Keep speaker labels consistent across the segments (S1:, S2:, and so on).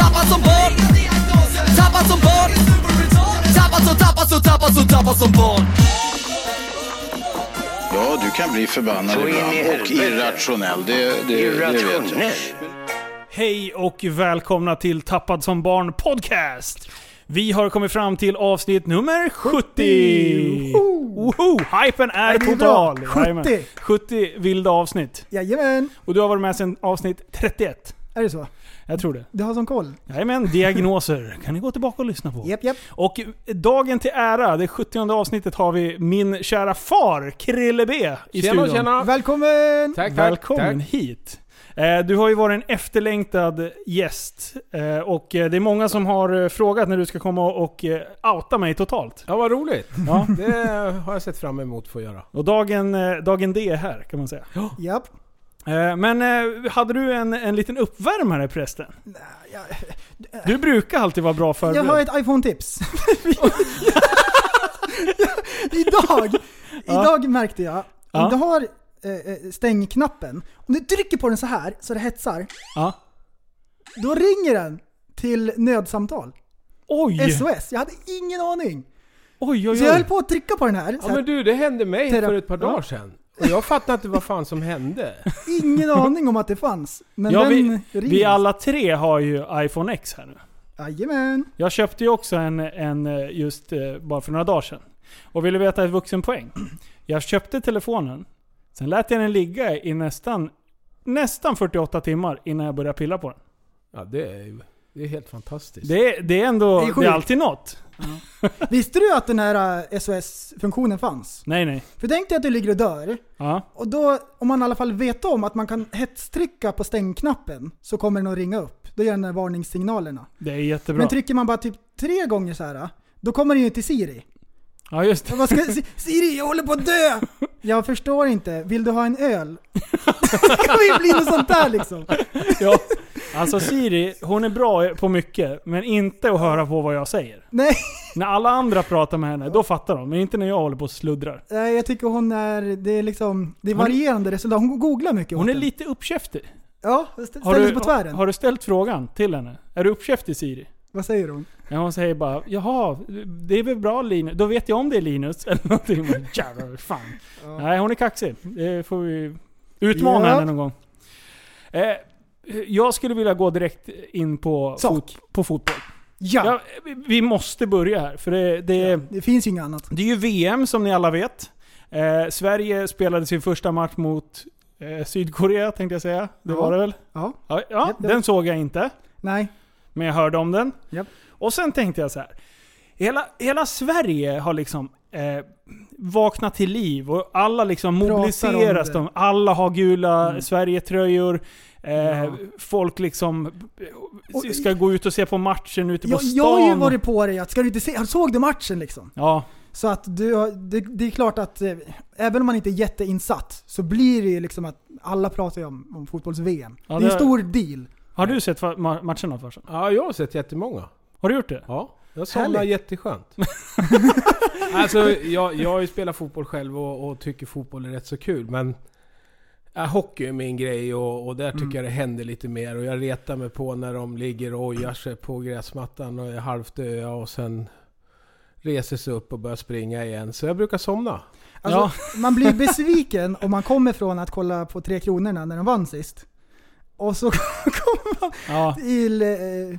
S1: Tappad som barn Tappad som barn Tappad som, tappad som, tappad som, tappad som barn
S2: Ja, du kan bli förbannad
S3: Så in i
S2: ibland och
S3: helvete.
S2: irrationell. Det, det, det vet jag.
S3: Irrationell.
S4: Hej och välkomna till Tappad som barn podcast! Vi har kommit fram till avsnitt nummer 70! Woho! Hypen är
S5: Ja, det är
S4: total!
S5: bra. 70.
S4: Jajamän. 70 vilda avsnitt.
S5: Jajamän!
S4: Och du har varit med sedan avsnitt 31.
S5: Är det så?
S4: Jag tror det.
S5: Du har sån koll?
S4: Jajamän, diagnoser kan ni gå tillbaka och lyssna på.
S5: Japp, japp.
S4: Och dagen till ära, det 70 avsnittet, har vi min kära far, Krille B, i
S6: Tjena,
S4: studion.
S6: tjena!
S5: Välkommen!
S6: Tack, tack,
S4: Välkommen
S6: tack.
S4: hit! Eh, Du har ju varit en efterlängtad gäst eh, och eh, det är många som har eh, frågat när du ska komma och eh, outa mig totalt.
S6: Ja, vad roligt!
S4: Ja.
S6: Det har jag sett fram emot att få göra.
S4: Och dagen, eh, dagen D är här kan man säga.
S5: Japp.
S4: Eh, Men eh, hade du en, en liten uppvärmare prästen?
S5: jag-
S4: Du brukar alltid vara bra
S5: Jag har
S4: förberedd.
S5: ett iPhone-tips. idag, idag märkte jag, om
S4: Ja.
S5: du har eh, eh, stängknappen, om du trycker på den så här så det hetsar,
S4: Ja.
S5: då ringer den till nödsamtal.
S4: Oj!
S5: SOS. Jag hade ingen aning.
S4: Oj, oj,
S5: Så jag höll
S4: oj.
S5: på att trycka på den här, så
S6: Ja
S5: här
S6: men du, det hände mig
S5: Tera-
S6: för ett par
S5: Ja.
S6: dagar sedan. Och jag fattade inte vad fan som hände.
S5: ingen aning om att det fanns. Men
S4: Ja,
S5: den
S4: vi,
S5: ringer.
S4: vi alla tre har ju iPhone X här nu.
S5: Jajamän.
S4: Jag köpte ju också en, en eh, just eh, bara för några dagar sedan. Och ville veta ett vuxenpoäng. Jag köpte telefonen. Sen lät jag den ligga i nästan, nästan 48 timmar innan jag började pilla på den.
S6: Ja, det är, ju- det är helt fantastiskt.
S4: Det, är- det är ändå...
S5: Det är
S4: Det är,
S5: sjukt.
S4: alltid något.
S5: Visste du att den här eh, SOS-funktionen fanns?
S4: Nej, nej.
S5: För tänk dig att du ligger och dör.
S4: Ja.
S5: Och då, om man i alla fall vet om att man kan hetstrycka på stängknappen så kommer den att ringa upp. Då gör den här varningssignalerna.
S4: Det är jättebra.
S5: Men trycker man bara typ tre gånger så här, då kommer den ju till Siri.
S4: Ja, just det.
S5: Vad ska, Si- Siri, jag håller på att dö! Jag förstår inte, vill du ha en öl? det kommer ju bli något sånt där liksom.
S4: Ja. Alltså Siri, hon är bra på mycket. Men inte att höra på vad jag säger.
S5: Nej,
S4: När alla andra pratar med henne, då fattar de. Men inte när jag håller på och sluddrar.
S5: nej, äh, jag tycker hon är, det är liksom, det är varierande resultat. Hon googlar mycket åt
S4: Hon är
S5: den.
S4: lite uppkäftig.
S5: Ja, st-
S4: Har
S5: ställer
S4: du,
S5: sig på tvären.
S4: har du ställt frågan till henne? Är du uppkäftig Siri?
S5: Vad säger hon?
S4: Ja, hon säger bara Jaha, det är väl bra Linus? Då vet jag om det är Linus eller någonting. Men Jävlar, fan. Nej, hon är kaxig. Det får vi utmana
S5: Ja.
S4: henne någon gång. Eh, jag skulle vilja gå direkt in på,
S5: Sak.
S4: fot, på fotboll.
S5: Ja,
S4: Ja, vi- vi måste börja här, för det, det,
S5: Eh, det finns ju inget annat.
S4: det är ju VM som ni alla vet. Eh, Sverige spelade sin första match mot eh, Sydkorea tänkte jag säga. Det
S5: Ja.
S4: var det väl?
S5: Ja,
S4: Ja,
S5: Japp,
S4: ja
S5: det-
S4: den såg jag inte.
S5: nej.
S4: Men jag hörde om den.
S5: Japp.
S4: Och sen tänkte jag så här. Hela, hela Sverige har liksom eh, vaknat till liv och alla liksom
S5: Pratar om
S4: mobiliseras.
S5: det. Mm.
S4: De, alla har gula Sverige-tröjor. Eh, Folk liksom
S5: Och-
S4: eh, ska gå ut och se på matchen ute Typ på
S5: Jag,
S4: stan.
S5: jag har ju varit på dig att, ska du inte se, såg du matchen liksom?
S4: Ja,
S5: Så att du, har- det, det är klart att eh, även om man inte är jätteinsatt så blir det ju liksom att alla pratar ju om, om fotbolls-VM.
S4: Ja,
S5: det är
S4: det-
S5: en stor deal.
S4: har du sett fa- ma- matcherna Farsan?
S6: Ja, jag har sett jättemånga.
S4: Har du gjort det?
S6: Ja. Jag somnade
S5: Härligt.
S6: jätteskönt. alltså, jag, jag har ju spelat fotboll själv och, och tycker fotboll är rätt så kul, men... Ja, hockey är min grej och, och där tycker jag det händer lite mer. Och jag retar mig på när de ligger och ojar sig på gräsmattan och är halvt döda och sen reser sig upp och börjar springa igen. Så jag brukar somna.
S5: Alltså, Man blir besviken om man kommer från att kolla på Tre Kronorna när de vann sist. Och så kommer man
S4: Ja.
S5: till eh,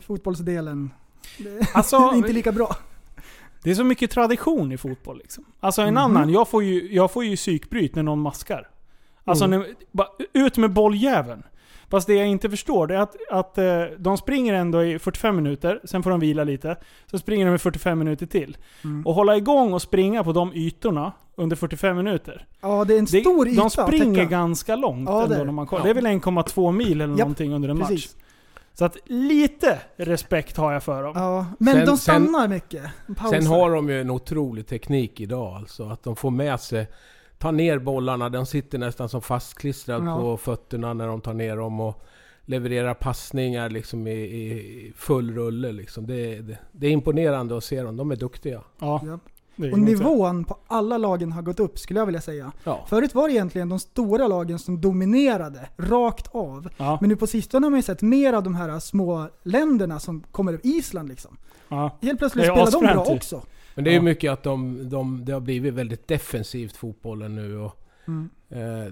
S5: fotbollsdelen.
S4: Alltså,
S5: inte lika bra.
S4: det är så mycket tradition i fotboll liksom. Alltså en
S5: Mhm.
S4: annan, jag får, ju, jag får ju psykbryt när någon maskar. Alltså
S5: Mm.
S4: när, bara, ut med bolljäveln. Fast det jag inte förstår det är att, att eh, de springer ändå i 45 minuter, sen får de vila lite. Så springer de i 45 minuter till.
S5: Mm.
S4: Och hålla igång och springa på de ytorna under 45 minuter.
S5: Ja, det är en
S4: Det,
S5: stor yta
S4: de
S5: att
S4: springer
S5: täcka.
S4: ganska långt
S5: Ja, det
S4: ändå
S5: är det.
S4: när man kollar.
S5: Ja.
S4: Det är väl 1,2 mil eller
S5: Japp,
S4: någonting under en match.
S5: Precis.
S4: Så att lite respekt har jag för dem.
S5: Ja, men
S6: Sen-
S5: de
S6: sen-
S5: stannar mycket. De pausar.
S6: Sen har de ju en otrolig teknik idag alltså. Att de får med sig... Ta ner bollarna, de sitter nästan som fastklistrad
S5: Ja.
S6: på fötterna när de tar ner dem och levererar passningar liksom i, i full rulle liksom. Det, är- det, det är imponerande att se dem, de är duktiga.
S4: Ja,
S5: Ja.
S4: det är
S5: Och
S4: inget att säga.
S5: nivån på alla lagen har gått upp skulle jag vilja säga.
S6: Ja.
S5: Förut var det egentligen de stora lagen som dominerade, rakt av.
S4: Ja,
S5: Men nu på sistone har man ju sett mer av de här små länderna som kommer upp, Island liksom.
S4: ja. typ.
S5: Helt plötsligt
S4: Det är
S5: spelar de bra
S4: asfränt ju.
S5: också.
S6: Men det är ju
S4: Ja.
S6: mycket att de, de, det har blivit väldigt defensivt fotbollen nu och
S5: Mm.
S6: eh,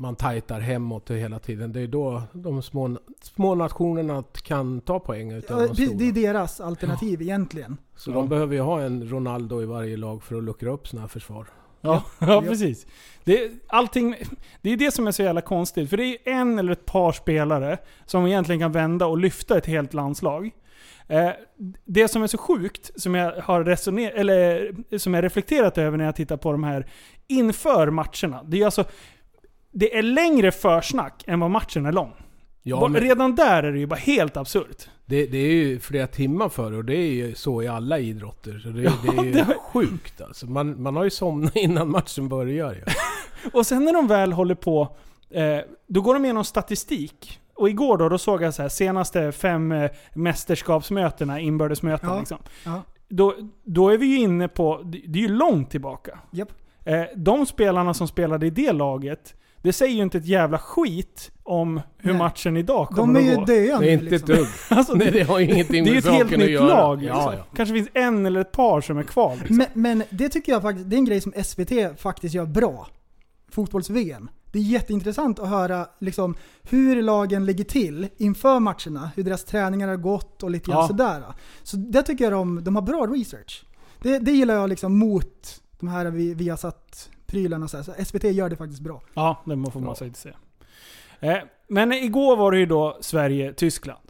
S6: man tajtar hemåt hela tiden. Det är då de små, små nationerna kan ta poäng
S5: Ja,
S6: utav de
S5: det,
S6: stora.
S5: det är deras alternativ egentligen.
S6: Så de behöver ju ha en Ronaldo i varje lag för att luckra upp sina försvar.
S4: Ja, ja precis. Det, allting, det är det som är så jävla konstigt. För det är en eller ett par spelare som egentligen kan vända och lyfta ett helt landslag. Eh, det som är så sjukt, som jag har resonerat, eller som jag reflekterat över när jag tittar på de här inför matcherna. Det är alltså, det är längre försnack än vad matchen är lång.
S6: Ja,
S4: Bara-
S6: men
S4: Redan där är det ju bara helt absurt.
S6: det, det är ju flera timmar före och det är ju så i alla idrotter. Så det, det är ju
S4: det-
S6: sjukt alltså. Man, man har ju somnat innan matchen börjar ju.
S4: Och sen när de väl håller på, eh, då går de igenom statistik. Och igår då, då såg jag så här, senaste fem eh, mästerskapsmötena, inbördesmöten
S5: Ja.
S4: liksom.
S5: Ja.
S4: Då, då är vi ju inne på, det det är ju långt tillbaka.
S5: Japp.
S4: Eh, de spelarna som spelade i det laget, det säger ju inte ett jävla skit om hur
S5: Nej.
S4: matchen idag kommer
S5: De är ju
S4: att gå.
S5: döende
S6: Det är inte ett
S5: liksom.
S6: dugg.
S4: Alltså,
S6: Nej,
S4: det,
S6: det har ju ingenting
S4: det är ju
S6: med
S4: ett helt
S6: saken att
S4: nytt
S6: göra.
S4: lag.
S6: Ja,
S4: liksom.
S6: ja.
S4: Kanske finns en eller ett par som är kvar. Liksom.
S5: Men, men det tycker jag faktiskt, det är en grej som SVT faktiskt gör bra. Fotbolls-VM. Det är jätteintressant att höra liksom, hur lagen ligger till inför matcherna, hur deras träningar har gått och lite grann
S4: Ja.
S5: sådär. Så det tycker jag de, de har bra research. Det, det gillar jag liksom mot de här vi, vi har satt prylarna och så, här. så SVT gör det faktiskt bra.
S4: Ja, det må- får man
S6: Ja.
S4: säkert se. Eh, men igår var det ju då Sverige-Tyskland.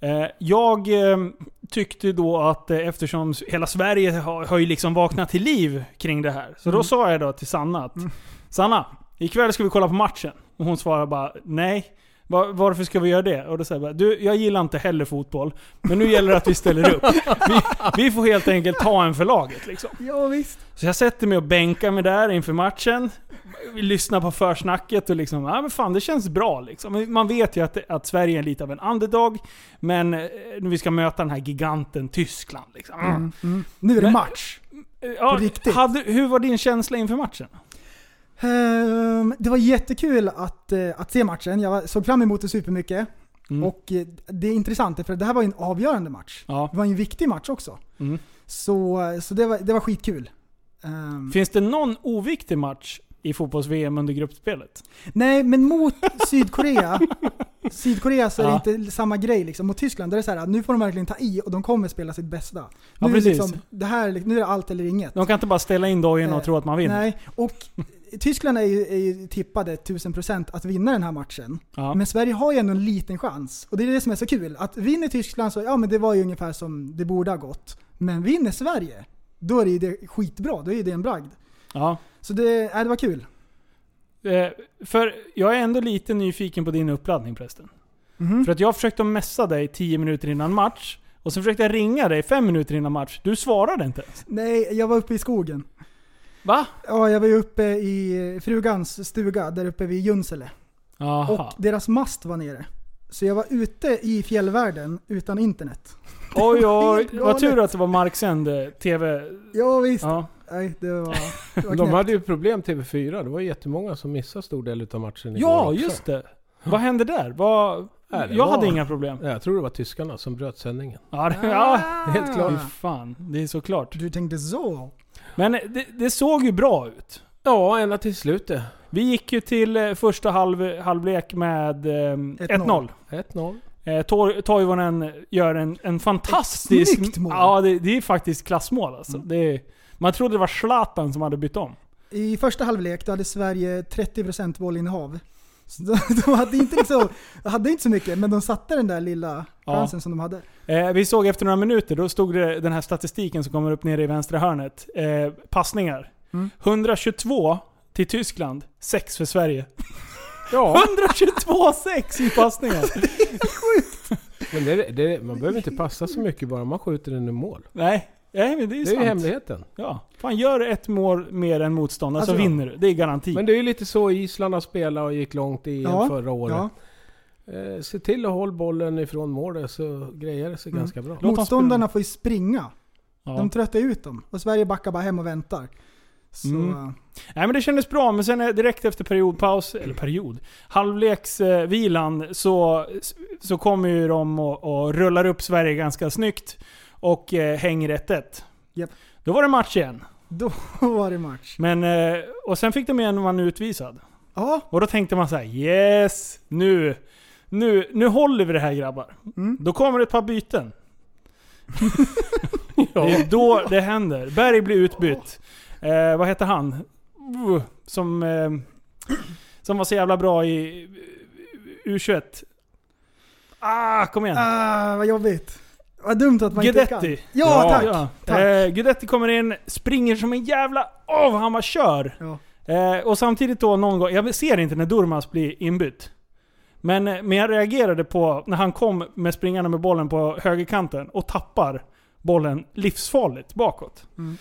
S4: Eh, jag eh, tyckte då att eh, eftersom s- hela Sverige har, har ju liksom vaknat till liv kring det här. Så då sa jag då till Sanna att Sanna, ikväll ska vi kolla på matchen. Och hon svarade bara nej. Va- Varför ska vi göra det? Och då säger jag bara, du, jag gillar inte heller fotboll, men nu gäller det att vi ställer upp. Vi, vi får helt enkelt ta en för laget liksom.
S5: Ja, visst.
S4: Så jag sätter mig och bänkar mig där inför matchen. Vi lyssnar på försnacket och liksom, ja men fan det känns bra liksom. Man vet ju att, att Sverige är lite av en underdog, men eh, vi ska möta den här giganten Tyskland liksom.
S5: Mm, mm. Nu är det
S4: Men-
S5: match.
S4: Ja,
S5: På riktigt.
S4: Hade, hur var din känsla inför matchen?
S5: Ehm, det var jättekul att, eh, att se matchen. Jag såg fram emot det supermycket.
S4: Mm.
S5: Och eh, det är intressant, för det här var ju en avgörande match.
S4: Ja.
S5: Det var ju en viktig match också.
S4: Mm.
S5: Så, så det, var, det var skitkul. Ehm,
S4: Finns det någon oviktig match i fotbolls-VM under gruppspelet?
S5: nej, men mot Sydkorea, Sydkorea så är
S4: Ja.
S5: det inte samma grej. Liksom. Mot Tyskland, där är det så här, nu får de verkligen ta i och de kommer spela sitt bästa. Nu,
S4: Ja,
S5: är
S4: precis.
S5: liksom, det här, nu är det allt eller inget.
S4: De kan inte bara ställa in dojen och
S5: Eh,
S4: tro att man vinner.
S5: Nej, och Tyskland är ju, är ju tippade 1000% att vinna den här matchen.
S4: Ja.
S5: Men Sverige har ju ändå en liten chans. Och det är det som är så kul. Att vinner Tyskland så, ja men det var ju ungefär som det borde ha gått. Men vinner Sverige, då är det ju det skitbra. Då är ju det en bragd.
S4: Ja.
S5: Så det, äh, det var kul.
S4: Eh, För jag är ändå lite nyfiken på din uppladdning prästen.
S5: Mhm.
S4: För att jag försökte messa dig 10 minuter innan match. Och sen försökte jag ringa dig 5 minuter innan match. Du svarade inte ens.
S5: Nej, jag var uppe i skogen.
S4: Va?
S5: Ja, jag var ju uppe i frugans stuga där uppe vid Junsele.
S4: Jaha.
S5: Och deras mast var nere. Så jag var ute i fjällvärlden utan internet.
S4: Oj, oj.
S5: helt
S4: Vad tur
S5: galet.
S4: att det var marksänd eh, TV.
S5: Ja, visst.
S4: Ja.
S5: Nej, det var, det var
S6: De
S5: knäppt.
S6: hade ju problem TV4. Det var ju jättemånga som missade stor del av matchen igår
S4: ja,
S6: också.
S4: just det. Vad hände där? Vad...
S6: Nej, det
S4: Jag
S6: var-
S4: hade inga problem.
S6: Nej, Jag tror det var tyskarna som bröt sändningen.
S4: Ja, det, ja.
S6: Helt
S4: Fy
S6: klart.
S4: fan. Det är såklart.
S5: Du tänkte så?
S4: Men eh, det, det såg ju bra ut.
S6: Ja, ända till slutet.
S4: Vi gick ju till eh, första halv, halvlek med eh, 1-0.
S6: 1-0.
S4: Eh, Tor- Toivonen gör en, en fantastisk...
S5: Ett snyggt mål. Mm.
S4: Ja, det, det är faktiskt klassmål alltså. Det är, man trodde det var Zlatan som hade bytt om.
S5: I första halvlek då hade Sverige 30% bollinnehav. Så de, de hade, inte liksom, hade inte så mycket, men de satte den där lilla
S4: Ja.
S5: chansen som de hade.
S4: Eh, vi såg efter några minuter, då stod det den här statistiken som kommer upp nere i vänstra hörnet. Eh, passningar.
S5: Mm.
S4: 122 till Tyskland, 6 för Sverige.
S6: Ja,
S4: 122-6 i passningar!
S6: Men det, det, man behöver inte passa så mycket bara man skjuter den i mål.
S4: Nej. Nej men det är ju
S6: Det är ju
S4: sant.
S6: hemligheten.
S4: Ja. Fan gör ett mål mer än motståndaren så
S5: Alltså, ja.
S4: vinner du. Det är garanti.
S6: Men det är ju lite så Island har spelat och gick långt i EM
S5: Ja,
S6: förra
S5: Ja.
S6: året. Eh, se till att hålla bollen ifrån målet så grejer det sig
S5: Mm.
S6: ganska bra.
S4: dem
S5: Motståndarna får ju springa.
S4: ja.
S5: De tröttar ut dem. Och Sverige backar bara hem och väntar. Så,
S4: Mm. Nej men det kändes bra, men sen eh, direkt efter periodpaus, eller period, halvleksvilan eh, vilan så, så kommer ju de och, och rullar upp Sverige ganska snyggt och eh, hänger 1-1.
S5: Japp.
S4: Då var det match igen.
S5: då var det match.
S4: Men, eh, och sen fick de en man utvisad.
S5: Ja,
S4: Och då tänkte man så här: yes! Nu, nu, nu håller vi det här grabbar.
S5: Mm.
S4: Då kommer det ett par byten. Det är då det händer. Berg blir utbytt. Eh, vad heter han? Uh, Som, eh, som var så jävla bra i eh, U21. Ah, kom igen.
S5: ah, vad jobbigt. Vad dumt att man inte kan.
S4: Guidetti.
S5: Ja, tack. tack.
S4: Eh, Guidetti kommer in, springer som en jävla... Åh, vad han bara kör!
S5: Ja.
S4: Eh, och samtidigt då någon gång, jag ser inte när Durmas blir inbytt. Men, eh, men jag reagerade på när han kom med springarna med bollen på högerkanten och tappar bollen livsfarligt bakåt.
S5: Mm.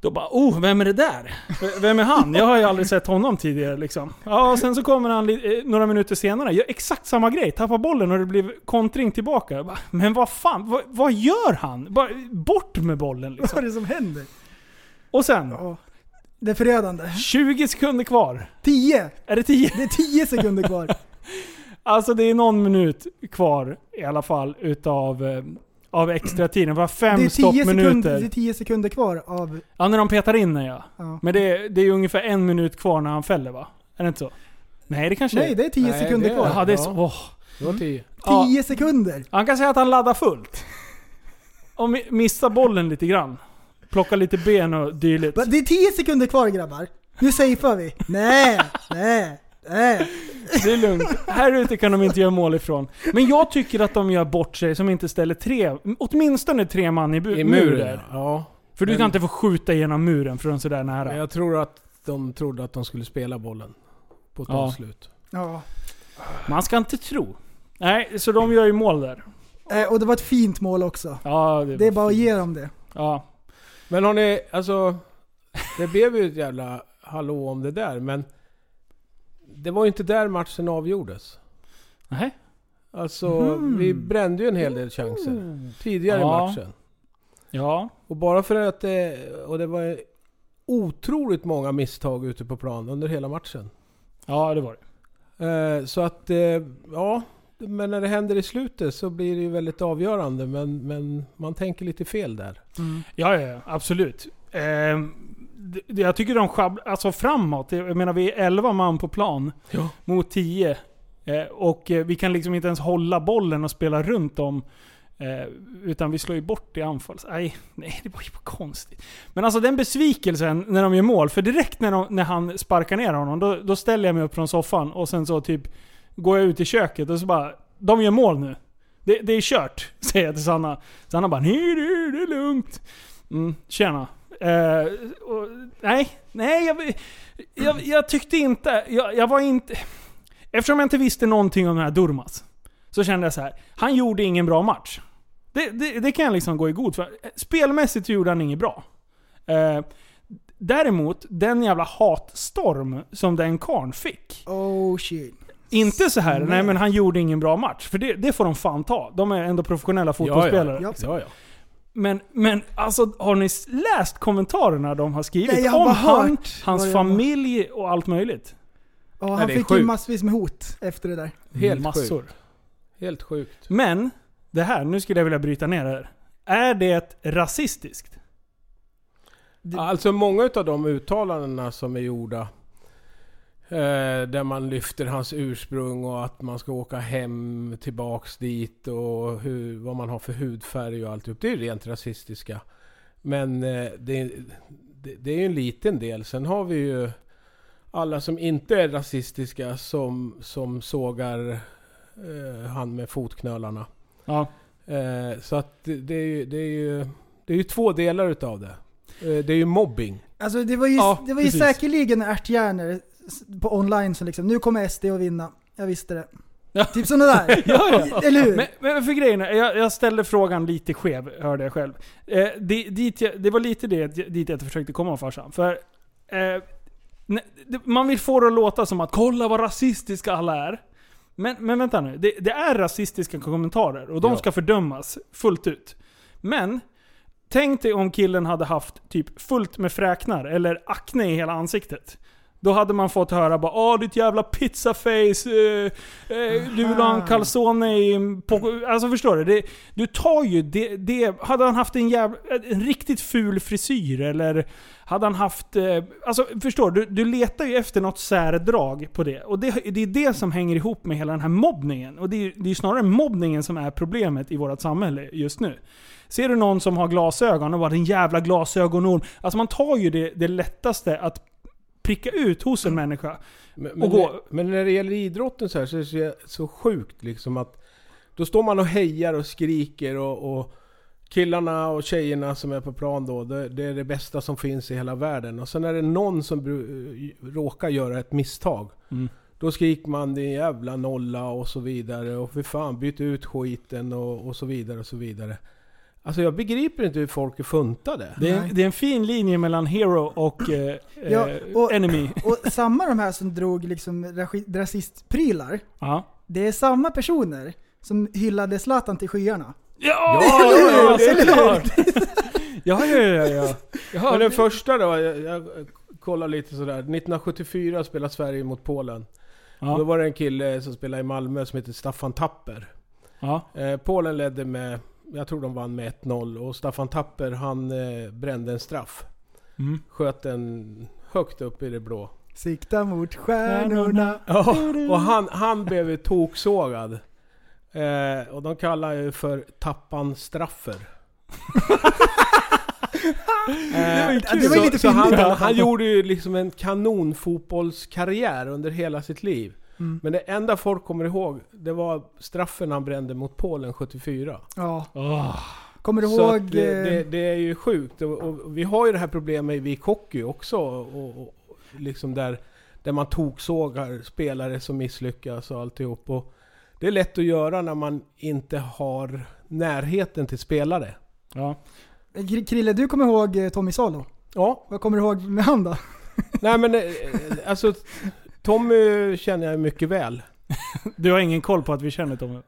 S4: Då bara oh, vem är det där? V- Vem är han? Jag har ju aldrig sett honom tidigare liksom. Ja, och sen så kommer han li- eh, några minuter senare, gör exakt samma grej. Tappar bollen och det blir kontring tillbaka. Jag bara, Men vad fan, vad, vad gör han? Bara, bort med bollen
S5: Vad
S4: liksom.
S5: är det som händer?
S4: Och sen,
S5: Ja. Det är förödande.
S4: 20 sekunder kvar.
S5: 10!
S4: Är det 10?
S5: Det är 10 sekunder kvar.
S4: Alltså det är någon minut kvar i alla fall utav, eh, av extra tiden. Det var fem
S5: Det är 10
S4: stoppminuter.
S5: sekunder, det är 10 sekunder kvar av...
S4: Ja, när de petar in den ja.
S5: Ja.
S4: Men det är, det är ungefär en minut kvar när han fäller va? Är det inte så? Nej det kanske
S5: Nej, det är 10
S6: Nej,
S5: sekunder
S6: det är-
S5: kvar.
S4: Jaha, det är så.
S6: Ja.
S4: Åh.
S6: Det var tio.
S4: Ja.
S5: 10 sekunder!
S4: Han kan säga att han laddar fullt. Och mi- missar bollen lite grann. Plockar lite ben och dylikt.
S5: Va, Det är 10 sekunder kvar grabbar. Nu safear vi. Nej, nej, nej.
S4: Det är lugnt. Här ute kan de inte göra mål ifrån. Men jag tycker att de gör bort sig som inte ställer tre, åtminstone tre man i, bu-
S6: I
S4: muren.
S6: muren. Ja.
S4: För du kan
S6: Men-
S4: inte få skjuta genom muren från sådär nära.
S6: Men jag tror att de trodde att de skulle spela bollen. På ett
S4: Ja.
S6: avslut.
S5: Ja.
S4: Man ska inte tro. Nej, så de gör ju mål där.
S5: Eh, Och det var ett fint mål också.
S4: Ja, det,
S5: Det är bara att ge dem det.
S4: ja.
S6: Men har ni, alltså. Det blev ju ett jävla hallå om det där men. Det var ju inte där matchen avgjordes.
S4: Nej.
S6: Alltså vi brände ju en hel del chanser. Tidigare
S4: Ja.
S6: i matchen.
S4: Ja.
S6: Och bara för att det, och det var otroligt många misstag ute på plan under hela matchen.
S4: ja, det var det.
S6: Eh, Så att, eh, ja. Men när det händer i slutet så blir det ju väldigt avgörande. Men, men man tänker lite fel där.
S4: Ja, ja, ja absolut. Ehm, det- det- jag tycker de schabblar, alltså framåt. Jag menar vi är 11 man på plan
S6: Ja.
S4: mot 10. Eh, och eh, vi kan liksom inte ens hålla bollen och spela runt dem. Eh, utan vi slår ju bort i anfall. Nej, nej, det var ju konstigt. Men alltså den besvikelsen när de gör mål. För direkt när, de, när han sparkar ner honom, då, då ställer jag mig upp från soffan och sen så typ går jag ut i köket och så bara De gör mål nu. Det, det är kört, säger jag till Sanna. Sanna bara Nej du, det är lugnt. Mm, tjena. Eh, och, nej, nej jag, jag, jag tyckte inte... Jag, jag var inte... Eftersom jag inte visste någonting om den här Durmas. Så kände jag så här. han gjorde ingen bra match. Det, det, det kan jag liksom gå i god för. Spelmässigt gjorde han inget bra. Eh, däremot, den jävla hatstorm som den karn fick.
S5: Oh shit.
S4: Inte så här, nej.
S5: Nej.
S4: men han gjorde ingen bra match. För det, det får de fan ta. De är ändå professionella fotbollsspelare.
S5: Ja.
S6: Ja, ja.
S4: Men, men alltså har ni läst kommentarerna de har skrivit?
S5: Nej, jag har
S4: om
S5: bara
S4: han,
S5: hört vad
S4: hans
S5: det
S4: familj och allt möjligt.
S5: Ja,
S6: Nej,
S5: han
S6: det är
S5: fick ju
S6: sjukt.
S5: massvis med hot efter det där.
S6: Helt
S4: Massor.
S6: sjukt. Helt sjukt.
S4: Men, det här, nu skulle jag vilja bryta ner det här. Är det rasistiskt?
S6: Alltså många av de uttalandena som är gjorda. Eh, där man lyfter hans ursprung och att man ska åka hem tillbaks dit och hur, vad man har för hudfärg och alltihop. Det är ju rent rasistiska. Men eh, det, är- det, det är ju en liten del. Sen har vi ju alla som inte är rasistiska som, som sågar eh, han med fotknölarna.
S4: Ja.
S6: Eh, så att det, det, är ju, det, är ju, det är ju två delar utav det. Eh, det är ju mobbing.
S5: Alltså det var ju,
S4: Ja,
S5: det var ju
S4: precis.
S5: säkerligen ärthjärnor s- på online som liksom, nu kommer SD att vinna. Jag visste det. Typ sådana där.
S4: Ja, ja.
S5: Eller hur?
S4: Men, men för grejen är, jag, jag ställde frågan lite skev, hörde jag själv. Eh, det, dit jag, det var lite det dit jag försökte komma farsan. För, eh, ne, det, man vill få det att låta som att kolla vad rasistiska alla är. Men, men vänta nu, det, det är rasistiska kommentarer och de
S6: Ja.
S4: ska fördömas fullt ut. Men, tänk dig om killen hade haft typ fullt med fräknar eller akne i hela ansiktet. Då hade man fått höra bara Åh ditt jävla pizzaface, eh, eh, du vill ha en
S5: Aha.
S4: calzone i en po- Alltså förstår du? Det, du tar ju det, det... Hade han haft en jävla... En riktigt ful frisyr eller... Hade han haft... Eh, alltså förstår du? Du letar ju efter något särdrag på det. Och det, det är det som hänger ihop med hela den här mobbningen. Och det är ju det är ju snarare mobbningen som är problemet i vårt samhälle just nu. Ser du någon som har glasögon och bara den jävla glasögonorm. Alltså man tar ju det, det lättaste att pricka ut hos en människa.
S6: Men, men,
S4: gå-
S6: när- men när det gäller idrotten så här så är det så, jä- så sjukt liksom att då står man och hejar och skriker och, och killarna och tjejerna som är på plan då, det, det är det bästa som finns i hela världen. Och sen är det någon som bru- eh, råkar göra ett misstag.
S4: Mm.
S6: Då skriker man din jävla nolla och så vidare och för fan byt ut skiten och, och så vidare och så vidare. Alltså jag begriper inte hur folk är funtade.
S4: Det är,
S5: Nej.
S4: det är en fin linje mellan hero och, eh,
S5: Ja,
S4: eh,
S5: och-
S4: enemy.
S5: Och samma de här som drog liksom rasi- rasistprylar.
S4: Ja.
S5: Det är samma personer som hyllade Zlatan till skyarna.
S4: Ja,
S5: Eller hur?
S4: ja, det är
S5: Eller
S4: klart! Ja, ja, ja, ja.
S6: Men
S4: Jaha,
S6: den första då, jag, jag kollar lite sådär. 1974 spelade Sverige mot Polen. Och Då
S4: ja,
S6: var det en kille som spelade i Malmö som heter Staffan Tapper.
S4: ja.
S6: Eh, Polen ledde med, jag tror de vann med 1-0 och Staffan Tapper han eh, brände en straff.
S4: Mm.
S6: Sköt den högt upp i det blå.
S5: Sikta mot stjärnorna.
S6: Ja, och han, han blev ju toksågad. Eh, och de kallar ju för Tappan Straffer. Eh,
S4: ju
S5: kul. Det var ju
S6: så-
S5: lite
S6: så han,
S5: fyndigt.
S6: han gjorde ju liksom en kanonfotbollskarriär under hela sitt liv.
S5: Mm.
S6: Men det enda folk kommer ihåg, det var straffen han brände mot Polen 74.
S5: Ja,
S4: Åh.
S5: kommer du
S6: Så
S5: ihåg?
S6: att det,
S5: eh,
S6: det, det är ju sjukt. Och, och vi har ju det här problemet i hockey också. Och, och, liksom där, där man toksågar spelare som misslyckas och alltihop. Och det är lätt att göra när man inte har närheten till spelare.
S4: Ja.
S5: Kr- eh, Krille, du kommer ihåg eh, Tommy Salo?
S6: Ja,
S5: Vad kommer du ihåg med han då?
S6: nej men eh, alltså Tommy känner jag mycket väl.
S4: Du har ingen koll på att vi känner Tommy?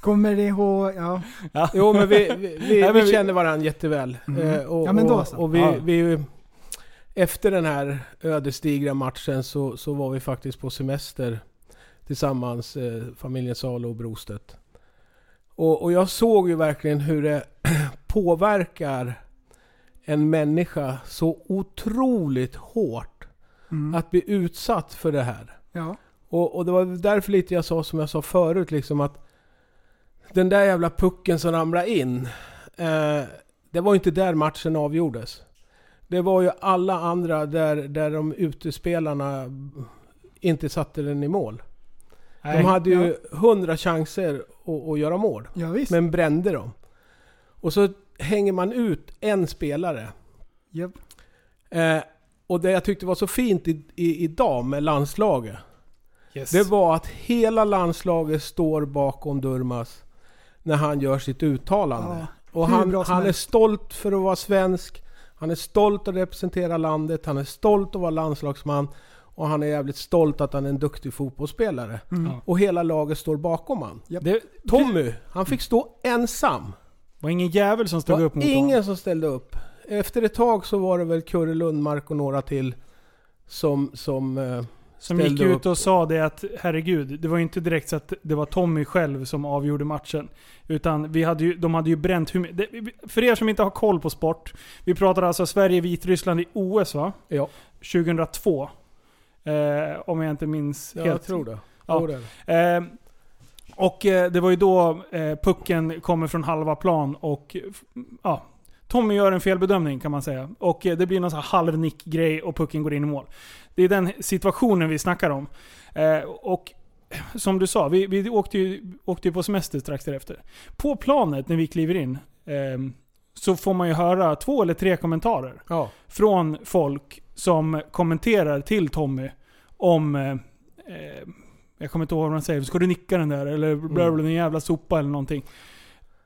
S5: Kommer du ihåg? Ja.
S4: Ja.
S6: Jo men vi, vi, vi,
S4: Nej, men
S6: vi
S4: vi-
S6: känner varandra jätteväl.
S5: Mm.
S6: Eh, och,
S5: Ja, men då så.
S6: och, och vi,
S4: Ja.
S6: vi, efter den här ödesdigra matchen så, så var vi faktiskt på semester tillsammans, eh, familjen Salo och Brostedt. Och, och jag såg ju verkligen hur det påverkar en människa så otroligt hårt
S5: Mm.
S6: att bli utsatt för det här.
S5: ja.
S6: Och, och det var därför lite jag sa som jag sa förut liksom att den där jävla pucken som ramlade in. Eh, det var ju inte där matchen avgjordes. Det var ju alla andra där, där de utespelarna inte satte den i mål.
S4: Nej.
S6: de hade ju hundra chanser att, att göra mål,
S5: Ja, visst.
S6: men brände dem. Och så hänger man ut en spelare.
S5: Japp.
S6: Eh, och det jag tyckte var så fint i, i, idag med landslaget.
S4: Yes.
S6: Det var att hela landslaget står bakom Durmas när han gör sitt uttalande.
S5: Ja,
S6: och
S5: hur
S6: han,
S5: bra som
S6: han är
S5: helst.
S6: stolt för att vara svensk. Han är stolt att representera landet. Han är stolt att vara landslagsman. Och han är jävligt stolt att han är en duktig fotbollsspelare.
S5: Mm.
S6: Och hela laget står bakom han.
S4: Det
S6: Tommy, han fick stå ensam.
S4: var ingen jävel som
S6: Det
S4: stod
S6: var
S4: upp mot
S6: ingen
S4: honom.
S6: som ställde upp. Efter ett tag så var det väl Kurre Lundmark och några till som... som eh,
S4: Som gick
S6: ställde
S4: ut
S6: upp.
S4: och sa det att herregud, det var ju inte direkt så att det var Tommy själv som avgjorde matchen. Utan vi hade ju, de hade ju bränt hur my- det, För er som inte har koll på sport. Vi pratar alltså Sverige-Vitryssland i OS va?
S6: ja,
S4: 2002. Eh, om jag inte minns
S6: jag
S4: helt.
S6: tror det.
S4: Ja.
S6: Tror det.
S4: Eh, och eh, det var ju då eh, pucken kommer från halva plan och eh, f- ja, Tommy gör en felbedömning kan man säga. Och eh, det blir någon sån här halvnick-grej och pucken går in i mål. Det är den situationen vi snackar om. Eh, och som du sa, vi, vi åkte, ju, åkte ju på semester strax därefter. På planet när vi kliver in ehm, så får man ju höra två eller tre kommentarer
S6: Ja.
S4: från folk som kommenterar till Tommy om eh, eh, Jag kommer inte ihåg vad han säger. Ska du nicka den där? Eller bla bla, den jävla sopa eller någonting.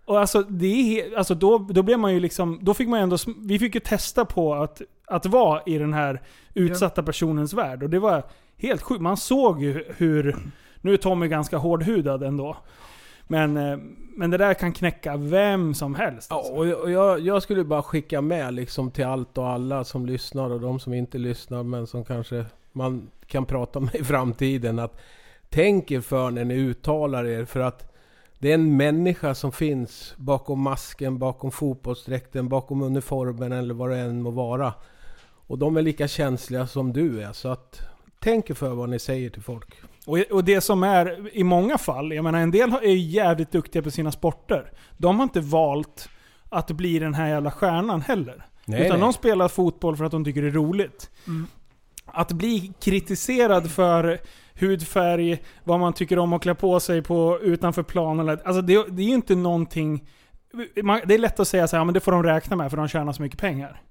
S4: Och alltså, det är, he- alltså då, då blev man ju liksom... Då fick man ju ändå... sm- Vi fick ju testa på att, att vara i den här utsatta personens värld. Och det var helt sjukt. Man såg ju hur... Nu är Tommy ganska hårdhudad ändå. Men, eh, men det där kan knäcka vem som helst.
S6: Ja,
S4: alltså.
S6: och och jag, jag skulle bara skicka med liksom till allt och alla som lyssnar och de som inte lyssnar men som kanske man kan prata med i framtiden att tänk er för när ni uttalar er för att det är en människa som finns bakom masken, bakom fotbollsdräkten, bakom uniformen eller vad det än må vara. Och de är lika känsliga som du är så att tänk er för vad ni säger till folk.
S4: Och, och det som är i många fall, jag menar en del har- är ju jävligt duktiga på sina sporter. De har inte valt att bli den här jävla stjärnan heller. utan de spelar fotboll för att de tycker det är roligt.
S5: Mm.
S4: Att bli kritiserad för hudfärg, vad man tycker om att klä på sig på, utanför planen. Alltså det, det är ju inte någonting... Man, det är lätt att säga så här, "Ja, men det får de räkna med för de tjänar så mycket pengar.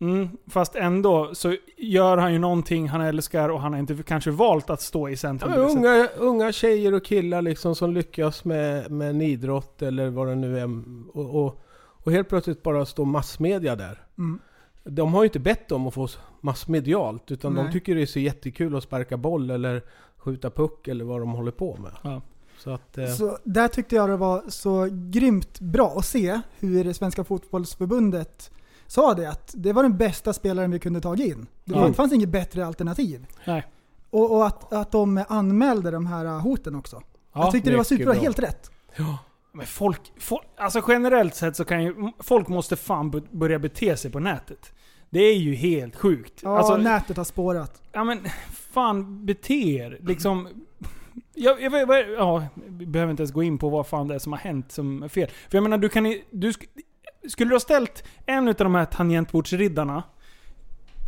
S4: Mm, fast ändå så gör han ju någonting han älskar och han har inte kanske valt att stå i
S6: Ja,
S4: centrum.
S6: men
S4: på det sättet.
S6: unga, unga tjejer och killar liksom som lyckas med, med en idrott eller vad det nu är. Och, och, och helt plötsligt bara står massmedia där.
S5: Mm.
S6: De har ju inte bett om att få massmedialt utan de
S5: Nej.
S6: tycker det är så jättekul att sparka boll eller skjuta puck eller vad de håller på med.
S4: Ja.
S6: Så att... Eh,
S5: Så där tyckte jag det var så grymt bra att se hur Svenska Fotbollsförbundet sa det att det var den bästa spelaren vi kunde ta in. Det
S4: Mm.
S5: fanns inget bättre alternativ.
S4: Nej.
S5: Och, och att, att de anmälde de här hoten också.
S6: ja,
S5: jag tyckte det var
S6: mycket
S5: superbra,
S6: bra.
S5: helt rätt.
S4: Men folk, folk, alltså generellt sett så kan ju, folk måste fan bu- börja bete sig på nätet. Det är ju helt sjukt.
S5: Ja,
S4: alltså,
S5: nätet har spårat.
S4: ja men fan bete er. Liksom, jag, jag, vet- vad är- ja, vi behöver inte ens gå in på vad fan det är som har hänt som är fel. För jag menar, du kan i- du sk- Skulle du ha ställt en av de här tangentbordsriddarna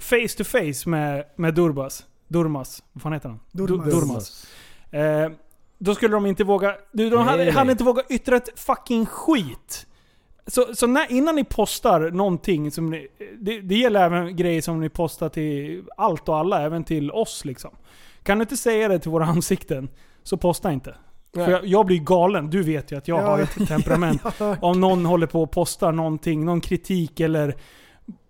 S4: face to face med, med Durbas, Durmas, vad fan heter han? Du-
S5: Durmas.
S4: Durmas. Eh, då skulle de inte våga... Du, de
S6: Nej,
S4: hade,
S6: nej.
S4: hade inte vågat yttra ett fucking skit. Så, så när, innan ni postar någonting som ni, det, det gäller även grejer som ni postar till allt och alla, även till oss liksom. Kan du inte säga det till våra ansikten, så posta inte. För jag, jag blir galen, du vet ju att jag
S5: Ja,
S4: har ett temperament.
S5: Jag har hört.
S4: Om någon håller på och postar någonting, någon kritik eller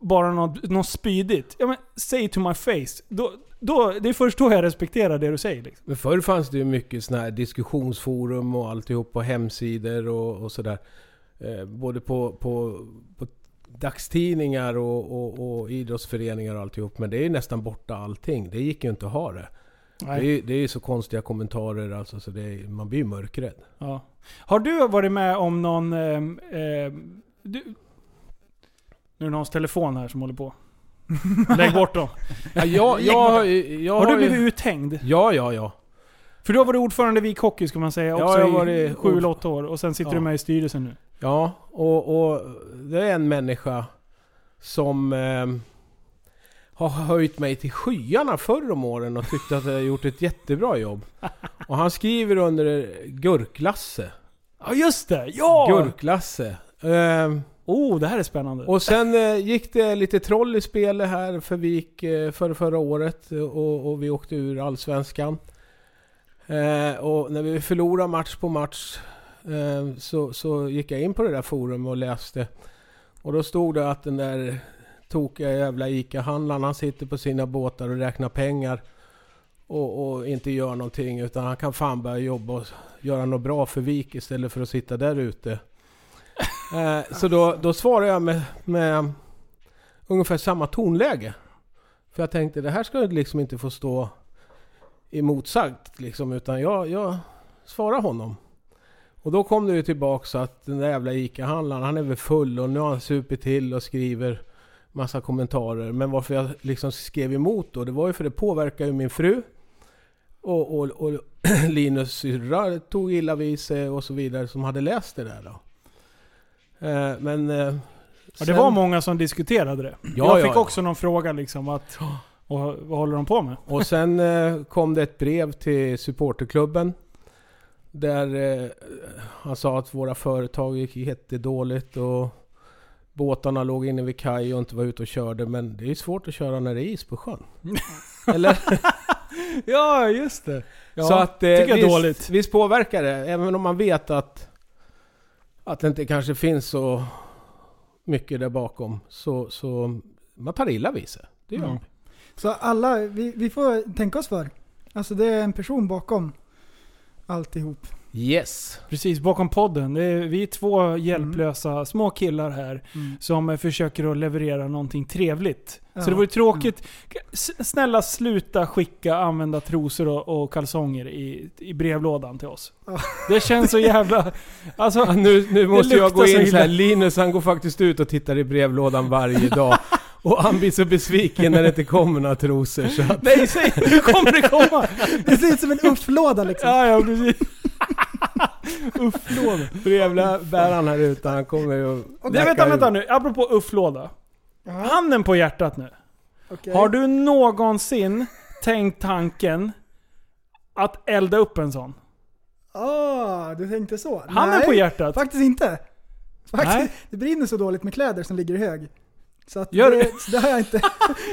S4: bara något, något spydigt. Ja men, say to my face. Då, då, det är först då jag respekterar det du säger liksom.
S6: Men förr fanns det ju mycket sådana här diskussionsforum och alltihop på hemsidor och, och sådär. Eh, både på, på, på dagstidningar och, och, och idrottsföreningar och alltihop. Men det är ju nästan borta allting. Det gick ju inte att ha det. Det är, ju- det är ju så konstiga kommentarer alltså, så det är, man blir ju mörkrädd.
S4: Ja. Har du varit med om någon... ehm, ehm, du, nu är det någons telefon här som håller på. Lägg bort dem.
S6: Ja, jag, jag, har ju- jag
S4: Har du
S6: ju-
S4: blivit uthängd?
S6: Ja, ja, ja.
S4: För du har varit ordförande i Vikhockey ska man säga
S6: Ja,
S4: också
S6: jag har
S4: i
S6: varit
S4: sju
S6: ord-
S4: eller åtta år. Och sen sitter
S6: Ja.
S4: du med i styrelsen nu.
S6: Ja, och, och det är en människa som ehm, har höjt mig till skyarna förr om åren och tyckt att jag har gjort ett jättebra jobb. Och han skriver under Gurklasse.
S4: Ja just det! Ja!
S6: Gurklasse. Ehm,
S4: Oh, det här är spännande.
S6: och sen eh, gick det lite troll i spelet här för Vik eh, för förra året eh, och, och vi åkte ur Allsvenskan. Eh, och när vi förlorade match på match eh, så, så gick jag in på det där forumet och läste. Och då stod det att den där tokiga jävla ICA-handlaren han sitter på sina båtar och räknar pengar. Och, och inte gör någonting utan han kan fan börja jobba och göra något bra för Vik istället för att sitta där ute. Eh, så då, då svarade jag med, med ungefär samma tonläge. För jag tänkte det här ska ju liksom inte få stå emotsagt liksom, utan jag, jag svarar honom. Och då kom det ju tillbaks att den där jävla ICA-handlaren, han är väl full och nu har han supit till och skriver massa kommentarer. Men varför jag liksom skrev emot då, det var ju för det påverkar ju min fru. Och, och, och Linus syrra tog illa vid sig och så vidare som hade läst det där då. Eh, Men... eh,
S4: ja, det
S6: sen-
S4: var många som diskuterade det.
S6: Ja,
S4: jag
S6: ja,
S4: fick
S6: ja.
S4: också någon fråga liksom att...
S6: Ja.
S4: Och, vad håller de på med?
S6: Och sen eh, kom det ett brev till supporterklubben. Där eh, han sa att våra företag gick jättedåligt och båtarna låg inne vid kaj och inte var ute och körde. Men det är ju svårt att köra när det är is på sjön. Eller?
S4: Ja, just det. Ja,
S6: så att eh,
S4: tycker jag är
S6: visst,
S4: dåligt.
S6: visst påverkar det, även om man vet att, att det inte kanske finns så mycket där bakom. Så, så man tar illa vid sig. Det gör
S4: Mm.
S6: man.
S5: Så alla, vi, vi får tänka oss för. Alltså det är en person bakom alltihop.
S6: Yes.
S4: Precis, bakom podden. Det är, vi är två hjälplösa små killar här som eh, försöker att leverera någonting trevligt.
S5: Ja.
S4: Så det vore tråkigt. S- Snälla sluta skicka använda trosor och, och kalsonger i, i brevlådan till oss.
S5: Ja.
S4: Det känns så jävla... Alltså,
S6: Ja, nu, nu måste jag
S4: luktar
S6: gå
S4: så
S6: in så här.
S4: illa.
S6: Linus han går faktiskt ut och tittar i brevlådan varje dag. Och han blir så besviken när det inte kommer några trosor. Så att,
S4: nej säg Nu kommer det komma!
S5: Det ser ut som en ufflåda liksom.
S4: Ja, ja precis. Ufflåda.
S6: brevbäraren här ute, han kommer ju...
S4: Nej vänta, vänta nu. Apropå ufflåda. Handen på hjärtat nu.
S5: Okej.
S4: Har du någonsin tänkt tanken att elda upp en sån?
S5: Ah, du tänkte så?
S4: Handen på hjärtat.
S5: Faktiskt inte.
S4: Nej.
S5: Faktiskt, det brinner så dåligt med kläder som ligger i hög. Så att
S4: Gör
S5: det,
S4: det?
S5: det har jag inte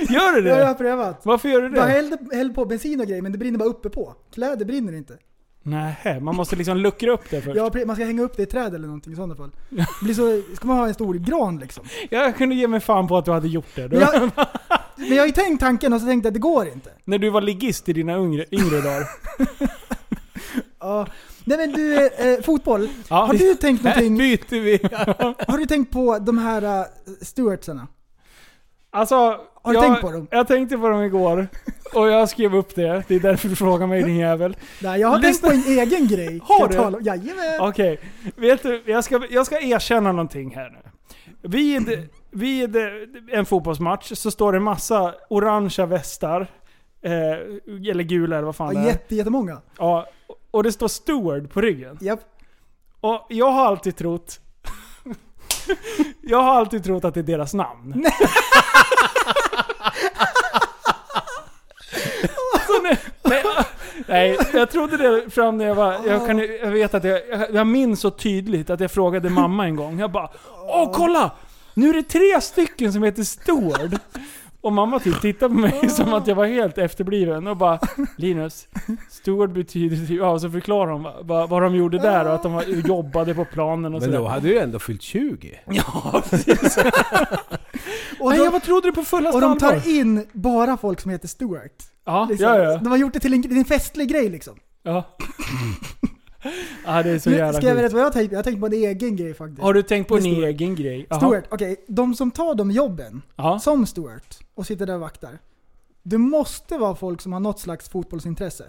S4: Gör du
S5: det har
S4: det?
S5: jag prövat.
S4: Varför gör du
S5: Jag
S4: det?
S5: hällde, hällde på bensin och grejer men det brinner bara uppe på. Kläder brinner inte.
S4: Nej, man måste liksom luckra upp det först.
S5: Ja, pre- man ska hänga upp det i ett träd eller någonting i sådana fall. Det Blir så, ska man ha en stor gran liksom.
S4: Jag kunde ge mig fan på att du hade gjort det. Du,
S5: Men jag, men jag har ju tänkt tanken och så tänkte jag att det går inte.
S4: När du var ligist i dina yngre, yngre dagar.
S5: Ja. Nej men du, eh, fotboll.
S4: Ja. Äh,
S5: Har du tänkt någonting?
S4: byter vi.
S5: Har du tänkt på de här uh, Stuartsarna?
S4: Alltså,
S5: Har du
S4: jag,
S5: tänkt på dem?
S4: Jag tänkte på dem igår. Och jag skrev upp det. Det är därför du frågar mig din jävel.
S5: Nej, jag har
S4: Lyssna.
S5: tänkt på en egen grej.
S4: Har
S5: Ska jag
S4: du?
S5: tala om- Jajamän!
S4: Okej, vet du, jag ska, jag ska erkänna någonting här nu. Vid, vid eh, en fotbollsmatch så står det en massa orangea västar. Eh, eller gula eller vad fan
S5: Ja,
S4: det är.
S5: jätte, jättemånga.
S4: Ja, och det står steward på ryggen.
S5: Japp.
S4: Och jag har alltid trott... jag har alltid trott att det är deras namn. Nej. nu, nej, nej, jag trodde det fram när jag var... Jag, kan, ju- jag vet att jag, jag, jag minns så tydligt att jag frågade mamma en gång. Jag bara Åh kolla! Nu är det tre stycken som heter Stord. Och mamma typ tittade på mig som att jag var helt efterbliven och bara Linus, Stord betyder typ, ja och så förklarar hon vad, vad, vad de gjorde där och att de var, jobbade på planen och
S6: Men då
S4: sådär.
S6: hade du ju ändå fyllt 20.
S5: Och,
S4: Nej
S5: de,
S4: jag var, trodde det på fullaste
S5: och de
S4: allvar.
S5: tar in bara folk som heter Stuart.
S4: Ja,
S5: Liksom.
S4: ja, ja.
S5: De har gjort det till en, till en festlig grej liksom.
S4: ja. ja det är så
S5: Nu
S4: jävla
S5: ska jag
S4: sjukt.
S5: berätta vad jag har tänkt på? Jag har tänkt på en egen grej faktiskt.
S4: Har du tänkt på en
S5: Med Stewart.
S4: egen grej? Jaha.
S5: Stuart, okej. De som tar de jobben,
S4: Ja.
S5: som Stuart, och sitter där och vaktar. Det måste vara folk som har något slags fotbollsintresse.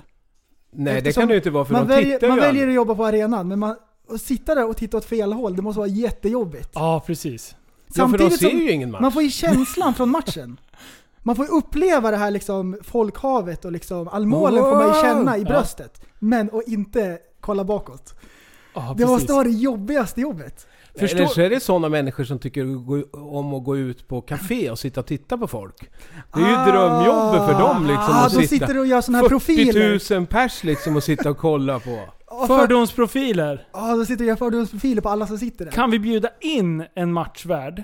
S6: Nej det
S5: Eftersom
S6: kan det ju inte vara för
S5: Man,
S6: de tittar
S5: väljer, man
S6: ju
S5: väljer att jobba på arenan, men man, att sitta där och titta åt fel håll, det måste vara jättejobbigt.
S4: Ja, precis.
S6: Ja, för de ser
S5: som-
S6: ju ingen match.
S5: Man får ju känslan från matchen. Man får ju uppleva det här liksom folkhavet och liksom allmålen får man ju känna i
S4: Wow!
S5: bröstet. Men och inte kolla bakåt.
S4: Ja,
S5: Det
S4: precis.
S5: måste vara det jobbigaste jobbet.
S4: Förstår-
S6: Eller så är det sådana människor som tycker om att gå ut på café och sitta och titta på folk. Det är ju
S5: Ah.
S6: drömjobbet för dem liksom
S5: ah,
S6: att
S5: de
S6: sitta...
S5: sitter och gör sådana här profiler.
S6: 40 000 pers liksom att sitta och kolla på.
S5: Ah, för-
S4: Fördomsprofiler.
S5: Ja, de sitter och gör fördomsprofiler på alla som sitter där.
S4: Kan vi bjuda in en matchvärd?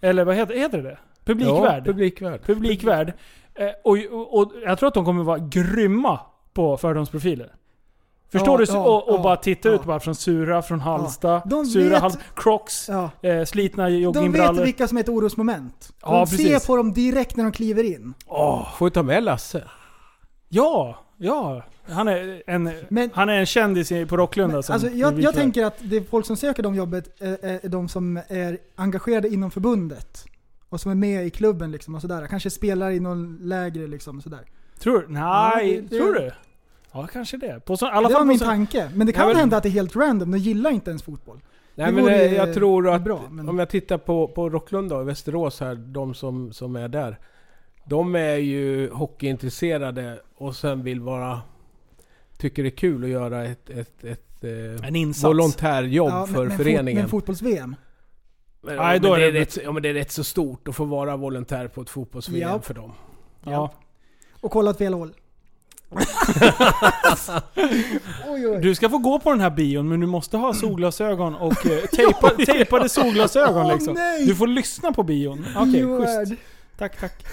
S4: Eller vad heter, heter det? Publikvärd?
S6: Ja, publikvärd.
S4: publikvärd. Eh, och, och, och jag tror att de kommer vara grymma på fördomsprofiler. Förstår
S5: Ja,
S4: du? Så-
S5: ja,
S4: och och
S5: ja,
S4: bara titta
S5: ja.
S4: ut bara från Sura, från Halmstad,
S5: De
S4: Sura,
S5: vet-
S4: Halmstad, Crocs,
S5: Ja.
S4: eh, slitna
S5: De vet
S4: joggingbrallor.
S5: vilka som är ett orosmoment. De
S4: Ja,
S5: ser
S4: precis.
S5: på dem direkt när de kliver in.
S6: Får ju ta med Lasse.
S4: Ja, ja. Han är en,
S5: Men-
S4: han är en kändis i- på Rocklunda. som
S5: Alltså, jag, jag
S4: publikvärd.
S5: tänker att det är folk som söker de jobbet eh, är de som är engagerade inom förbundet. Och som är med i klubben liksom och sådär. Kanske spelar i någon lägre liksom och sådär.
S4: Tror du? Nej,
S5: Ja, det- det-
S4: tror du? Ja, kanske det. På så, i alla
S5: Det var
S4: fall på
S5: min
S4: så,
S5: tanke. Men det kan
S6: Ja, men-
S5: hända att det är helt random. De gillar inte ens fotboll.
S6: Nej
S5: Det
S6: men
S5: vore
S6: eh, jag tror att
S5: bra, men-
S6: om jag tittar på, på Rocklunda och Västerås här, de som, som är där. De är ju hockeyintresserade och sen vill vara... Tycker det är kul att göra ett, ett, ett, eh,
S4: en insats.
S6: volontärjobb
S5: Ja,
S6: för
S5: men,
S6: föreningen.
S5: Men, fot, men fotbolls-VM.
S6: Men,
S4: Nej,
S6: ja,
S4: då
S6: men
S4: är
S6: det är
S4: det-
S6: rätt, ja, men det är rätt så stort att få vara volontär på ett fotbolls
S5: Ja.
S6: för dem.
S4: ja.
S5: Och kolla åt fel håll. oj, oj.
S4: Du ska få gå på den här bion men du måste ha solglasögon och eh, tejpa, tejpade solglasögon
S5: Åh,
S4: liksom.
S5: nej!
S4: Du får lyssna på bion. Okej,
S5: Keyword.
S4: schysst. Tack, tack.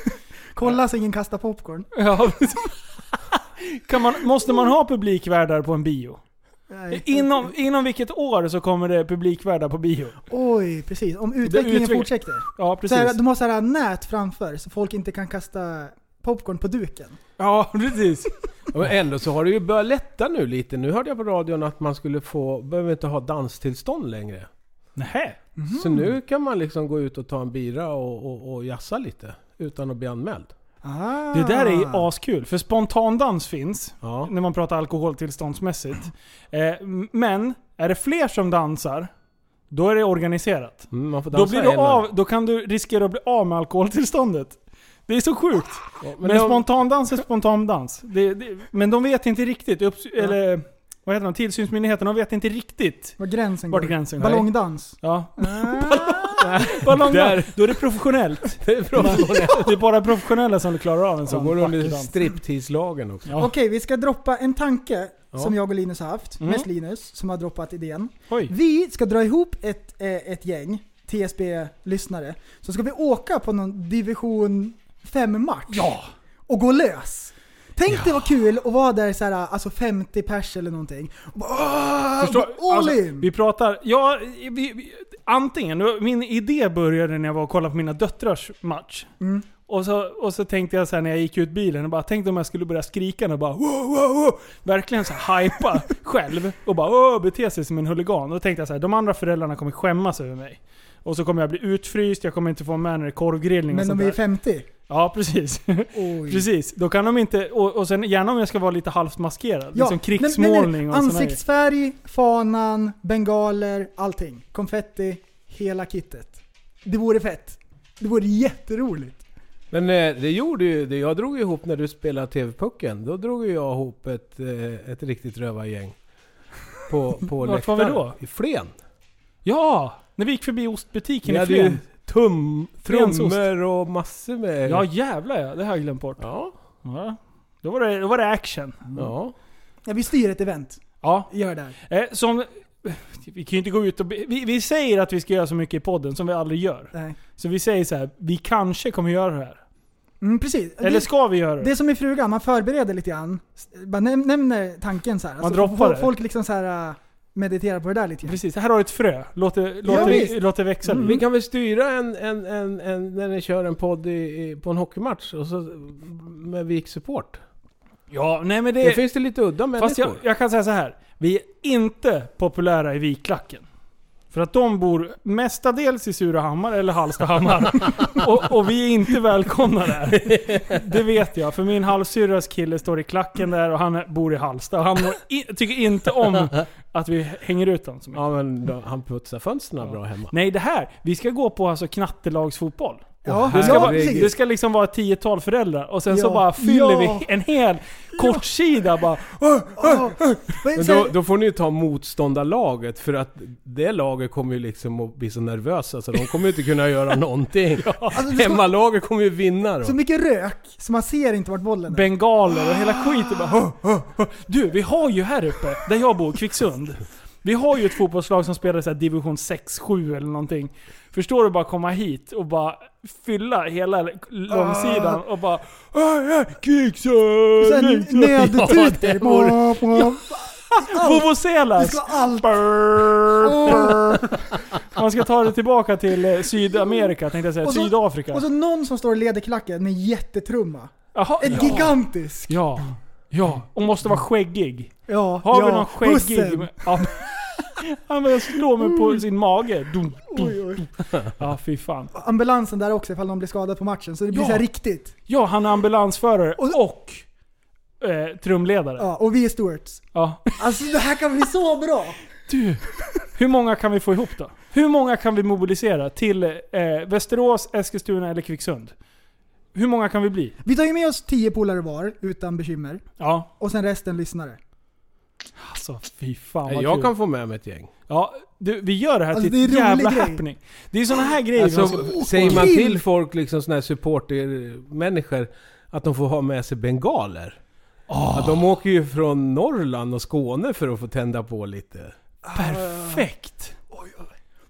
S5: Kolla så ingen kastar popcorn.
S4: Ja, precis. Kan man, måste man ha publikvärdar på en bio?
S5: Nej.
S4: Inom, inom vilket år så kommer det publikvärdar på bio?
S5: Oj, precis. Om utvecklingen
S4: utveckling-
S5: fortsätter.
S4: Ja,
S5: Så här,
S4: precis.
S5: de har så här nät framför så folk inte kan kasta popcorn på duken.
S6: Ja, precis. Ja, Men ändå så har det ju börjat lätta nu lite. Nu hörde jag på radion att man skulle få, behöver inte ha danstillstånd längre.
S4: Nähä?
S6: Så nu kan man liksom gå ut och ta en bira och, och, och jassa lite. Utan att bli anmäld.
S5: Ah.
S4: Det där är ju askul, för spontandans finns.
S6: Ja.
S4: När man pratar alkoholtillståndsmässigt. Eh, men, är det fler som dansar, då är det organiserat.
S6: Mm, man får dansa
S4: Då, blir du
S6: en öl.
S4: av, då kan du riskera att bli av med alkoholtillståndet. Det är så sjukt.
S6: Ja, men
S4: Men,
S6: det har-
S4: spontandans är spontandans. Det, det, men de vet inte riktigt. Upps, Eller vad heter de? Tillsynsmyndigheten, de vet inte riktigt
S5: Var gränsen
S4: vart
S5: går.
S4: gränsen går.
S5: Ballongdans.
S4: Ja. Ballong.
S6: Där.
S4: Då är det professionellt.
S6: det är bra.
S4: Det är bara professionella som klarar av en
S6: Så
S4: sån
S6: går det
S4: vacker
S6: under
S4: dans.
S6: striptease-lagen också.
S4: Ja.
S5: Okej, vi ska droppa en tanke
S6: Ja.
S5: som jag och Linus har haft.
S4: Mm.
S5: Mest Linus som har droppat idén.
S4: Oj.
S5: Vi ska dra ihop ett, eh, ett gäng TSB-lyssnare. Så ska vi åka på någon division 5-match. Ja. Och gå lös. Tänk det var kul att vara där så här, alltså 50 pers eller någonting. Och bara, "Åh,
S4: Förstår-
S5: bara all
S4: alltså,
S5: in!
S4: Vi pratar, ja, vi, vi, antingen, nu- min idé började när jag var och kollade på mina döttrars match.
S5: Mm.
S4: Och, så, och så tänkte jag så här när jag gick ut bilen, och bara tänkte om jag skulle börja skrika och bara wow, wow, wow. Verkligen så här hypa själv och bara åh, bete sig som en huligan. Då tänkte jag så här, de andra föräldrarna kommer skämmas över mig. Och så kommer jag bli utfryst, jag kommer inte få med när det är korvgrillning och
S5: Men
S4: sånt
S5: de är ju
S4: där.
S5: 50.
S4: Ja, precis.
S5: Oj.
S4: precis. Då kan de inte, och, och sen gärna om jag ska vara lite halvt maskerad.
S5: Ja,
S4: liksom
S5: nej, nej, nej.
S4: krigsmålning och sånt där.
S5: Ansiktsfärg, fanan, bengaler, allting. Konfetti, hela kittet. Det vore fett. Det vore jätteroligt.
S6: Men eh, det gjorde ju, det, jag drog ju ihop när du spelade TV-pucken. Då drog ju jag ihop ett, eh, ett riktigt rövargäng. På, på
S4: Vart var vi
S6: läktaren.
S4: då?
S6: I Flen.
S4: Ja! När vi gick förbi ostbutiken
S6: Vi
S4: i
S6: hade ju
S4: Flen.
S6: tum,
S4: Flens ost.
S6: trummor och massor med...
S4: Ja jävlar ja, det har jag glömt bort.
S6: ja.
S4: Ja. Då, var det, då var det action.
S6: ja.
S5: Ja, vi styr ett event.
S4: Ja.
S5: Gör det här.
S4: Eh, som, vi kan ju inte gå ut och... be- Vi, vi säger att vi ska göra så mycket i podden som vi aldrig gör.
S5: Nej.
S4: Så vi säger så här, vi kanske kommer göra det här.
S5: Mm, precis.
S4: Eller
S5: det,
S4: ska vi göra det?
S5: Mm. det är som i frugan, man förbereder lite grann. S- Bara näm- nämner tanken så här.
S4: Man droppar
S5: fo-
S4: det.
S5: Folk liksom så här äh, mediterar på det där lite grann.
S4: Precis, här har du ett frö. Låt det, låt
S5: Ja,
S4: det,
S5: visst.
S4: låt det växa
S6: Mm. Vi
S4: lite.
S6: kan väl styra en, en, en, en när ni kör en podd i, i, på en hockeymatch och så med Vik-support.
S4: Ja, nej men
S6: Det,
S4: det...
S6: finns det lite udda människor.
S4: Eh, Fast jag, jag kan säga så här. Vi är inte populära i Viklacken. För att de bor mestadels i Surahammar eller Hallstahammar. och, och vi är inte välkomna där. Det vet jag. För min halvsyrras kille står i klacken där och han bor i Hallsta. Och han mår i, tycker inte om att vi hänger ut honom så mycket.
S6: Ja men då, han putsar fönstren bra hemma.
S4: Nej det här. Vi ska gå på alltså knattelagsfotboll.
S5: Ja,
S6: Åh,
S5: ja,
S4: Det ska, vara,
S6: herregud.
S4: det ska liksom vara ett tiotal föräldrar och sen så
S5: Ja.
S4: bara fyller
S5: Ja.
S4: vi en hel kortsida bara.
S5: Ja. Men
S6: Men
S5: så här-
S6: då, då får ni ju ta motståndarlaget för att det laget kommer ju liksom att bli så nervösa så de kommer ju inte kunna göra någonting.
S5: Alltså, det ska-
S6: Hemmalaget kommer ju vinna då.
S5: Så mycket rök så man ser inte vart bollen är.
S4: bengaler och hela skiten. Bara, "Huh, huh, huh." Du, vi har ju här uppe, där jag bor, Kvicksund. Vi har ju ett fotbollslag som spelar i så här division 6, 7 eller någonting. Förstår du bara komma hit och bara fylla hela långsidan och bara "Aj, aj, Kvicksund!
S5: Så här
S4: Kvicksund."
S5: nödtutor. Bra, bra. Det
S4: Vuvuzelas!
S5: ska vara allt.
S4: Man ska ta det tillbaka till eh, Sydamerika, tänkte jag säga.
S5: Och så-
S4: Sydafrika.
S5: Och så någon som står och leder klacken med en jättetrumma.
S4: Jaha,
S5: En
S4: ja.
S5: gigantisk.
S4: Ja. Ja, och måste vara skäggig.
S5: Ja,
S4: Har
S5: ja,
S4: vi någon skäggig? Mm.
S5: bussen. Mm.
S4: Ja. Han börjar slå mig på sin mage. Dum, dum.
S5: Oj, oj.
S4: Ja, fy fan.
S5: Ambulansen där också ifall någon blir skadad på matchen. Så det blir
S4: Ja.
S5: så här riktigt.
S4: Ja, han är ambulansförare
S5: Och-
S4: och, eh, trumledare. Ja.
S5: Ja, och vi är stewards. Alltså det här kan bli så bra.
S4: Du, hur många kan vi få ihop då? Hur många kan vi mobilisera till eh, Västerås, Eskilstuna eller Kvicksund? Hur många kan vi bli?
S5: Vi tar ju med oss 10 polare var utan bekymmer.
S4: Ja,
S5: Och sen resten lyssnare.
S4: alltså fy fan vad
S6: Nej, jag
S4: kul.
S6: kan få med mig ett gäng.
S4: Ja, du, vi gör det här
S5: Alltså,
S4: till
S5: det
S4: ett
S5: är en rolig
S4: jävla
S5: grej.
S4: happening. Det är såna här grejer
S6: Alltså,
S4: som ska...
S6: säger man
S5: Grill.
S6: till folk, liksom såna här supportermänniskor, att de får ha med sig bengaler.
S5: Ah.
S6: Att de åker ju från Norrland och Skåne för att få tända på lite.
S4: Perfekt!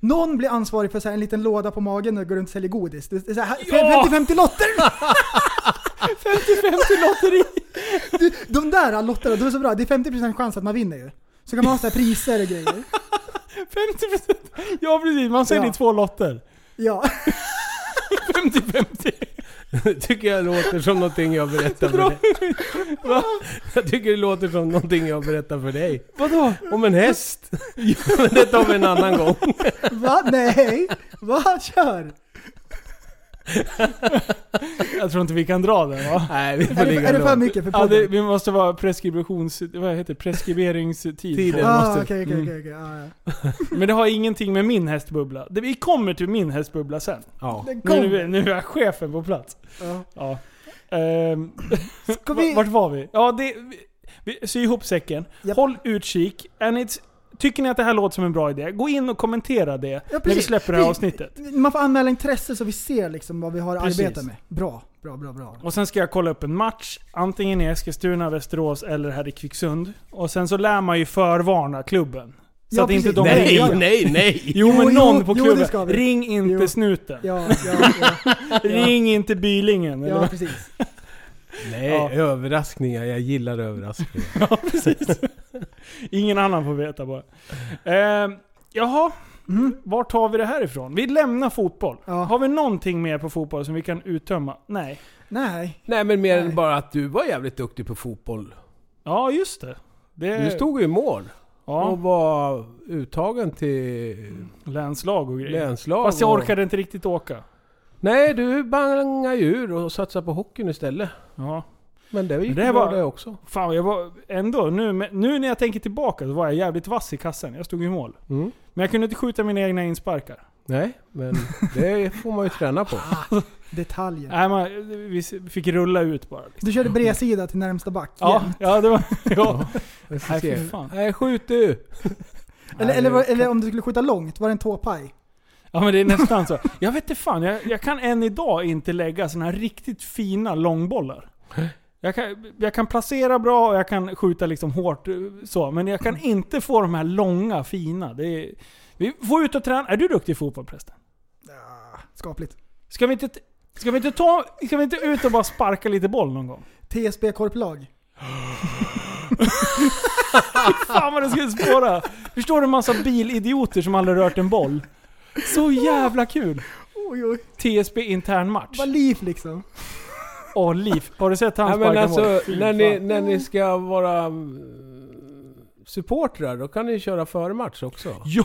S5: Någon blir ansvarig för så här en liten låda på magen och går runt och säljer godis. Det är så här,
S4: Ja!
S5: 50-50 lotter!
S4: lotteri.
S5: Du, de där lotterna, de är så bra. Det är 50% chans att man vinner ju. Så kan man ha så här priser och grejer.
S4: 50%. Ja precis, man säljer
S5: Ja.
S4: två lotter.
S5: Ja.
S4: 50-50.
S6: Det tycker jag låter som någonting jag berättar för dig. Va? Jag tycker det låter som någonting jag berättar för dig.
S4: Vadå?
S6: Om en häst. Men det tar vi en annan gång.
S5: Va? Nej. Va? Kör.
S4: Jag tror inte vi kan dra den va?
S6: Nej, vi får
S5: Är det,
S6: ligga
S5: är det för
S6: lågt.
S5: mycket för
S4: Ja, det,
S5: podden?
S4: vi måste vara preskribertions... Vad heter det? Preskriberingstid.
S6: Tiden.
S4: på.
S5: Ah,
S6: måste-
S5: okej, okej,
S4: Mm.
S5: okej, okej. Ah, ja.
S4: Men det har ingenting med min hästbubbla. Det- Vi kommer till min hästbubbla sen.
S6: Ja.
S5: Den kom.
S4: Nu, nu, nu är chefen på plats.
S5: Ja.
S4: Ja. Ehm,
S5: Ska
S4: va-
S5: vi...
S4: Vart var vi? Ja, det, vi, vi, sy ihop säcken.
S5: Japp.
S4: Håll utkik. And it's, tycker ni att det här låter som en bra idé? Gå in och kommentera det när vi
S5: precis.
S4: släpper det här
S5: Vi-
S4: avsnittet.
S5: Man får anmäla intresse så vi ser liksom vad vi har att
S4: Precis.
S5: arbeta med. Bra, bra, bra, bra.
S4: Och sen ska jag kolla upp en match, antingen i Eskilstuna, Västerås eller här i Kvicksund. Och sen så lär man ju förvarna klubben. Så
S5: Ja,
S4: att inte
S5: precis.
S4: de
S6: Nej,
S4: ringer.
S6: nej, nej!
S4: Jo men
S5: Jo,
S4: någon
S5: jo,
S4: på
S5: jo,
S4: klubben.
S5: det ska vi.
S4: Ring inte
S5: Jo.
S4: snuten.
S5: Ja, ja, ja,
S4: Ring inte bylingen. eller
S5: ja
S4: vad-
S5: precis.
S6: Nej,
S4: Ja.
S6: överraskningar. Jag gillar överraskningar.
S4: Ja, precis. Ingen annan får veta bara. Eh, jaha, vart tar vi det här ifrån? Vi lämnar fotboll.
S5: Ja.
S4: Har vi någonting mer på fotboll som vi kan uttömma? Nej.
S5: Nej.
S6: Nej, men mer
S5: Nej.
S6: än bara att du var jävligt duktig på fotboll.
S4: Ja, just det. det
S6: Du stod ju i mål och
S4: Eh. ja,
S6: var uttagen till
S4: länslag och grejer.
S6: länslag.
S4: Fast jag
S6: och-
S4: orkade inte riktigt åka.
S6: Nej, du bangade ju ur och satsade på hockeyn istället.
S4: Ja.
S6: Men det gick
S4: det
S6: det bra
S4: var-
S6: det också.
S4: Fan, jag var ändå, nu, nu när jag tänker tillbaka så var jag jävligt vass i kassen. Jag stod i mål.
S6: Mm.
S4: Men jag kunde inte skjuta mina egna insparkar.
S6: Nej, men det får man ju träna på.
S5: Detaljer.
S4: Nej, man, vi fick rulla ut bara.
S5: Du körde bredsida till närmsta back.
S4: Ja,
S5: jämt.
S4: ja, det var... Ja.
S6: Vi får
S4: Nej,
S6: se.
S4: fy fan.
S6: Nej, skjut du!
S5: Eller, eller, var- eller om du skulle skjuta långt, var det en tåpaj?
S4: Ja men det är nästan så. Jag vet inte fan, jag, jag kan än idag inte lägga såna här riktigt fina långbollar. Jag kan, jag kan placera bra och jag kan skjuta liksom hårt eh, så, men jag kan inte få de här långa fina. Det är, vi får ut och träna. Är du duktig i fotboll förresten?
S5: Ah, skapligt.
S4: Ska vi inte, t- ska vi inte, ta, ska vi inte ut och bara sparka lite boll någon gång?
S5: TSB korplag.
S4: Fan vad det skulle spåra! Förstår du en massa bilidioter som aldrig rört en boll? Så jävla kul!
S5: Oj, oj.
S4: TSB intern match.
S5: Vad liv liksom.
S4: Åh, Liv. Har du sett han
S6: Nej, men
S4: sparka boll?
S6: alltså,
S4: Fy
S6: när
S4: fan.
S6: ni, när ni ska vara eh, supportrar, då kan ni köra förematch också.
S4: Ja!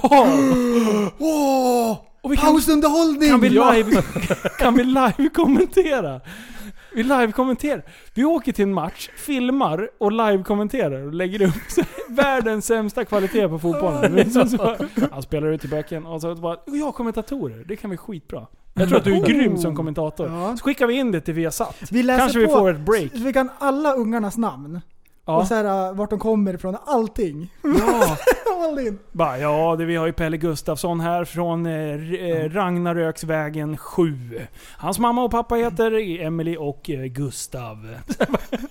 S5: Åh!
S4: Och vi kan,
S5: Pausunderhållning!
S4: kan, vi
S5: Ja.
S4: live, kan vi live kommentera? Vi live kommenterar. Vi åker till en match, filmar och live kommenterar och lägger upp så, här, världens sämsta kvalitet på fotbollen. Det är som så, han spelar ut i bäcken och så bara, jag har kommentatorer, det kan bli skitbra. Jag tror att du är grym som kommentator.
S5: Oh. Ja.
S4: Så skickar vi in det till Viasat.
S5: Vi läser
S4: Kanske vi
S5: på.
S4: får ett break.
S5: Vi kan alla ungarnas namn.
S4: Ja.
S5: Och så här, äh, vart de kommer ifrån. Allting.
S4: Ja.
S5: All in.
S4: Bara, ja, det, vi har ju Pelle Gustafsson här från eh, R-
S5: Mm.
S4: eh, Ragnaröksvägen 7. Hans mamma och pappa heter Emily och eh, Gustav.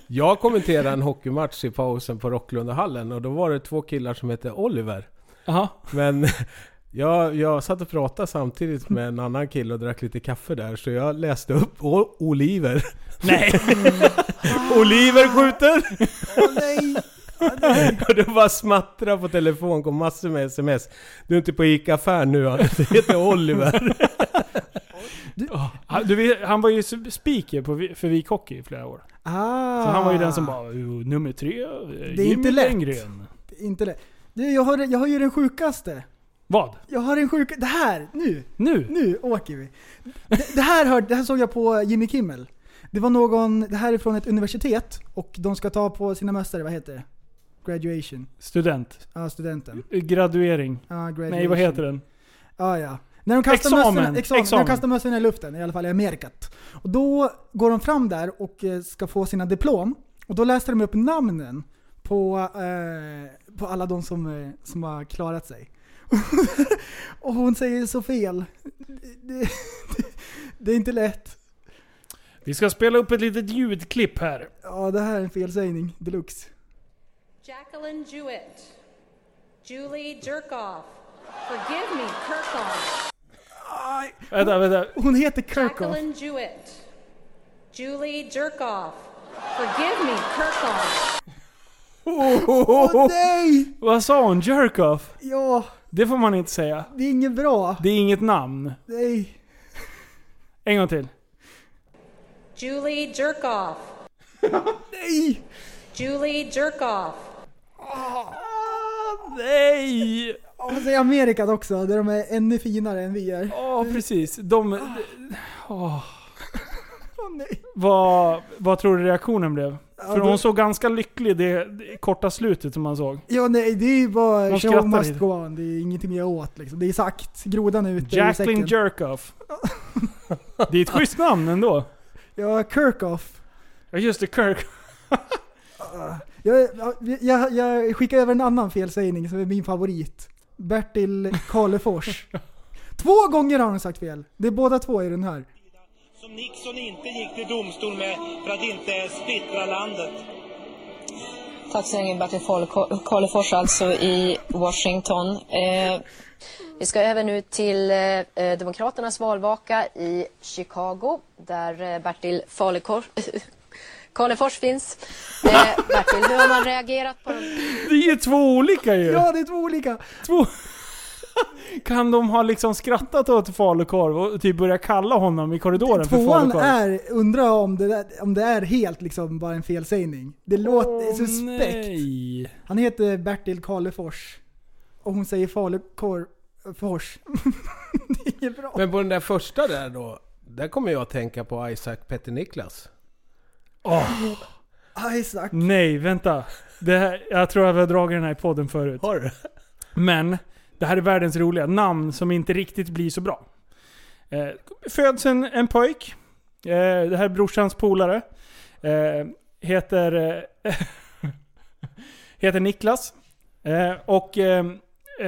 S6: Jag kommenterade en hockeymatch i pausen på Rocklundahallen och då var det två killar som hette Oliver.
S4: Aha.
S6: Men jag, jag satt och pratade samtidigt med en annan kille och drack lite kaffe där, så jag läste upp o- Oliver.
S4: Nej!
S6: Oliver skjuter!
S5: Åh nej!
S6: Och det bara smattrade på telefon, kom massor med sms. Du är inte på ICA-affären nu, han heter Oliver.
S4: Han- Ah, Du, vet, han var ju s- speaker på, Vi- för Vik Hockey i flera år.
S5: Ah.
S4: Så han var ju den som bara "Jo, nummer tre, eh,
S5: Det är inte lätt.
S4: Längren.
S5: Inte det. Du, jag har, jag har ju den sjukaste.
S4: Vad?
S5: Jag har den sjuka... Det här! Nu!
S4: Nu?
S5: Nu åker vi. Det, det, här hörde, det här såg jag på Jimmy Kimmel. Det var någon, det här är från ett universitet och de ska ta på sina mössor, vad heter det? Graduation.
S4: Student.
S5: Ja, studenten.
S4: Graduering.
S5: Ja, graduation.
S4: Nej, vad heter den?
S5: Ja, ja. När de kastar
S4: Examen.
S5: mössorna, examen, När
S4: Examen.
S5: de kastar mössorna i luften, i alla fall i Amerikat. Och då går de fram där och eh, ska få sina diplom. Och då läser de upp namnen på, eh, på alla de som, eh, som har klarat sig. och hon säger så fel. Det, det, det är inte lätt.
S4: Vi ska spela upp ett litet ljudklipp här.
S5: Ja, det här är en felsägning deluxe.
S7: Jacqueline Jewett, Julie Jerkoff. Forgive me, Kirkhoff.
S4: Vänta, vänta.
S5: Hon heter Kirkhoff.
S7: Jacqueline Jewett, Julie Jerkoff. Forgive me, Kirkoff.
S5: Åh nej!
S4: Vad sa hon? Jerkoff?
S5: Ja,
S4: Det får man inte säga.
S5: det är inget bra.
S4: Det är inget namn.
S5: Nej.
S4: En gång till.
S7: Julie Jerkoff.
S5: Nej!
S7: Julie Jerkoff.
S5: Ah!
S4: Nej!
S5: Och så är Amerikat också, där de är ännu finare än vi är.
S4: Ja, precis. De... Åh.
S5: Åh nej.
S4: Vad, vad tror du reaktionen blev? För
S5: då-
S4: hon såg ganska lycklig det, det korta slutet som man såg.
S5: Ja nej, det är ju bara
S4: Man
S5: show
S4: skrattar
S5: must
S4: lite.
S5: go on. Det är ingenting jag åt liksom. Det är sagt. Grodan är ute ur
S4: Jacqueline
S5: säcken.
S4: Jerkoff. Det är ett schysst namn ändå.
S5: ja, Kirkoff.
S4: Ja just det, Kirk.
S5: Ah. Jag, jag, jag, jag skickar över en annan felsägning som är min favorit. Bertil Karlefors. två gånger har hon sagt fel. Det är båda två i den här.
S8: som Nixon inte gick till domstol med för att inte splittra landet.
S9: Taxeringen Bertil Fal- Karlefors alltså i Washington. Eh, vi ska över nu till eh, eh, Demokraternas valvaka i Chicago där eh, Bertil Falekor- Karlefors finns. Eh, Bertil, hur har man reagerat på de...
S4: Det är ju två olika ju.
S5: Ja, det är två olika.
S4: Två. Kan de ha liksom skrattat åt falukorv och typ börjat kalla honom i korridoren för
S5: Tvåan
S4: falukorv?
S5: är, undrar om det, där, om det är helt liksom bara en felsägning. Det låter det är
S4: Åh,
S5: suspekt.
S4: nej.
S5: Han heter Bertil Karlefors. Och hon säger Falukorfors. det är inget bra.
S6: Men på den där första där då. Där kommer jag att tänka på Isaac Petter Niklas.
S5: Isaac.
S4: Nej, vänta. Det här, jag tror jag har dragit den här i podden förut.
S6: Har du?
S4: Men det här är världens roliga namn som inte riktigt blir så bra. Eh, föds en, en pojk. Eh, det här är brorsans polare. Eh, heter, eh, heter Niklas. Eh, och eh,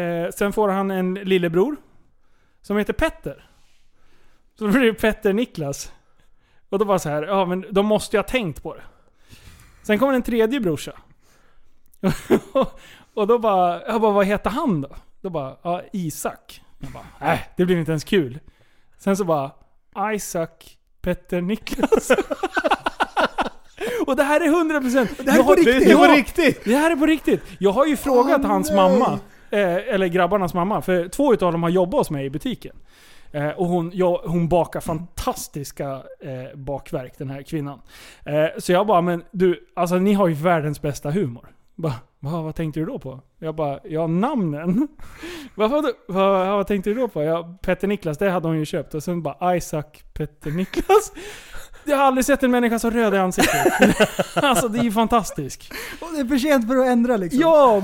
S4: eh, sen får han en lillebror. Som heter Petter. Så då blir det Petter Niklas. Och då bara så här, ja men de måste ju ha tänkt på det. Sen kommer en tredje brorsa. Och då bara, jag bara, vad heter han då? Då bara, ja Isak. Jag bara, äh, det blir inte ens kul. Sen så bara, Isak Petter Niklas. Och det här är 100%.
S5: Det här är
S4: Jag har-
S5: på riktigt.
S4: Ja,
S5: Det var
S4: Det här är på riktigt. Jag har ju frågat
S5: Åh,
S4: hans
S5: nej.
S4: mamma, eh, eller grabbarnas mamma, för två utav dem har jobbat hos mig i butiken. Eh, och hon, jag, hon bakar fantastiska eh, bakverk, den här kvinnan. Eh, så jag bara, men du, alltså ni har ju världens bästa humor. Bara, Va, vad tänkte du då på? Jag bara, ja namnen. Vad, vad, vad, vad tänkte du då på? Ja, Petter Niklas, det hade hon ju köpt. Och sen bara Isaac Petter Niklas. Jag har aldrig sett en människa så röd i ansiktet. alltså det är ju fantastiskt.
S5: Och det är för sent för att ändra liksom.
S4: Ja!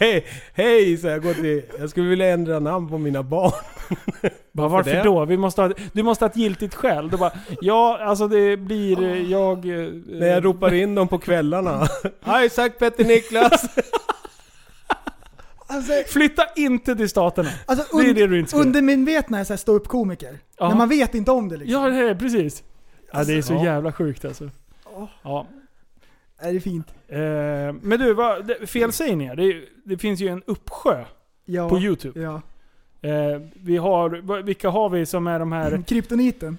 S6: Hej, hej! Så jag, går till, jag skulle vilja ändra namn på mina barn.
S4: Bara, varför
S6: det?
S4: då? Vi måste ha, du måste ha ett giltigt skäl. Då bara, ja, alltså det blir... eh, Jag... eh,
S6: När Ah. jag ropar in dem på kvällarna. Isaac Petter Niklas!
S5: Alltså,
S4: Flytta inte till staterna.
S5: alltså
S4: Det är
S5: un-
S4: det du inte ska göra.
S5: undermedvetna är såhär ståuppkomiker.
S4: Ja.
S5: När man vet inte om det liksom.
S4: Ja, det är precis. Ja, det är så
S6: Ja.
S4: jävla sjukt alltså. Ja.
S5: Är det är fint?
S4: Eh, men du, vad, det, felsägningar. Det, är ju- det finns ju en uppsjö
S5: Ja.
S4: på YouTube.
S5: Ja.
S4: Eh, vi har, vad- vilka har vi som är de
S6: Mm.
S4: här...
S5: Kryptoniten.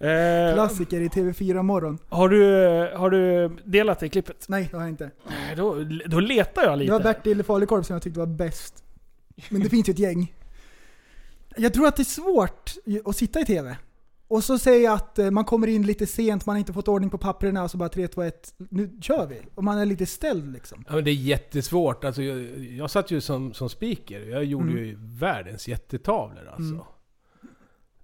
S4: Eh,
S5: Klassiker i TV4 morgon.
S4: har, du, eh, har du delat det klippet?
S5: Nej, det har jag inte.
S4: Nej, Då, då letar jag
S5: Det
S4: lite.
S5: var Bertil Falukorv som jag tyckte var bäst. Men det finns ju ett gäng. Jag tror att det är svårt ju- att sitta i TV. Och så säga att eh, man kommer in lite sent, man har inte fått ordning på papperna och så bara 3, 2, 1, nu kör vi. Och man är lite ställd liksom.
S6: Ja, men det är jättesvårt. Alltså, jag, jag satt ju som, som speaker. Jag
S5: Mm.
S6: gjorde ju världens jättetavlor alltså.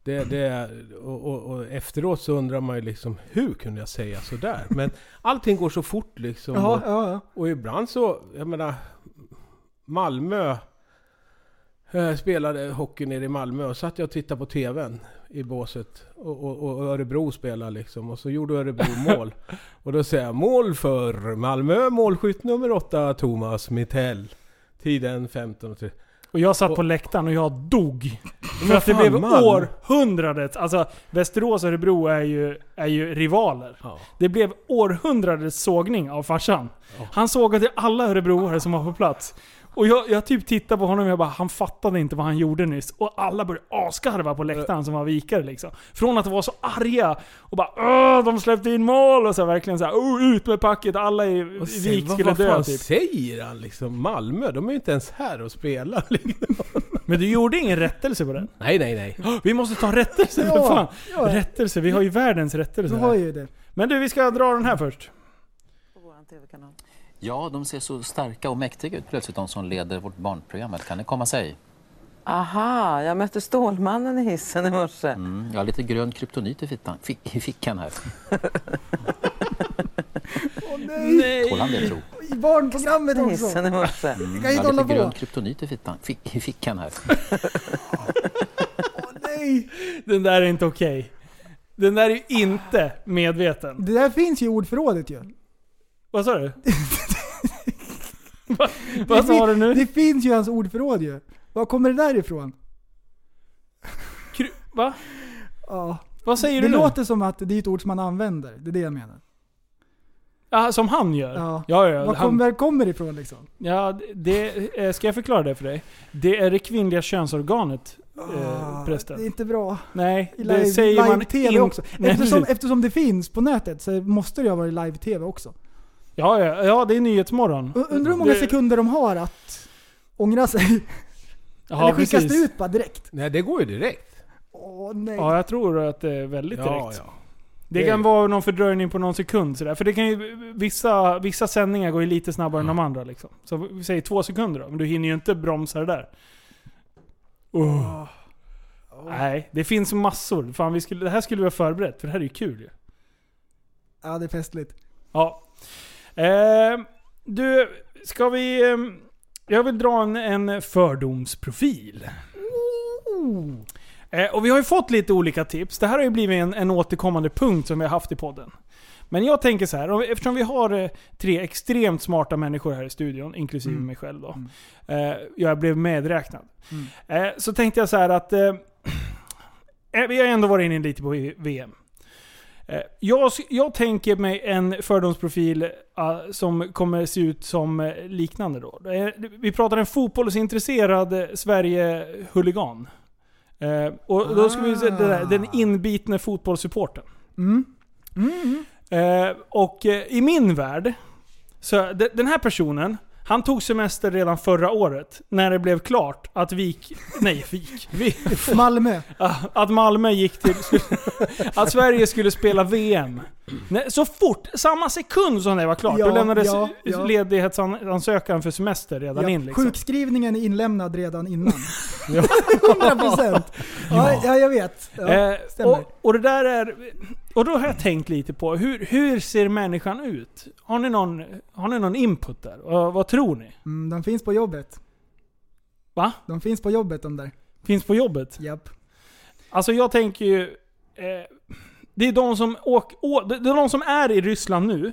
S6: Det, det, och, och, och efteråt så undrar man ju liksom, hur kunde jag säga sådär? Men allting går så fort liksom.
S5: Ja,
S6: och,
S5: ja, ja.
S6: och ibland så, jag menar, Malmö eh, spelade hockey nere i Malmö och satt jag och tittade på TVn i båset. Och, och, och Örebro spelade liksom och så gjorde Örebro mål. och då säger jag mål för Malmö, målskytt nummer åtta Thomas Mittell. Tiden 15.30.
S4: Och jag satt på läktaren och jag dog. För
S6: Men
S4: att det
S6: fan,
S4: blev
S6: man.
S4: århundradets... Alltså Västerås och Örebro är ju, är ju rivaler.
S6: Ja.
S4: Det blev århundradets sågning av farsan. Han sågade alla örebroare som var på plats. Och jag, jag typ tittade på honom och jag bara, han fattade inte vad han gjorde nyss. Och alla började asgarva på läktaren som var vikare liksom. Från att vara så arga och bara Åh, de släppte in mål och så här, verkligen så här, "Åh, ut med packet, alla i
S6: Och
S4: i
S6: sen,
S4: Vik
S6: vad,
S4: skulle
S6: vad
S4: dö
S6: fan
S4: typ.
S6: säger han liksom? Malmö, de är ju inte ens här och spelar. liksom.
S4: Men du gjorde ingen rättelse på den?
S6: nej, nej, nej.
S4: Vi måste ta rättelse för
S5: Ja,
S4: fan!
S5: ja.
S4: Rättelse, vi har ju världens rättelse
S5: Du har
S4: här.
S5: ju det.
S4: Men du, vi ska dra den här först.
S10: Ja, de ser så starka och mäktiga ut plötsligt, de som leder vårt barnprogram. Kan det komma sig?
S11: Aha, jag mötte Stålmannen i hissen i morse.
S10: Mm, jag har lite grön kryptonit i, fittan, fi- i fickan här. Tål han det, tro?
S5: I barnprogrammet
S11: I
S5: också.
S11: hissen i morse.
S10: Mm,
S5: kan ju
S10: jag har
S5: inte
S10: lite
S5: hålla
S10: grön
S5: på.
S10: kryptonit i, fittan, fi- i fickan här.
S4: Nej! Den där är inte okej. Den där är ju inte medveten.
S5: Det där finns ju i ordförrådet ju.
S4: Vad sa du? Va, vad sa du nu?
S5: Det finns ju i hans ordförråd ju. Var kommer det där ifrån?
S4: Kry- va?
S5: Ja.
S4: Vad säger
S5: Det
S4: du nu?
S5: låter som att det är ett ord som man använder. Det är det jag menar.
S4: Ja, som han gör?
S5: Ja.
S4: ja, ja,
S5: Var
S4: han,
S5: kommer, kommer det ifrån liksom?
S4: ja det, eh, ska jag förklara det för dig? Det är det kvinnliga könsorganet, eh,
S5: Ah,
S4: prästen.
S5: det är inte bra.
S4: Nej,
S5: I
S4: det
S5: live,
S4: säger
S5: live
S4: man
S5: TV
S4: in-
S5: också.
S4: Nej,
S5: Eftersom,
S4: precis.
S5: eftersom det finns på nätet så måste det ju ha varit live-TV också.
S4: ja, ja, ja, det är Nyhetsmorgon.
S5: U- Undrar hur många
S4: Det-
S5: sekunder de har att ångra sig.
S4: Ja,
S5: Eller skickas
S4: precis.
S5: det ut bara direkt?
S6: Nej, det går ju direkt.
S5: Åh nej.
S4: Ja, jag tror att det är väldigt
S6: Ja,
S4: direkt.
S6: ja.
S4: Det
S6: Det är-
S4: kan vara någon fördröjning på någon sekund sådär. För det kan ju, vissa, vissa sändningar går ju lite snabbare än de andra liksom. Så vi säger två sekunder då, men du hinner ju inte bromsa det där. Oh. Nej, det finns massor. Fan, vi skulle, det här skulle vi ha förberett, för det här är ju kul ju.
S5: Ja, det är festligt.
S4: Ja. Eh, du, ska vi... Eh, jag vill dra en, en fördomsprofil. Eh, och vi har ju fått lite olika tips. Det här har ju blivit en, en återkommande punkt som vi har haft i podden. Men jag tänker så här, om- eftersom vi har eh, tre extremt smarta människor här i studion, inklusive mig själv då. Eh, jag blev medräknad. Eh, så tänkte jag så här att... Eh, eh, vi har ändå varit inne lite på VM. Eh, Jag, jag tänker mig en fördomsprofil eh, som kommer se ut som eh, liknande då. Eh, Vi pratar en fotbollsintresserad eh, Sverige-huligan. Eh, Och då ska vi se den, där, den inbitne fotbollssupporten. Eh, Och eh, i min värld, så de- den här personen, han tog semester redan förra året när det blev klart att Vik... Nej, Vik. Vi-
S5: Malmö.
S4: Ah, att Malmö gick till... att Sverige skulle spela VM. Nej, så fort, samma sekund som det var klart,
S5: Ja,
S4: då lämnades
S5: ja, ja.
S4: ledighetsansökan för semester redan
S5: Ja,
S4: in. Liksom.
S5: Sjukskrivningen är inlämnad redan innan. 100%. Ja, ja, jag vet. Ja,
S4: Eh,
S5: stämmer.
S4: och, och det där är... Och då har jag tänkt lite på, hur, hur ser människan ut? Har ni någon, har ni någon input där? Och vad tror ni?
S5: Mm, de finns på jobbet.
S4: Va?
S5: De finns på jobbet de där.
S4: Finns på jobbet?
S5: Japp.
S4: Alltså jag tänker ju... Eh, det, är de som åk, å, det det är de som är i Ryssland nu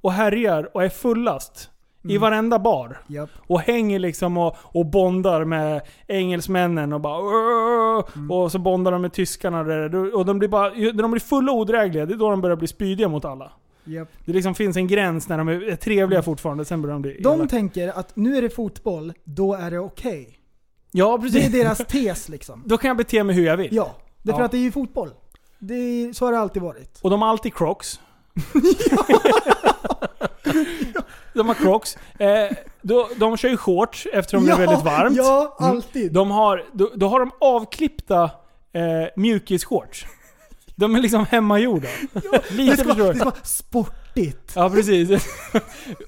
S4: och härjar och är fullast i varenda bar.
S5: Japp.
S4: Och hänger liksom och, och bondar med engelsmännen och bara "Åh!" Och så bondar de med tyskarna där. Och de blir bara, ju- när de blir fulla och odrägliga, det är då de börjar bli spydiga mot alla.
S5: Japp.
S4: Det liksom finns en gräns när de är är trevliga fortfarande, sen börjar de bli
S5: De
S4: elaka.
S5: tänker att nu är det fotboll, då är det okej.
S4: Ja
S5: Det är
S4: precis.
S5: deras tes liksom.
S4: Då kan jag bete mig hur jag vill.
S5: Ja, därför
S4: Ja.
S5: att det är ju fotboll. Det är, så har det alltid varit.
S4: Och de har alltid crocs. de har crocs. Eh, då, de kör ju shorts eftersom det är väldigt varmt. Mm.
S5: Ja, alltid.
S4: De har, då, då har de avklippta eh, mjukisshorts. De är liksom hemmagjorda.
S5: det,
S4: Lite
S5: ska, vara-
S4: förstår
S5: det ska vara sportigt.
S4: Ja, precis.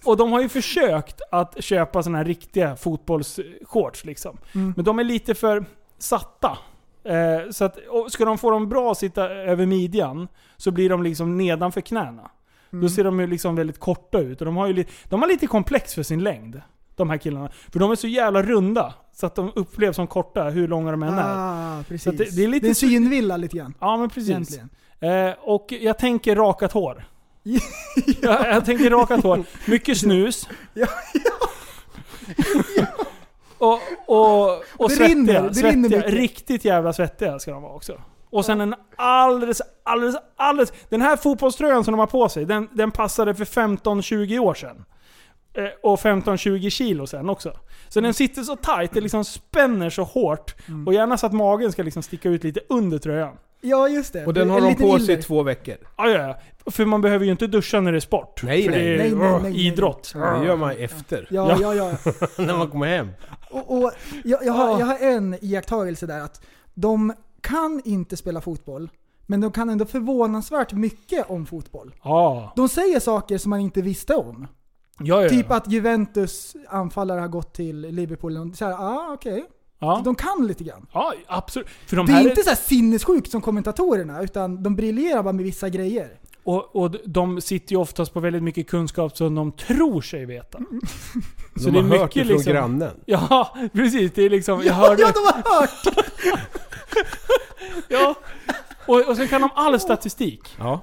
S4: Och de har ju försökt att köpa såna här riktiga fotbollsshorts liksom.
S5: Mm.
S4: Men de är lite för satta. Eh, så att, och ska de få dem bra att sitta över midjan så blir de liksom nedanför knäna.
S5: Mm.
S4: Då ser de ju liksom väldigt korta ut. Och de har ju li- de har lite komplex för sin längd, de här killarna. För de är så jävla runda så att de upplevs som korta hur långa de än är.
S5: Ah,
S4: Så
S5: precis.
S4: att det- det är lite
S5: en
S4: så-
S5: synvilla lite grann.
S4: Ja, men precis.
S5: Egentligen.
S4: Eh, och jag tänker rakat hår. jag, jag tänker rakat hår. Mycket snus.
S5: Ja,
S4: och och, och
S5: Det
S4: svettiga.
S5: rinner, det
S4: svettiga.
S5: rinner mycket.
S4: Riktigt jävla svettiga ska de vara också. Och sen en alldeles, alldeles, alldeles... Den här fotbollströjan som de har på sig, den, den passade för 15-20 år sedan. eh, och 15-20 kilo sen också. Så
S5: Mm.
S4: den sitter så tight, det liksom spänner så hårt. Och gärna så att magen ska liksom sticka ut lite under tröjan.
S5: Ja, just det.
S6: Och den
S5: En
S6: har de
S5: liten
S6: på
S5: iller.
S6: sig i två veckor.
S4: Ja, ja, ja. För man behöver ju inte duscha när det är sport.
S6: Nej,
S4: för
S6: nej.
S4: det är
S6: Nej, nej,
S4: åh,
S6: nej, nej.
S4: idrott.
S6: Det gör man efter.
S5: Ja, ja, ja.
S6: När man kommer hem.
S5: Och, och jag, jag,
S4: Ah.
S5: har, jag har en iakttagelse där att de kan inte spela fotboll, men de kan ändå förvånansvärt mycket om fotboll.
S4: Ja.
S5: De säger saker som man inte visste om.
S4: Ja, ja.
S5: Typ att Juventus anfallare har gått till Liverpool. Och Så här, ah, okej. De kan lite grann.
S4: Ja, absolut. För de
S5: det
S4: här
S5: är
S4: är-
S5: inte så här sinnessjukt som kommentatorerna, utan de briljerar bara med vissa grejer.
S4: Och, och de sitter ju oftast på väldigt mycket kunskap som de tror sig veta.
S5: Mm.
S6: De har hört det liksom- från grannen.
S4: Ja, precis. Det är liksom...
S5: Ja,
S4: Jag hörde...
S5: ja, de har hört!
S4: ja. Och, och sen kan de all statistik.
S6: Ja.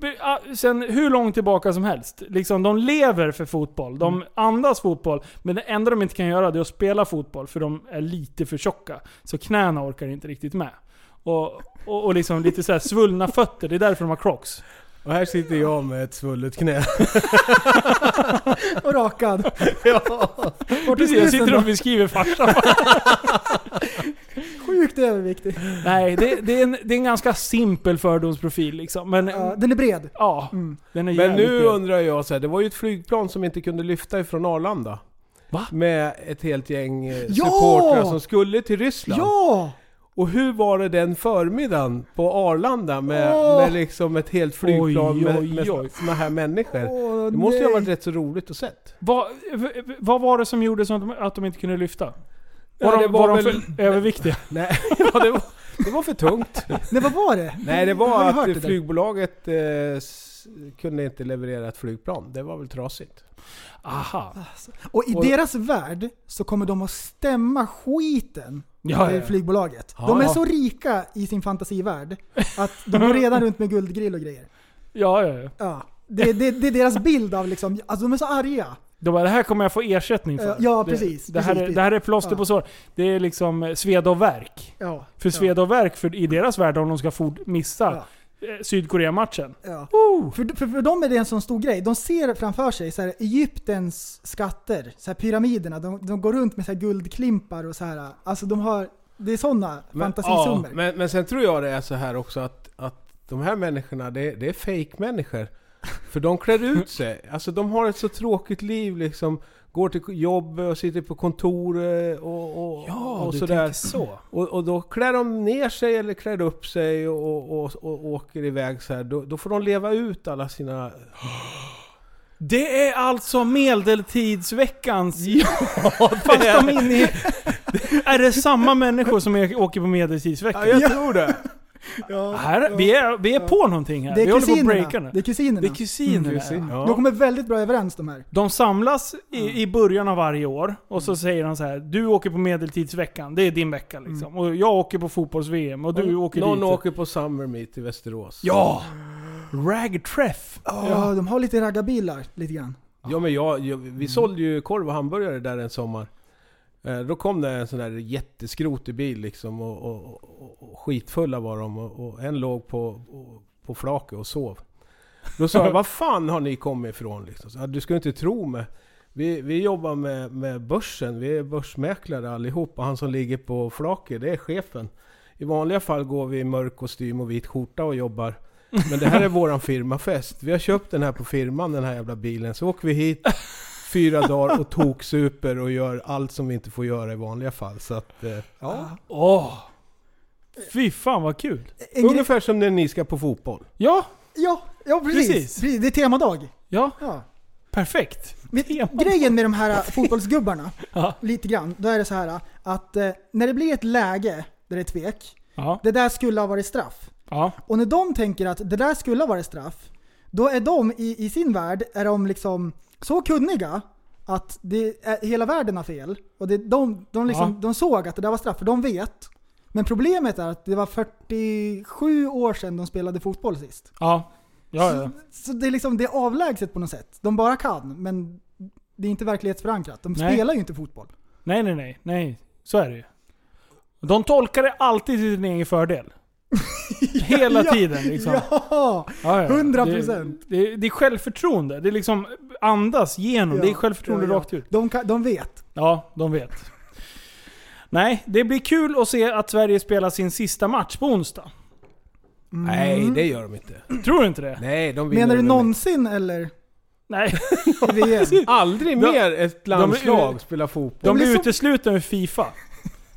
S4: Be- ah, Sen hur långt tillbaka som helst. Liksom, de lever för fotboll. De
S6: Mm.
S4: andas fotboll. Men det enda de inte kan göra det är att spela fotboll. För de är lite för tjocka. Så knäna orkar inte riktigt med. Och, och, och liksom lite så här svullna fötter. Det är därför de har crocs.
S6: Och här sitter jag med ett svullet knä.
S5: Och rakad.
S6: ja.
S4: Precis, jag sitter och beskriver farsan.
S5: Sjukt överviktig.
S4: Nej, det, det, är en, det är en ganska simpel fördomsprofil liksom. Men,
S5: Ja, den är bred.
S4: Ja, den är
S6: Mm. Men
S4: jävligt
S6: nu
S4: bred.
S6: undrar jag så här, det var ju ett flygplan som inte kunde lyfta ifrån Arlanda.
S4: Va?
S6: Med ett helt gäng eh,
S5: Ja!
S6: supportrar som skulle till Ryssland.
S5: Ja!
S6: Och hur var det den förmiddagen på Arlanda med,
S5: Åh!
S6: med liksom ett helt flygplan
S4: Oj, oj,
S6: med, med
S4: oj.
S6: såna här människor?
S5: Åh,
S6: det måste ju ha
S5: nej.
S6: varit rätt så roligt att sett.
S4: Vad, vad var det som gjorde så att de, att de inte kunde lyfta? Var
S6: Ja,
S4: de,
S6: det
S4: var
S6: var
S4: de
S6: väl-
S4: för överviktiga?
S6: Nej, ja, det, var, det var för tungt.
S5: Nej, vad var det?
S6: Nej, det var
S5: Har du hört
S6: att
S5: det där?
S6: flygbolaget eh, s- kunde inte leverera ett flygplan. Det var väl trasigt.
S4: Aha.
S5: Och i
S6: Och-
S5: deras värld så kommer de att stämma skiten
S4: Ja,
S5: i
S4: ja.
S5: eh, flygbolaget.
S6: Ja,
S5: De är
S6: ja.
S5: så rika i sin fantasivärld att de går redan runt med guldgrill och grejer.
S4: Ja, ja, ja.
S5: Ja. Det, det, det är deras bild av liksom, alltså de är så arga.
S4: Det, var, det här kommer jag få ersättning för.
S5: Ja, ja,
S4: Det-
S5: precis,
S4: Det, här,
S5: precis,
S4: är,
S5: precis.
S4: det här är plåster
S5: Ja.
S4: på sår. Det är liksom eh, sveda och verk.
S5: Ja.
S4: För sveda och verk för, i deras värld om de ska fort missa eh, Sydkorea-matchen.
S5: Ja. För, för, för dem är det en sån stor grej. De ser framför sig så här, Egyptens skatter, så här, pyramiderna. De, de går runt med så här, guldklimpar och så här. Alltså de har, det är såna fantasisummor.
S6: Ja, men, men sen tror jag det är så här också att, att de här människorna, det, det är fake människor För de klär ut sig. Alltså de har ett så tråkigt liv liksom. Går till jobb och sitter på kontor eh, och, och, och sådär.
S4: så.
S6: Och, och då klär de ner sig eller klär upp sig och, och, och, och åker iväg så här. Då, då får de leva ut alla sina...
S4: Det är alltså medeltidsveckans...
S6: det
S4: Fast de är inne i... Är det samma människor som åker på medeltidsveckan?
S6: jag tror det!
S4: Här, vi, är, vi är på någonting här.
S5: det,
S4: Ah, vi
S5: är
S4: håller på att
S5: kusinerna.
S4: breaka nu.
S5: det är kusinerna.
S4: Det är kusinerna. ja.
S5: De kommer väldigt bra överens de här.
S4: De samlas i, i början av varje år och så säger de så här. Du åker på medeltidsveckan, det är din vecka liksom. Och jag åker på fotbolls-VM och du åker
S6: Någon
S4: dit.
S6: åker på Summer Meet i Västerås.
S4: Ja! Ragträff!
S5: Ja, de har lite raggarbilar lite grann.
S6: Ja men jag, jag, vi sålde ju korv och hamburgare där en sommar. Eh, då kom det en sån där jätteskrotig bil liksom och, och, och, och skitfulla var de och, och en låg på, och, på flaket och sov. Då sa jag, vad fan har ni kommit ifrån? Liksom. Så, "Ja, du ska inte tro mig. Vi, vi jobbar med, med börsen, vi är börsmäklare allihop och han som ligger på flaket, det är chefen. I vanliga fall går vi i mörk kostym och vit skjorta och jobbar. Men det här är våran firmafest. Vi har köpt den här på firman, den här jävla bilen. Så åker vi hit fyra dagar och toksuper och gör allt som vi inte får göra i vanliga fall. Så att, eh, ja.
S4: Åh! Fy fan vad kul!
S5: En grej,
S6: Ungefär som när ni ska på fotboll.
S4: Ja!
S5: ja, ja precis.
S4: Precis.
S5: precis. Det är temadag.
S4: Ja,
S5: Ja.
S4: perfekt!
S5: Men
S4: Tema.
S5: grejen med de här fotbollsgubbarna,
S4: Ja.
S5: lite grann, då är det så här att eh, när det blir ett läge där det är tvek,
S4: Ja.
S5: det där skulle ha varit straff.
S4: ja.
S5: Och när de tänker att det där skulle ha varit straff, då är de i, i sin värld är de liksom så kunniga att det är, hela världen har fel. Och det, de, de, liksom,
S4: Ja.
S5: de såg att det där var straff, för de vet. Men problemet är att det var 47 år sedan de spelade fotboll sist.
S4: Ja. Ja, ja.
S5: Så det är, liksom, det är avlägset på något sätt. De bara kan, men det är inte verklighetsförankrat. De
S4: Nej.
S5: spelar ju inte fotboll.
S4: Nej, nej, nej. nej. Så är det ju. De tolkar det alltid till sin egen fördel. Hela tiden liksom.
S5: Ja!
S4: Ja, ja.
S5: 100%.
S4: Det, det, det är självförtroende. Det är liksom andas genom.
S5: Ja,
S4: det är självförtroende
S5: ja, ja.
S4: rakt ut.
S5: De, kan, de vet.
S4: Ja, de vet. Nej, det blir kul att se att Sverige spelar sin sista match på onsdag.
S6: Nej, det gör de inte.
S4: Tror Mm. du inte det?
S6: Nej, de vinner
S5: Menar du
S6: väl
S5: någonsin eller?
S4: Nej.
S5: I VM?
S6: inte. Aldrig
S4: De-
S6: mer ett landslag spelar fotboll.
S4: De
S5: blir
S4: blir
S5: så-
S4: uteslutna ur Fifa.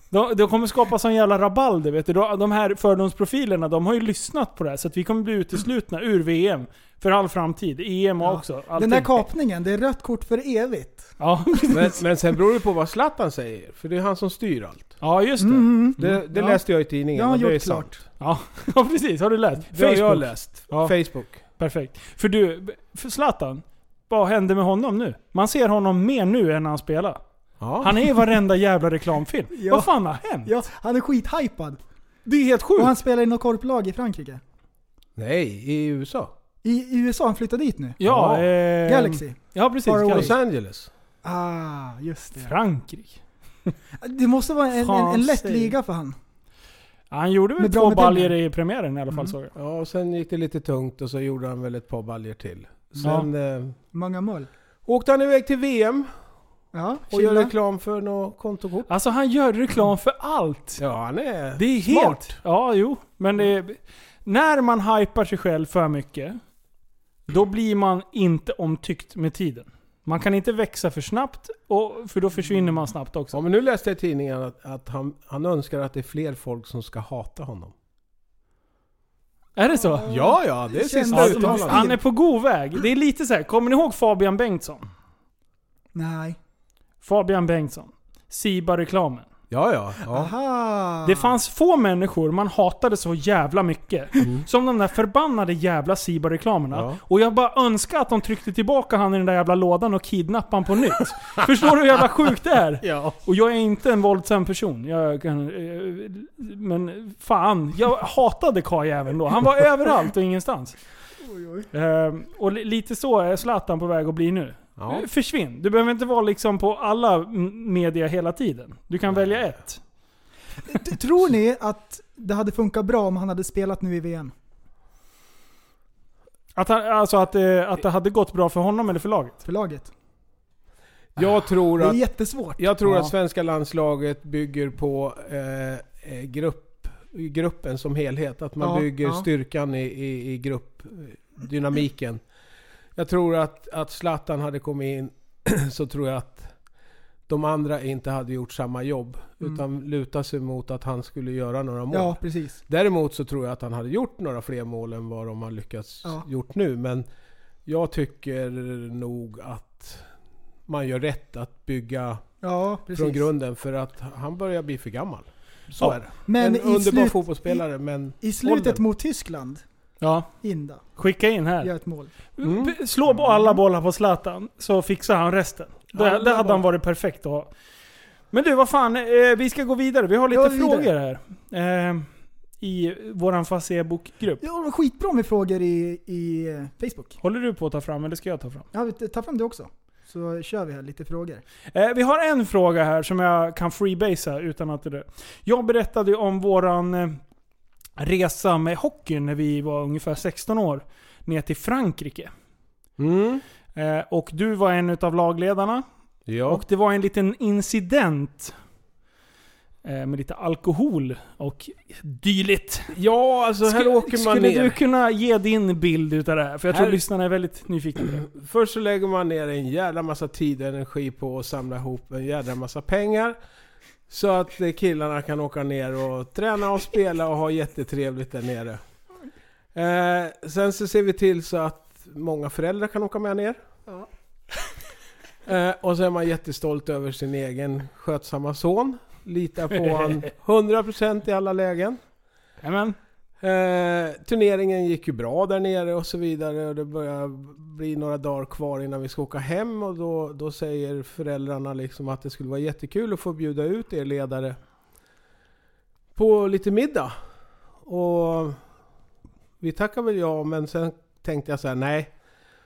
S4: De, de kommer skapa sån jävla rabalder vet du. De de här fördomsprofilerna, de har ju lyssnat på det här. Så att vi kommer bli uteslutna ur VM. För all framtid. EM
S5: Ja.
S4: också. allting.
S5: Den där kapningen, det är rött kort för evigt.
S4: ja.
S6: Men, men sen beror det på vad Zlatan säger, för det är han som styr allt.
S4: ja, just det.
S5: Mm.
S6: Det, det
S4: Ja.
S6: läste jag i tidningen
S5: Jag har
S6: och det är
S5: gjort
S6: sant.
S5: klart.
S4: Ja. ja, precis. Har du läst?
S6: Det har jag läst.
S4: Ja.
S6: Facebook.
S4: Perfekt. För du, för Zlatan. Vad hände med honom nu? Man ser honom mer nu än när han spelar.
S6: Ja.
S4: Han är i varenda jävla reklamfilm.
S5: Ja.
S4: Vad fan har hänt?
S5: Ja, han är skithypad.
S4: Det är helt
S5: Och
S4: sjukt.
S5: han spelar i något korplag i Frankrike.
S6: Nej, i USA.
S5: I, I USA, han flyttade dit nu.
S4: Ja,
S6: Ja.
S4: ehm,
S5: Galaxy.
S4: Ja, precis.
S5: Far away.
S6: Los
S4: Galaxy.
S6: Angeles.
S5: Ah, just det.
S4: Frankrike.
S5: Det måste vara en, en, en lätt
S4: Fransig.
S5: liga för han.
S4: Ja, han gjorde väl
S5: Med Mm. bra
S4: två
S5: med
S4: baljer
S5: pengar.
S4: i premiären i alla fall såg jag.
S6: Ja, och sen gick det lite tungt och så gjorde han väl ett par baljer till. Sen eh,
S5: Många mål.
S6: åkte han iväg till VM
S5: Ja,
S6: och gör
S5: Chile.
S6: reklam för något kontokort.
S4: Alltså han gör reklam för allt.
S6: Ja, han är...
S4: Det är helt... Ja, jo. Men det är, När man hypar sig själv för mycket, då blir man inte omtyckt med tiden. Man kan inte växa för snabbt, och, för då försvinner man snabbt också.
S6: Ja, men nu läste jag i tidningen att, att han, han önskar att det är fler folk som ska hata honom.
S4: Är det så?
S6: Ja, ja, det är
S5: Det känns-
S6: sista
S5: Ja,
S4: Alltså,
S6: uttalandet.
S4: han är på god väg. Det är lite så här. kommer ni ihåg Fabian Bengtsson?
S5: Nej.
S4: Fabian Bengtsson. Siba-reklamen.
S6: Ja, ja. ja.
S5: Aha.
S4: Det fanns få människor man hatade så jävla mycket. Som de där förbannade jävla Siba-reklamerna.
S6: Mm. Ja.
S4: Och jag bara önskar att de tryckte tillbaka han i den där jävla lådan och kidnappade han på nytt. Förstår du hur jävla sjukt det är?
S6: Ja.
S4: Och jag är inte en våldsam person. Jag kan, eh, men fan, jag hatade karljäveln då. Han var överallt och ingenstans. Ehm, och li- lite så är Zlatan på väg att bli nu.
S6: ja.
S4: Försvinn. Du behöver inte vara liksom på alla m- media hela tiden. Du kan välja ett.
S5: T- Tror ni att det hade funkat bra om han hade spelat nu i VM?
S4: Att, han, alltså att, eh, att det hade gått bra för honom eller för laget?
S5: För laget?
S6: Jag tror
S5: Det är
S6: att
S5: jättesvårt.
S6: Jag tror
S4: Ja.
S6: att svenska landslaget bygger på eh, eh, grupp, gruppen som helhet. Att man
S5: Ja,
S6: bygger
S5: ja.
S6: styrkan i, i, i gruppdynamiken. Jag tror att, att Zlatan hade kommit in så tror jag att de andra inte hade gjort samma jobb.
S5: Mm.
S6: Utan luta sig mot att han skulle göra några mål.
S5: Ja, precis.
S6: Däremot så tror jag att han hade gjort några fler mål än vad de har lyckats
S5: Ja.
S6: gjort nu. Men jag tycker nog att man gör rätt att bygga
S5: Ja, precis.
S6: från grunden för att han börjar bli för gammal. Så
S4: Ja.
S6: är det.
S5: Men
S6: en
S5: i,
S6: underbar
S5: slut,
S6: fotbollsspelare men...
S5: i slutet
S6: Åldern.
S5: mot Tyskland,
S4: Ja.
S5: Inda,
S4: Skicka in här.
S5: gör ett mål.
S6: Mm.
S4: B- Slå på alla bollar på Zlatan, så fixar han resten. Det,
S6: Alla
S4: det hade han
S6: bollar.
S4: varit perfekt att ha. Men du, vad fan. Eh, vi ska gå vidare. Vi har lite
S5: Ja, vidare.
S4: frågor här. Eh, I våran Facebook-grupp.
S5: Ja, det var skitbra med frågor i, i eh, Facebook.
S4: Håller du på att ta fram, eller ska jag ta fram?
S5: Ja, vi- ta fram det också. Så kör vi här lite frågor.
S4: Eh, vi har en fråga här som jag kan freebasea utan att det dör. Jag berättade ju om våran eh, resa med hockeyn när vi var ungefär 16 år. Ner till Frankrike.
S6: Mm.
S4: Eh, och du var en utav lagledarna.
S6: Ja.
S4: Och det var en liten incident. Eh, med lite alkohol och dylikt.
S6: ja, alltså här
S4: Skulle-
S6: åker man
S4: Skulle
S6: ner.
S4: du kunna ge din bild utav det här? För jag tror
S6: Här-
S4: lyssnarna är väldigt nyfikna på det.
S6: Först så lägger man ner en jävla massa tid och energi på att samla ihop en jävla massa pengar. Så att eh, killarna kan åka ner och träna och spela och ha jättetrevligt där nere. Eh, sen så ser vi till så att många föräldrar kan åka med ner. Eh, och så är man jättestolt över sin egen skötsamma son. Litar på han 100% i alla lägen.
S4: Amen.
S6: Eh, turneringen gick ju bra där nere och så vidare och det börjar bli några dagar kvar innan vi ska åka hem och då, då säger föräldrarna liksom att det skulle vara jättekul att få bjuda ut er ledare på lite middag. Och vi tackar väl ja men sen tänkte jag så här: nej.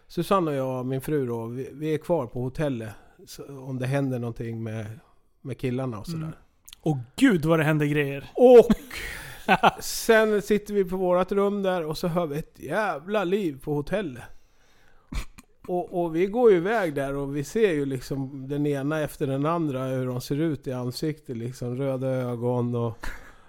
S6: Susanne och jag, min fru då, vi, vi är kvar på hotellet så, om det händer någonting med, med killarna och sådär.
S4: Och gud vad det hände grejer.
S6: Och Sen sitter vi på vårt rum där och så hör vi ett jävla liv på hotellet. Och, och vi går ju iväg där och vi ser ju liksom den ena efter den andra hur de ser ut i ansiktet. Liksom röda ögon och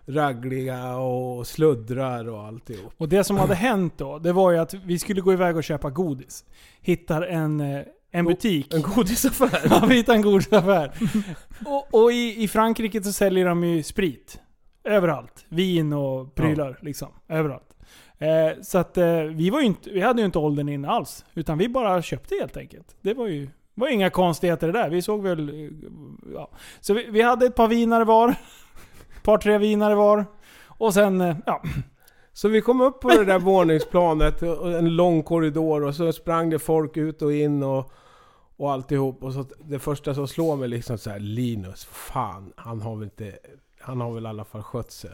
S6: raggliga och sluddrar och alltihop.
S4: Och det som hade hänt då, det var ju att vi skulle gå iväg och köpa godis. Hittar en, eh, en butik. En
S6: godisaffär?
S4: ja, vi hittar en godisaffär. och och i, i Frankrike så säljer de ju sprit. Överallt. Vin och prylar liksom. Överallt. Eh, så att eh, vi, var ju inte, vi hade ju inte åldern inne alls. Utan vi bara köpte helt enkelt. Det var ju var inga konstigheter det där. Vi såg väl... eh, Ja. Så vi, vi hade ett par vinare var. Ett par tre vinare var. Och sen, eh, ja.
S6: Så vi kom upp på det där våningsplanet, och en lång korridor och så sprang det folk ut och in och, och alltihop. Och så det första som slår mig liksom så här, Linus, fan, han har väl inte... Han har väl i alla fall skött sig.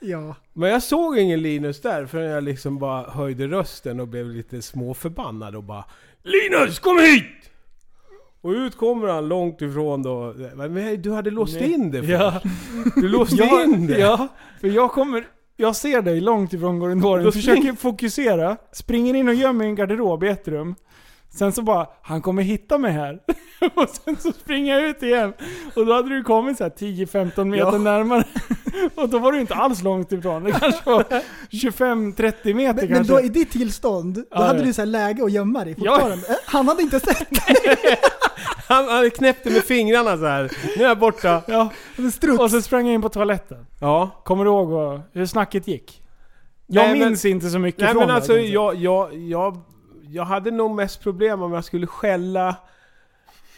S5: Ja.
S6: Men jag såg ingen Linus där förrän jag liksom bara höjde rösten och blev lite småförbannad och bara Linus kom hit! Och ut kommer han långt ifrån då. Men du hade låst
S4: Nej.
S6: in det
S4: Ja.
S6: först. Du låste
S4: Jag-
S6: in det.
S4: Ja, för jag kommer... Jag ser dig långt ifrån korridoren,
S6: Då
S4: du försöker
S6: spring-
S4: fokusera, springer in och gömmer i en garderob i ett rum. Sen så bara, han kommer hitta mig här. Och sen så springer jag ut igen. Och då hade du kommit så här 10-15 meter
S5: Ja.
S4: närmare. Och då var du inte alls långt ifrån. Det kanske var 25-30 meter
S5: Men, men
S4: kanske.
S5: då i ditt tillstånd, då
S4: Ja,
S5: hade
S4: ja.
S5: du så här läge att gömma dig
S4: Ja.
S5: fortfarande. Eh, Han hade inte sett
S6: Han, han knäppte med fingrarna så här. Nu är jag borta.
S4: Ja. Och så sprang jag in på toaletten.
S6: Ja.
S4: Kommer du ihåg vad, hur snacket gick? Jag
S6: Nej, men-
S4: minns inte så mycket
S6: Nej
S4: från
S6: men
S4: det här,
S6: alltså
S4: kan jag säga.
S6: jag, jag, jag, jag hade nog mest problem om jag skulle skälla.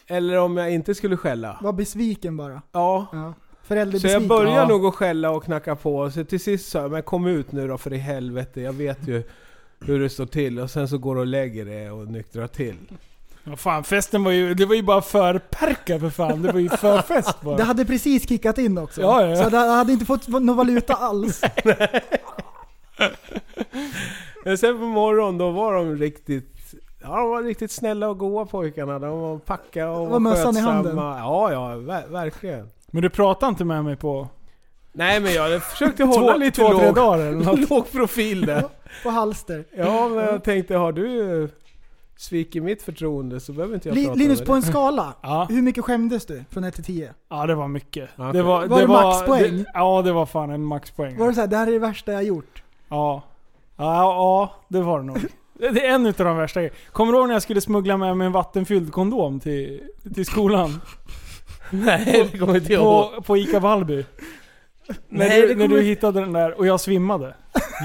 S6: Eller om jag inte skulle skälla.
S5: Var besviken bara.
S6: Ja. Så
S5: Förälderbesviken.
S6: jag började nog att skälla och knacka på. Så till sist sa jag, men kom ut nu då för i helvete. Jag vet ju hur det står till. Och sen så går du och lägger det och nyktrar till.
S4: Vad fan, festen var ju, det var ju bara förperka för fan. Det var ju förfest bara.
S5: Det hade precis kickat in också.
S4: Ja, ja, ja.
S5: Så det hade inte fått någon valuta alls.
S6: Men sen på morgonen då var de riktigt Ja, de var riktigt snälla och goa pojkarna. De var packa och
S4: Var mössan i
S6: skötsamma.
S4: handen?
S6: Ja, ja, ver- verkligen.
S4: Men du pratade inte med mig på...
S6: Nej men jag försökte
S4: Två-
S6: hålla lite
S4: två,
S6: låg,
S4: tre dagar eller något.
S6: låg profil där.
S5: På halster.
S6: Ja men jag tänkte, har du svikit mitt förtroende så behöver inte jag
S5: Li-
S6: prata
S5: Linus,
S6: med
S5: på
S6: dig.
S5: en skala,
S4: Ja.
S5: hur mycket skämdes du från 1 till 10?
S4: Ja det var mycket.
S6: Okej.
S4: Det var,
S5: Var det maxpoäng?
S4: det- ja det var fan en maxpoäng.
S5: Var det såhär, det här är det värsta jag gjort?
S4: Ja. Ja, ja det var det nog. Det det är en utav de värsta grejerna. Kommer du ihåg när jag skulle smuggla med mig en vattenfylld kondom till, till skolan?
S6: Nej, det kommer inte jag
S4: På, på Ica Valby. När,
S6: Nej, det
S4: du, när
S6: kommer-
S4: du hittade den där och jag svimmade.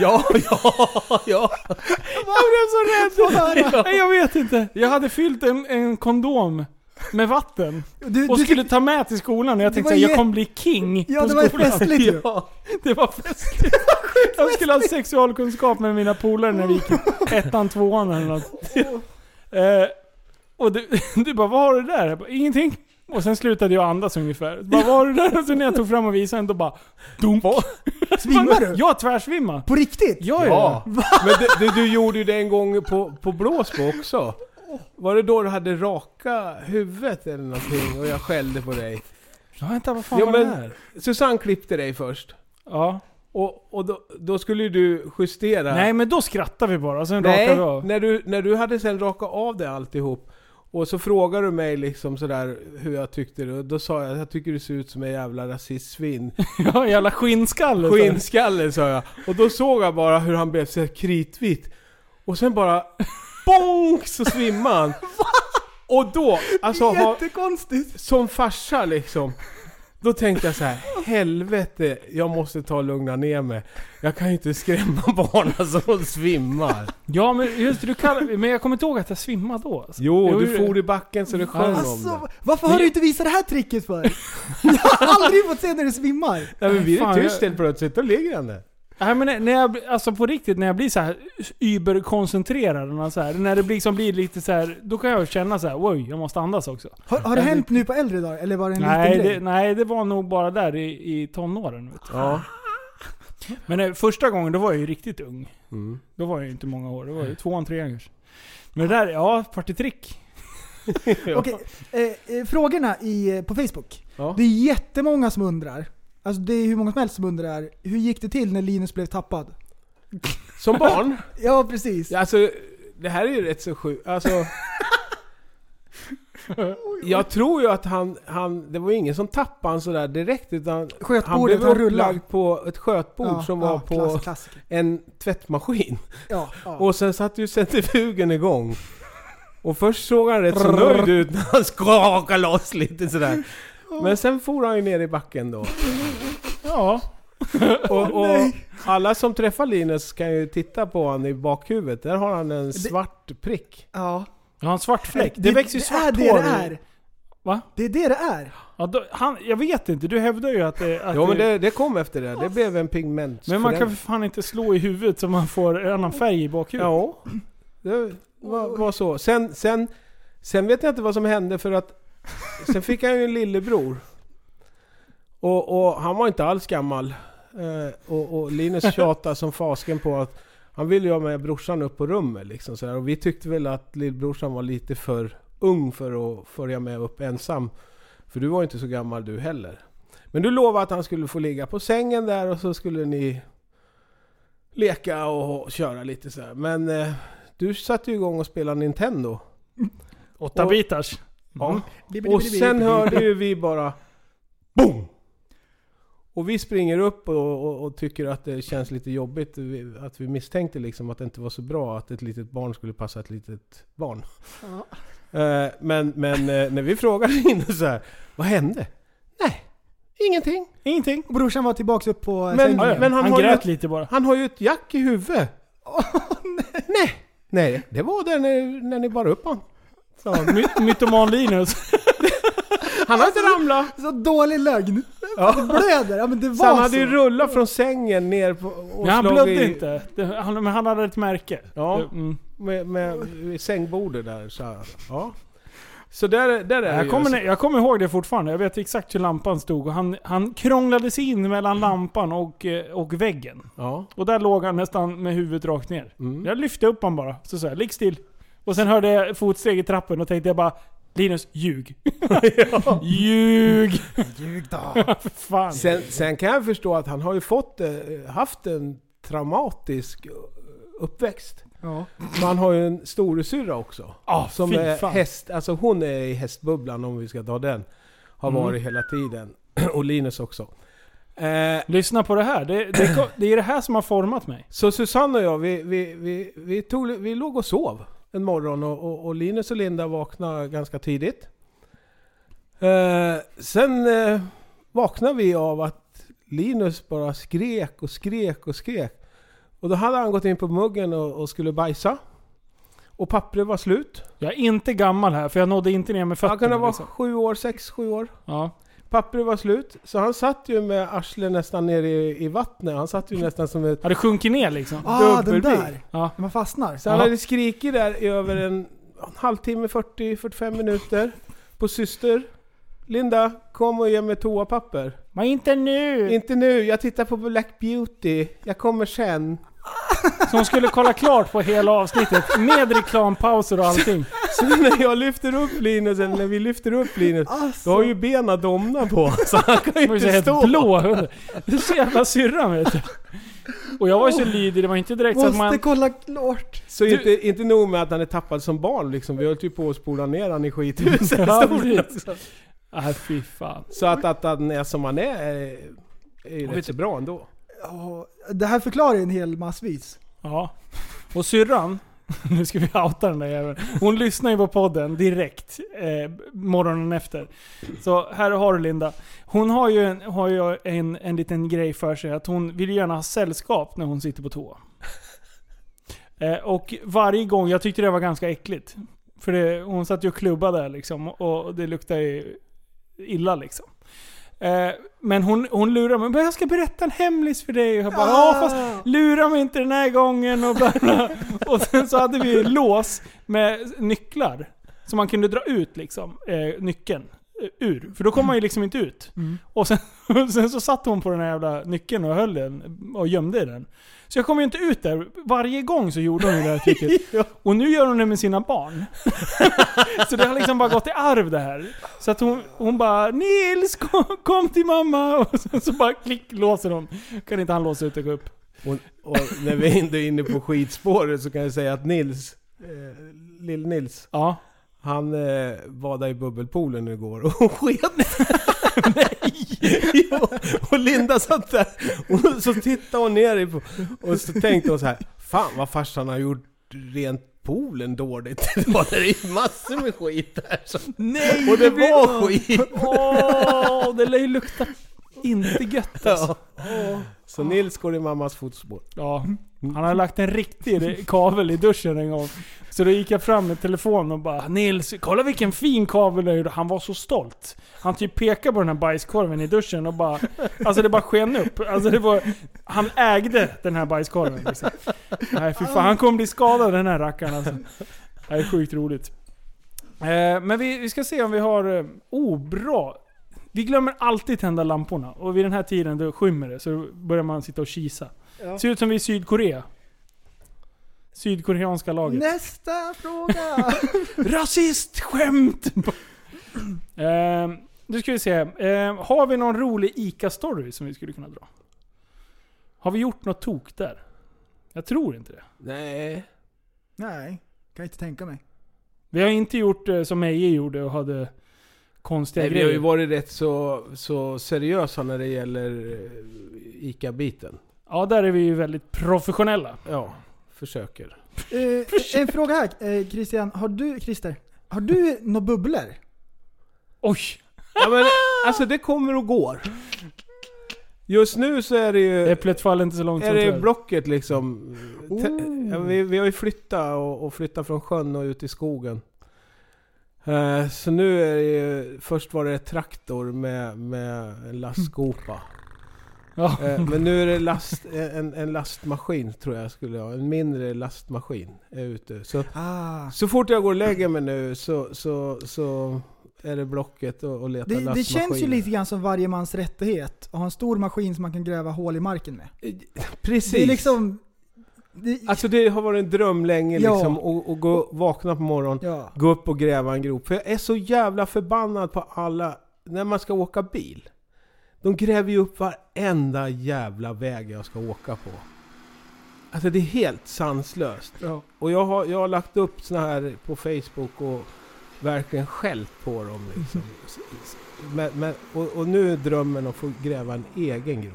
S6: Ja, ja, ja.
S4: Jag blev så
S5: rädd!
S4: Nej, jag vet inte. Jag hade fyllt en, en kondom med vatten. och
S5: du
S4: skulle ta med till skolan och jag
S5: Det
S4: tänkte
S5: var
S4: såhär, jag
S5: jä-
S4: kommer bli king
S5: Ja,
S4: på
S5: det var ju
S4: skolan.
S5: festligt ju.
S6: Ja,
S4: det var festligt. jag skulle ha sexualkunskap med mina polare när vi gick i ettan, tvåan eller något. Eh, och du, du bara, vad har du där? Jag bara, ingenting. Och sen slutade jag andas ungefär. Bara, vad har du där? Och sen när jag tog fram och visade den, då bara... Dunk!
S5: Svimmar du?
S4: Jag tvärsvimmade.
S5: På riktigt?
S4: Ja,
S6: Ja.
S4: ja.
S6: Men du, du, du gjorde ju det en gång på, på Blåsbo också. Var det då du hade raka huvudet eller någonting och jag skällde på dig?
S4: ja. Vänta, vad fan
S6: Ja,
S4: var
S6: men-
S4: det här?
S6: Susanne klippte dig först.
S4: Ja.
S6: Och, och då, då skulle ju du justera.
S4: Nej men då skrattar vi bara, sen
S6: Nej,
S4: rakar vi av.
S6: när du, när du hade sen rakat av det alltihop. Och så frågade du mig liksom sådär hur jag tyckte det. Och då sa jag jag tycker du ser ut som en jävla rasistsvin.
S4: Ja, jävla skinnskalle.
S6: Skinnskalle sa jag. Och då såg jag bara hur han blev så här kritvit. Och sen bara BONK så svimmade han. Och då, alltså ha,
S5: Jättekonstigt.
S6: som farsa liksom. Då tänkte jag så här, helvete, jag måste ta och lugna ner mig. Jag kan ju inte skrämma alltså, barnen så de svimmar.
S4: Ja men just det, du kallar, men jag kommer inte ihåg att jag svimmade då. Alltså.
S6: Jo,
S4: det-
S6: du for i backen så det sjöng om det.
S5: Alltså, varför har du inte visat det här tricket för? Jag har aldrig fått se när du svimmar.
S6: Nej men blir
S4: Fan,
S6: det tyst
S4: jag-
S6: helt plötsligt, då ligger han där.
S4: Nej men när- när jag, blir- alltså på riktigt, när jag blir så här überkoncentrerad, när, så här, när det liksom blir lite så här, då kan jag känna så här, oj, jag måste andas också.
S5: Har, har det hänt nu på äldre dagar, eller var det en
S4: Nej
S5: liten
S4: det,
S5: grej?
S4: nej, det var nog bara där i, i tonåren. Vet du.
S6: Ja.
S4: Men eh, första gången, då var jag ju riktigt ung.
S6: Mm.
S4: Då var jag ju inte många år, det var ju tvåan, trean kanske. Men det där, ja, partytrick.
S5: Okej, eh, eh, frågorna i, eh, på Facebook.
S6: Ja.
S5: Det är jättemånga som undrar. Alltså det är hur många som helst som undrar, hur gick det till när Linus blev tappad?
S6: Som barn?
S5: ja, precis.
S6: Alltså, det här är ju rätt så sjukt. Alltså... Jag tror ju att han, han, det var ju ingen som tappade han sådär direkt utan han
S5: Skötbordet,
S6: blev
S5: han rullade.
S6: upplagd på ett skötbord
S5: Ja,
S6: som
S5: ja,
S6: var på
S5: klass- klassiker.
S6: en tvättmaskin.
S5: Ja, ja.
S6: Och sen satte ju centrifugen igång. Och först såg han rätt så nöjd ut när han skakade loss lite sådär. Men sen for han ju ner i backen då.
S4: Ja.
S6: Och, och alla som träffar Linus kan ju titta på honom i bakhuvudet. Där har han en svart prick.
S5: Ja.
S4: Han har en svart fläck. Det,
S5: Det-
S4: växer ju
S5: det
S4: svart
S5: är det
S4: hår
S5: det
S4: ur-
S5: är.
S4: Va?
S5: Det är det det är.
S4: Ja, då, han, jag vet inte, du hävdar ju att det... Att
S6: Jo men
S4: det-
S6: det, det kom efter det. Det blev en pigment.
S4: men man kan för fan inte slå i huvudet så man får en annan färg i bakhuvudet.
S6: Ja. Det var, var så. Sen, sen, sen vet jag inte vad som hände för att... Sen fick han ju en lillebror. Och, och han var inte alls gammal. Eh, och, och Linus tjatade som fasken på att han ville ju ha med brorsan upp på rummet. Liksom, så här. Och vi tyckte väl att lillbrorsan var lite för ung för att följa med upp ensam. För du var ju inte så gammal du heller. Men du lovade att han skulle få ligga på sängen där och så skulle ni leka och köra lite så här. Men eh, du satte ju igång och spelade Nintendo.
S4: Åtta
S6: Och-
S4: bitars.
S6: Ja.
S4: Mm.
S6: Och sen hörde ju vi bara BOOM! Och vi springer upp och, och, och tycker att det känns lite jobbigt. Vi- Att vi misstänkte liksom att det inte var så bra att ett litet barn skulle passa ett litet barn.
S5: Ja.
S6: Eh, Men, men eh, när vi frågade in så här, vad hände? Nej, ingenting.
S4: Ingenting.
S5: Och brorsan var tillbaks upp på
S6: Men-
S5: sängen.
S6: ja, ja. Men han
S4: Han
S6: har ju-
S4: grät lite bara.
S6: Han har ju ett jack i huvudet. nej. nej! det var det när, när ni bar upp honom.
S4: Så, my- mytoman Linus.
S6: Han har inte ramlat.
S5: Så dålig lögn. Det blöder. Ja, men det
S6: Så han
S5: var
S6: hade ju
S5: så.
S6: rullat från sängen ner på, och
S4: Nej, han
S6: slagit
S4: blödde
S6: i-
S4: inte. Det, han, men han hade ett märke. Det,
S6: Ja,
S4: mm.
S6: med, med, med sängbordet där. Så, här. ja. så där, där är det
S4: jag,
S6: ju.
S4: kommer, jag kommer ihåg det fortfarande. Jag vet exakt hur lampan stod. Och han, han krånglade sig in
S6: Mm.
S4: mellan lampan och, eh, och väggen.
S6: Ja.
S4: Och där låg han nästan med huvudet rakt ner.
S6: Mm.
S4: Jag lyfte upp honom bara. Så sa jag, ligg still. Och sen hörde jag fotsteg i trappen och tänkte jag bara, Linus, ljug. ljug!
S5: Ljug då.
S4: För fan.
S6: Sen, sen kan jag förstå att han har ju fått, eh, haft en traumatisk eh, uppväxt.
S5: Ja.
S6: Man har ju en storasyrra också.
S4: Ah,
S6: som
S4: fy
S6: är
S4: fan.
S6: häst, alltså hon är i hästbubblan om vi ska ta den. Har
S4: Mm.
S6: varit hela tiden. Och Linus också. Eh,
S4: Lyssna på det här. Det, det, kom- det är det här som har format mig.
S6: Så Susanne och jag, vi, vi, vi, vi, tog, vi låg och sov en morgon och, och, och Linus och Linda vaknade ganska tidigt. Eh, sen eh, vaknade vi av att Linus bara skrek och skrek och skrek. Och då hade han gått in på muggen och, och skulle bajsa. Och pappret var slut.
S4: Jag är inte gammal här, för jag nådde inte ner med fötterna.
S6: Han kunde vara
S4: liksom.
S6: sju år, sex, sju år.
S4: ja.
S6: Pappret var slut. Så han satt ju med arslet nästan nere i, i vattnet. Han satt ju nästan som ett...
S4: Hade sjunkit ner liksom.
S5: Ah, den
S6: Dubbelbil.
S5: där.
S4: Ja.
S5: Man fastnar.
S6: Så han
S4: Ja.
S6: hade skrikit där i över en, en halvtimme, 40-45 minuter på syster. Linda, kom och ge mig toapapper.
S4: Men inte nu!
S6: Inte nu, jag tittar på Black Beauty. Jag kommer sen.
S4: Så hon skulle kolla klart på hela avsnittet. Med reklampauser och allting.
S6: Så när jag lyfter upp Linus, eller när vi lyfter upp Linus, då
S4: Alltså.
S6: har ju benen domnat på Så han kan ju
S4: Hon var ju så
S6: inte
S4: helt
S6: stå.
S4: blå under. Det är så jävla syrran vet du. Och jag var ju så lydig, det var inte direkt så att
S5: Måste
S4: liksom man...
S5: kolla klart.
S6: Så inte, inte nog med att han är tappad som barn liksom. Vi höll typ på att spola ner han i skithuset.
S4: Ja, precis. Nej Äh, fy fan.
S6: Så att, att han är som han är, är, är ju
S4: Och
S6: rätt
S4: vet
S6: så bra ändå.
S5: Ja, det här förklarar ju en hel massvis.
S4: Ja. Och syrran, nu ska vi outa den där jäveln. Hon lyssnar ju på podden direkt eh, morgonen efter. Så här har du Linda. Hon har ju, en, har ju en, en liten grej för sig att hon vill gärna ha sällskap när hon sitter på toa. Eh, och varje gång, jag tyckte det var ganska äckligt. För det, hon satt ju och klubbade där liksom och det luktade ju illa liksom. Eh, men hon, hon lurar mig. Men jag ska berätta en hemlis för dig. Och jag bara, ja fast lura mig inte den här gången och bla bla. Och sen så hade vi lås med nycklar. Som man kunde dra ut liksom, eh, nyckeln. ur. För då kom man ju liksom inte ut.
S5: Mm.
S4: Och sen, sen så satt hon på den här jävla nyckeln och höll den och gömde i den. Så jag kom ju inte ut där. Varje gång så gjorde hon ju det här tricket. Och nu gör hon det med sina barn. så det har liksom bara gått i arv det här. Så att hon, hon bara Nils kom, kom till mamma! Och sen så bara klick låser hon. Kan inte han låsa ut och gå upp?
S6: Och, och när vi ändå är inne på skidspåret så kan jag säga att Nils, eh, Lill-Nils, han eh, var där i bubbelpoolen igår och hon sken. Nej! Jo, och Linda satt där och så tittade hon ner i po- och så tänkte hon så här Fan vad farsan har gjort rent poolen dåligt. Det var det är ju massor med skit där. Så.
S4: Nej,
S6: Och det
S4: det blir-
S6: var skit!
S4: Åh, det lär ju lukta inte gött alltså.
S6: Ja. Så Nils går i mammas fotspår.
S4: Ja, han har lagt en riktig kavel i duschen en gång. Så då gick jag fram med telefonen och bara Nils, kolla vilken fin kavel du har gjort." Han var så stolt. Han typ pekade på den här bajskorven i duschen och bara... Alltså det bara sken upp. Alltså det var, han ägde den här bajskorven liksom. Nej fy fan, han kommer bli skadad den här rackaren alltså. Det är sjukt roligt. Eh, men vi, vi ska se om vi har... eh, Oh, bra! Vi glömmer alltid tända lamporna. Och vid den här tiden då skymmer det, så börjar man sitta och kisa.
S5: Ja.
S4: Ser ut som vi är i Sydkorea. Sydkoreanska laget.
S5: Nästa fråga!
S4: Rasistskämt! eh, nu ska vi se. Eh, har vi någon rolig ICA-story som vi skulle kunna dra? Har vi gjort något tok där? Jag tror inte det.
S6: Nej.
S5: Nej, kan jag inte tänka mig.
S4: Vi har inte gjort eh, som Meje gjorde och hade konstiga
S6: Nej, vi
S4: grejer.
S6: har ju varit rätt så, så seriösa när det gäller eh, ICA-biten.
S4: Ja, där är vi ju väldigt professionella.
S6: Ja, försöker.
S5: Eh, en fråga här eh, Christian. Har du, Christer, har du några bubblor?
S4: Oj!
S6: Ja, men, alltså det kommer och går. Just nu så är det ju...
S4: Äpplet faller inte så långt
S6: Är
S4: som
S6: det
S4: träd.
S6: blocket liksom?
S4: Oh.
S6: Te- ja, Vi, vi har ju flyttat och, och flyttat från sjön och ut i skogen. Eh, Så nu är det ju, först var det ett traktor med, med en lastskopa.
S4: Ja.
S6: Eh, Men nu är det last, eh, en, en lastmaskin tror jag skulle jag En mindre lastmaskin är ute. Så,
S5: Ah.
S6: så fort jag går och lägger mig nu så, så, så är det blocket och, och letar
S5: Det, det
S6: lastmaskiner.
S5: känns ju lite grann som varje mans rättighet att ha en stor maskin som man kan gräva hål i marken med.
S6: Eh, Precis.
S5: Det är liksom... Det,
S6: Alltså det har varit en dröm länge
S5: Ja.
S6: liksom, och, och gå, vakna på morgonen,
S5: Ja.
S6: gå upp och gräva en grop. För jag är så jävla förbannad på alla, när man ska åka bil. De gräver ju upp varenda jävla väg jag ska åka på. Alltså det är helt sanslöst. Och jag har, jag har lagt upp såna här på Facebook och verkligen skällt på dem liksom. Men, men, och, och nu är drömmen att få gräva en egen grop.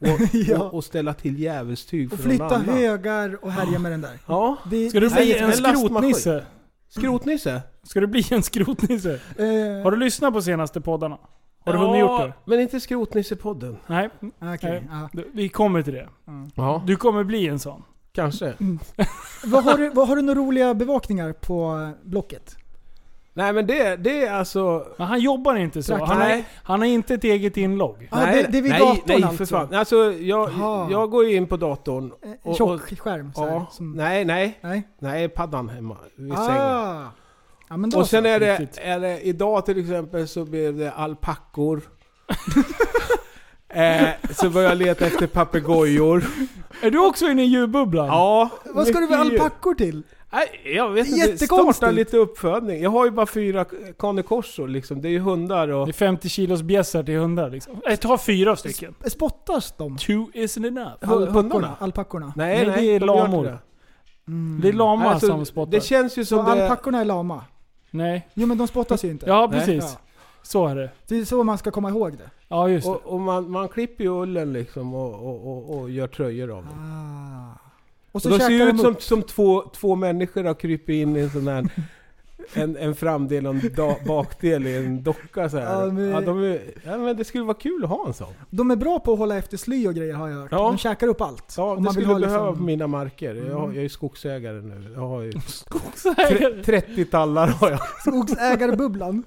S6: Och,
S5: Ja.
S6: och, och ställa till djävulstyg för
S5: och
S6: någon
S5: flytta
S6: annan.
S5: högar och härja med den där.
S6: Ja.
S5: Det,
S4: Ska du
S5: det
S4: bli
S5: säger-
S4: en skrotnisse?
S6: Skrotnisse?
S4: Ska du bli en skrotnisse?
S5: Eh,
S4: Har du lyssnat på senaste poddarna? Har du hunnit gjort det?
S6: Men inte Skrotnisse-podden.
S4: Nej.
S5: okej,
S4: Nej.
S5: ja.
S4: Du- Vi kommer till det.
S6: Ja,
S4: Du kommer bli en sån.
S6: kanske.
S5: vad, har du, vad har du några roliga bevakningar på eh, Blocket?
S6: Nej men det, det är alltså...
S4: Men han jobbar inte så.
S5: Trakt-
S4: Han har,
S6: Nej.
S4: han har inte ett eget inlogg.
S5: Ja, det, det är vid
S6: nej,
S5: datorn
S6: nej,
S5: alltså.
S6: för fan. Alltså jag,
S5: Jaha.
S6: jag går ju in på datorn.
S5: Eh,
S6: och-
S5: Tjock skärm så här,
S6: Ja,
S5: som,
S6: nej, nej.
S5: Nej.
S6: Nej, paddan hemma vid sängen.
S5: Ah. Ja, men då
S6: Och sen
S5: så.
S6: är det,
S4: riktigt.
S6: är det, idag till exempel så blev det alpackor. eh, så började jag leta efter papegojor.
S4: Är du också inne i ljudbubblan?
S6: Ja.
S5: Vad ska du med
S6: mycket djur.
S5: alpackor till?
S6: Nej, jag vet
S5: Det är
S6: inte.
S5: jättekonstigt.
S6: Starta lite uppfödning. Jag har ju bara fyra canecorsor liksom. Det är ju hundar och...
S4: Det är 50 kilos bjässar till hundar liksom. Äh, ta fyra stycken.
S5: Spottas de?
S4: Two isn't enough.
S6: Hu- hundarna?
S5: Alpackorna.
S6: Nej,
S4: Nej,
S6: nej.
S4: det är
S6: de gör
S4: lamor.
S6: inte det.
S4: Det är lamar
S6: Alltså,
S4: som spottar.
S6: Det känns ju
S5: Så
S6: som det...
S5: alpackorna är lama?
S4: Nej.
S5: Jo men de spottas ju inte.
S4: Ja,
S6: Nej.
S4: precis.
S5: Ja.
S4: Så är det.
S5: Det är så man ska komma ihåg det.
S4: Ja, just det.
S6: Och, och man, man klipper ju ullen liksom och, och, och, och gör tröjor av dem.
S5: Ah. Och
S6: Så
S5: så
S6: de
S5: käkar
S6: ser ju
S5: de
S6: ut som,
S5: upp.
S6: som två, två människor har krypit in i en sån här... En, en framdel och en da, bakdel i en docka så här.
S5: Ja, men-
S6: Ja, de är, ja, men det skulle vara kul att ha en sån.
S5: De är bra på att hålla efter sly och grejer har jag hört.
S6: Ja.
S5: De käkar upp allt.
S6: Ja,
S5: Om
S6: det skulle
S5: ha
S6: jag
S5: liksom-
S6: behöva på mina marker. Jag, har- jag är ju skogsägare nu. Jag har ju
S4: Skogsägare.
S6: 30 tallar har jag.
S5: Skogsägarbubblan.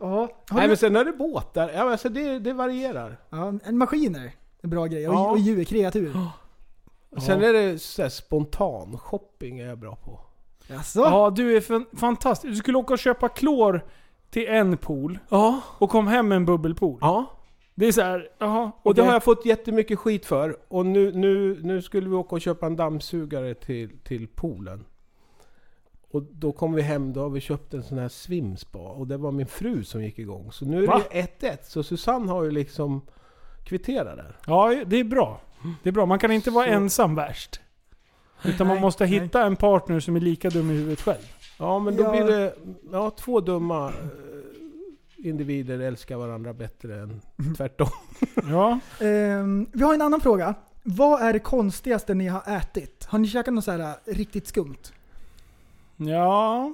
S5: ja. Har
S6: Nej
S5: du,
S6: men sen är det båtar. Ja, men alltså det, det varierar.
S5: ja, en maskiner är bra grejer. Och,
S6: Ja.
S5: och djur, kreatur.
S6: Sen är det så här, spontan shopping är jag bra på.
S5: Jaså?
S4: Ja, du är fan- fantastisk. Du skulle åka och köpa klor till en pool och kom hem med en bubbelpool. Det är så här, jaha.
S6: Och det
S4: okej.
S6: har jag fått jättemycket skit för. Och nu, nu, nu skulle vi åka och köpa en dammsugare till, till poolen. Och då kom vi hem, då har vi köpt en sån här svimspa. Och det var min fru som gick igång. Så nu är
S4: Va?
S6: det ju 1-1. Så Susanne har ju liksom kvitterat där.
S4: Ja, det är bra. Det är bra. Man kan inte vara
S6: Så-
S4: ensam värst. Utan man
S6: Nej,
S4: måste hitta en partner som är lika dum i huvudet själv.
S6: Ja, men då
S4: Ja.
S6: blir det ja, två dumma eh, individer älskar varandra bättre än
S5: Mm.
S6: tvärtom.
S4: Ja.
S5: Ehm, vi har en annan fråga. Vad är det konstigaste ni har ätit? Har ni käkat något så här äh, riktigt skumt?
S4: Ja.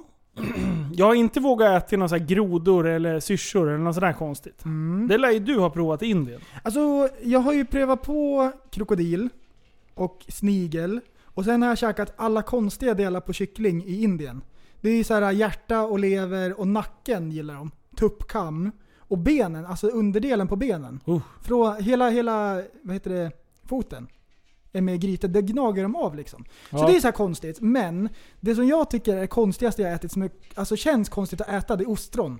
S4: Jag har inte vågat äta några så här grodor eller syrsor eller något sådär konstigt. Det lär ju du ha provat i Indien.
S5: Alltså, jag har ju prövat på krokodil och snigel. Och sen har jag käkat alla konstiga delar på kyckling i Indien. Det är ju så här hjärta och lever och nacken gillar de. Tuppkam. Och benen, alltså underdelen på benen. Från hela, hela, vad heter det, foten. Är med i grytet. Det gnager de av liksom. Så
S12: Ja.
S5: det är så här konstigt. Men det som jag tycker är det konstigaste jag ätit, som är, alltså känns konstigt att äta, det är ostron.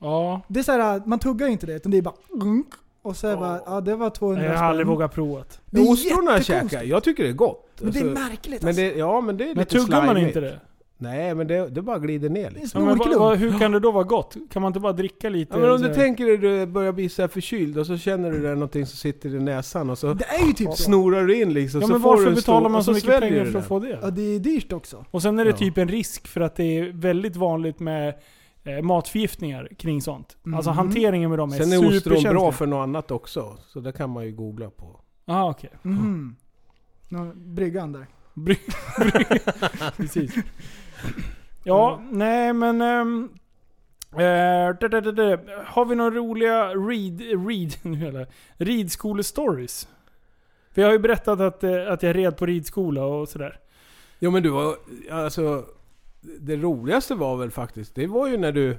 S4: Ja.
S5: Det är så här, äh, man tuggar ju inte det utan det är bara gunk. Och så är det bara, ja det var 200
S4: Jag har
S5: spänn.
S4: aldrig vågat provat.
S5: Det är
S6: Ostron har jag
S5: jättekonstigt.
S6: käkat. Jag tycker det är gott. Alltså,
S5: Men det är märkligt alltså.
S6: men det, Ja, men det är
S4: Alltså, Men
S6: lite
S4: tuggar man
S6: slimigt.
S4: inte det?
S6: Nej, men det, det bara glider ner. Liksom.
S4: Ja, men vad, vad, hur kan det då vara gott? Kan man inte bara dricka lite?
S6: Ja, men om
S4: så
S6: du
S4: här?
S6: tänker dig att du börjar bli så här förkyld och så känner du det är någonting som sitter i näsan och så
S5: Det är ju typ så.
S6: snorar du in liksom.
S4: Ja,
S6: så
S4: men
S6: får du
S4: varför
S6: en
S4: betalar
S6: stor-
S4: man
S6: och
S4: så mycket
S6: sväljer
S4: pengar
S6: du
S4: för att
S6: den.
S4: få det?
S5: Ja det är dyrt också.
S4: Och sen är det
S6: Ja.
S4: typ en risk för att det är väldigt vanligt med eh, matförgiftningar kring sånt. Alltså
S6: Mhm.
S4: hanteringen med dem är
S6: Sen är ostron bra
S4: superkänslig.
S6: för något annat också. Så det kan man ju googla på.
S4: Jaha, okej.
S5: Mhm. Nå, Bryggan där.
S4: Bry- bry- Precis.
S6: Mm.
S4: Ja, nej men... ehm, eh, da, da, da, da. Har vi några roliga read, read, nu hela, ridskolestories? För jag har ju berättat att, eh, att jag red på ridskola och sådär.
S6: Jo men du var, alltså det roligaste var väl faktiskt, det var ju när du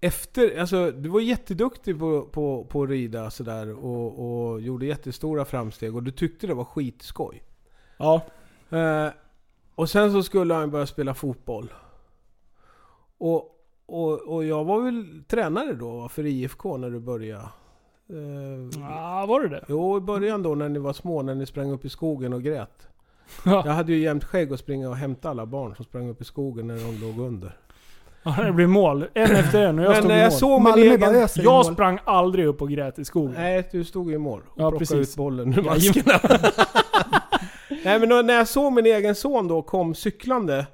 S6: efter, alltså du var jätteduktig på, på, på att rida sådär och, och gjorde jättestora framsteg och du tyckte det var skitskoj.
S4: Ja.
S6: Eh, och sen så skulle han börja spela fotboll. Och, och, och jag var väl tränare då va, för IFK när du började? Eh, Mm.
S4: Ja, var du det?
S6: Jo, i början då när ni var små, när ni sprang upp i skogen och grät. Jag hade ju jämt skägg och springa och hämta alla barn som sprang upp i skogen när de låg under.
S4: Ja, det blev mål. En efter en och jag
S6: Men
S4: stod
S6: när
S4: i
S6: jag
S4: mål.
S6: såg min Malmö egen- bara öser i
S4: Jag
S6: mål.
S4: sprang aldrig upp och grät i skogen.
S6: Nej, du stod i mål och
S4: Ja,
S6: plockade
S4: precis.
S6: ut bollen ur
S4: Ja,
S6: maskerna. Nej men då, när jag såg min egen son då kom cyklande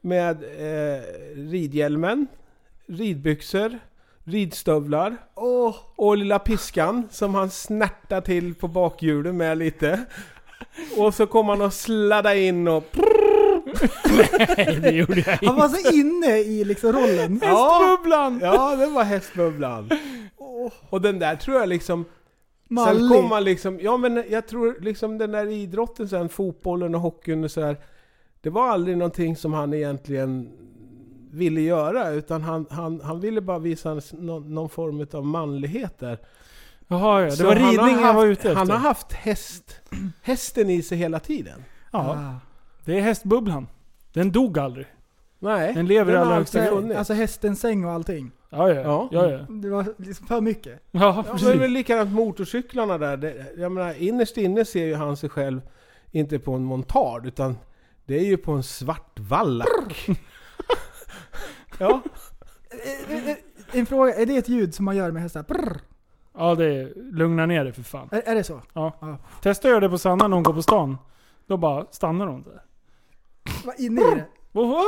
S6: med eh, ridhjälmen, ridbyxor, ridstövlar och lilla piskan som han snärtade till på bakhjulen med lite. Och så kom han och sladdade in och...
S4: Nej, det gjorde jag
S5: Han var så inne i liksom rollen.
S6: Hästbubblan! Ja, det var hästbubblan. Och den där tror jag liksom... Sen
S5: Mallig.
S6: kom man liksom... Ja men jag tror liksom den där idrotten sen, fotbollen och hockeyn och så här. Det var aldrig någonting som han egentligen ville göra utan han, han, han ville bara visa en, s- någon, någon form av manlighet där.
S4: Jaha, ja. Det
S6: Så
S4: var ridning
S6: har
S4: han
S6: haft,
S4: var ute
S6: Han
S4: efter.
S6: har haft häst, hästen i sig hela tiden.
S4: Ja. Det är hästbubblan. Den dog aldrig.
S6: Nej.
S4: Den lever i allra högsta
S5: alltså,
S4: grad.
S5: alltså hästens säng och allting.
S4: Ja, ja. ja. ja, ja.
S5: Det var liksom för mycket.
S4: Ja,
S6: Ja, men det är
S4: precis.
S6: väl likadant motorcyklarna där. Det, jag menar, innerst inne ser ju han sig själv inte på en montard utan det är ju på en svart vallack. ja.
S5: Eh, eh, En fråga, är det ett ljud som man gör med hästar? Prr.
S4: Ja, det är, lugna ner dig för fan.
S5: Är, är det så?
S4: Ja. Testa att göra det på Sanna när hon går på stan. Då bara stannar hon där.
S5: Vad inne i det?
S4: Oho!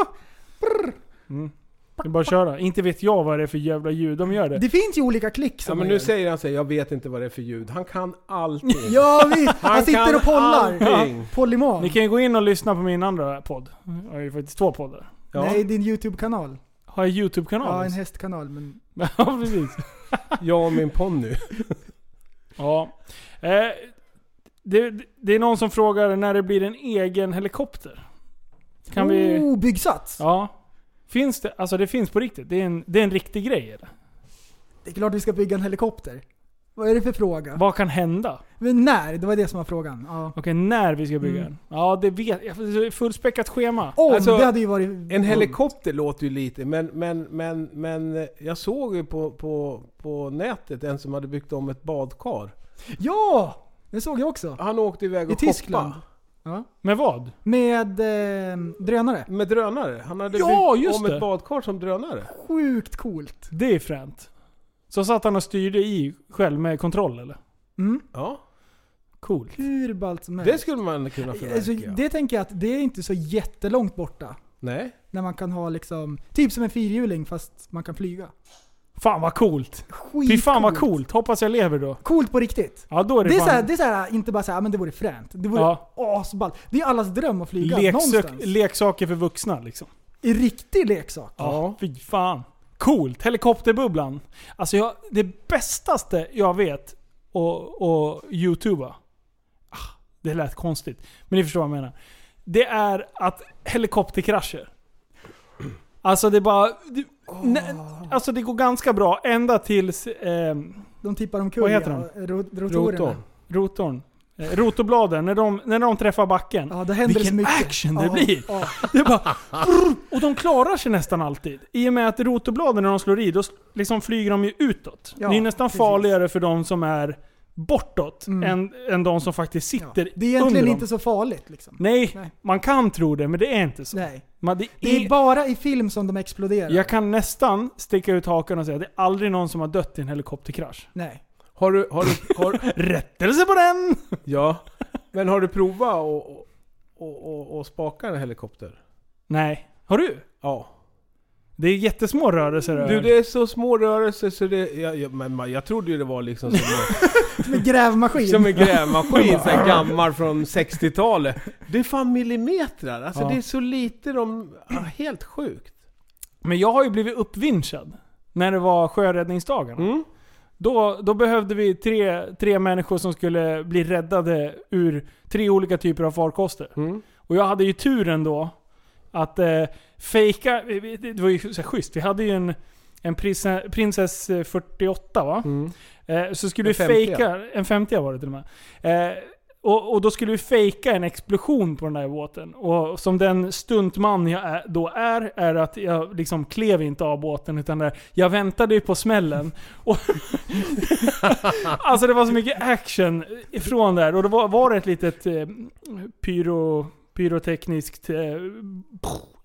S4: Mm. Det är bara att köra. Inte vet jag vad det är för jävla ljud de gör det.
S5: Det finns ju olika klick som
S6: ja men
S5: man
S6: nu
S5: gör.
S6: säger han så här, jag vet inte vad det är för ljud. Han kan allting.
S5: Ja visst,
S6: Han
S5: han, sitter
S6: kan
S5: och pollar.
S6: allting.
S5: Ja, Polyman.
S4: Ni kan ju gå in och lyssna på min andra podd. Jag har ju faktiskt två poddar.
S5: Nej, din YouTube-kanal.
S4: Har jag YouTube-kanal?
S5: Ja, en hästkanal. Men...
S4: Ja, precis.
S6: jag och min ponny.
S4: Ja. Eh, det, det är någon som frågar när det blir en egen helikopter. Kan vi...
S5: Oh, byggsats!
S4: Ja. Finns det? Alltså det finns på riktigt. Det är en, det är en riktig grej eller?
S5: Det är klart vi ska bygga en helikopter. Vad är det för fråga?
S4: Vad kan hända?
S5: Men när? Det var det som var frågan. Ja.
S4: Okej, när vi ska bygga
S5: Mm.
S4: den? Ja, det vet jag. Fullspäckat schema. Alltså,
S5: Om, det hade ju varit...
S6: En helikopter låter ju lite, men, men, men, men eh, jag såg ju på, på, på nätet en som hade byggt om ett badkar.
S5: Ja! Det såg jag också.
S6: Han åkte iväg och
S5: I Tyskland.
S6: shoppade.
S4: Med vad?
S5: Med eh, drönare.
S6: Med drönare. Han hade
S5: Ja,
S6: byggt
S5: just
S6: om
S4: det.
S6: ett badkar som drönare.
S5: Sjukt coolt.
S4: Det är fränt. Så satt han och styrde i själv med kontroll eller?
S5: Mm.
S6: Ja.
S4: Coolt.
S5: Hur ballt som helst.
S6: Det skulle man kunna
S5: Alltså,
S6: förverkliga.
S5: det tänker jag att det är inte så jättelångt borta.
S6: Nej.
S5: När man kan ha liksom, typ som en fyrhjuling fast man kan flyga.
S4: Fan vad coolt. Fy fan vad coolt. Hoppas jag lever då.
S5: Coolt på riktigt.
S4: Ja, då är det,
S5: Det är,
S4: fan...
S5: såhär, det är såhär, inte bara såhär, men det vore fränt. Det vore
S4: Ja.
S5: asballt. Det är allas dröm att flyga
S4: Leksök,
S5: någonstans.
S4: leksaker för vuxna liksom.
S5: I riktig leksak.
S4: Ja. Fy fan. Coolt. Helikopterbubblan. Alltså jag, det bästaste jag vet och, och youtuba. Ah, Det lät konstigt. Men ni förstår vad jag menar. Det är att helikopterkrascher. Alltså det är bara... Det, nej, alltså det går ganska bra ända tills... ehm,
S5: De tippar omkull.
S4: Vad heter de?
S5: ja, ro- Rotorerna.
S4: Rotorn. Eh, Rotorbladen, när de, när de träffar backen.
S5: Ja, det händer
S4: Vilken
S5: så mycket.
S4: action det
S5: Ja,
S4: blir!
S5: ja.
S4: Det är bara... brr, Och de klarar sig nästan alltid. I och med att rotorbladen när de slår i, då s- liksom flyger de ju utåt.
S5: Ja,
S4: det är nästan
S5: precis.
S4: farligare för de som är bortåt
S5: Mm.
S4: än, än de som faktiskt sitter
S5: Det är egentligen
S4: under
S5: inte
S4: dem.
S5: så farligt liksom.
S4: Nej,
S5: Nej.
S4: man kan tro det, men det är inte så.
S5: Nej.
S4: Man, det
S5: Det
S4: är-
S5: är bara i film som de exploderar.
S4: jag kan nästan sticka ut hakan och säga att det är aldrig någon som har dött i en helikopterkrasch.
S5: Nej.
S6: Har du... Har du har,
S4: Rättelse på den!
S6: ja. Men har du provat att och, och, och, och spaka en helikopter?
S4: Nej. Har du?
S6: Ja.
S4: Det är jättesmå rörelser
S6: Du det är så små rörelser så det... Jag, jag, men man- jag trodde ju det var liksom som en,
S5: Som en grävmaskin.
S6: som en grävmaskin, så här gammal från 60-talet. Det är fan millimeter alltså.
S4: Ja.
S6: Det är så lite de... Ja, helt sjukt.
S4: Men jag har ju blivit uppvinschad. När det var sjöräddningsdagarna.
S6: Mm.
S4: Då, då behövde vi tre, tre människor som skulle bli räddade ur tre olika typer av farkoster.
S6: Mm.
S4: Och jag hade ju turen då att eh, fejka... Det var ju så här schysst. Vi hade ju en, en prisa, Princess 48 va?
S6: Mm.
S4: Eh, så skulle
S6: En
S4: vi
S6: 50.
S4: fejka... En 50 var det till och med. Eh, och, och då skulle vi fejka en explosion på den där båten. Och som den stuntman jag är, då är, är att jag liksom klev inte av båten utan där, jag väntade ju på smällen. Och alltså det var så mycket action ifrån där. Och det var, var det ett litet eh, pyro, pyrotekniskt... Eh,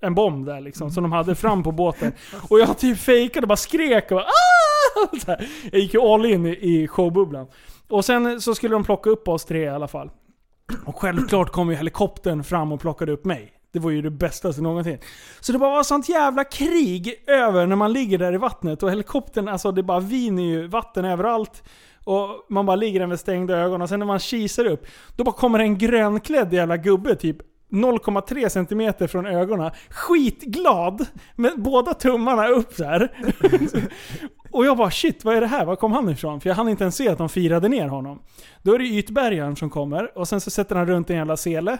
S4: en bomb där liksom, som de hade fram på båten. Och jag typ fejkade och bara skrek och bara, "Ah!" så här. Jag gick ju all in i- i showbubblan. Och sen så skulle de plocka upp oss tre i alla fall. Och självklart kom ju helikoptern fram och plockade upp mig. Det var ju det bästa som någonsin. Så det bara var sånt jävla krig över när man ligger där i vattnet. Och helikoptern, alltså det bara viner ju vatten överallt. Och man bara ligger där med stängda ögon. Och sen när man kisar upp, då bara kommer en grönklädd jävla gubbe typ 0,3 centimeter från ögonen. Skitglad! Med båda tummarna upp där. Och jag bara shit, vad är det här? Var kom han ifrån? För jag hann inte ens se att de firade ner honom. Då är det ytbergaren som kommer och sen så sätter han runt en jävla sele.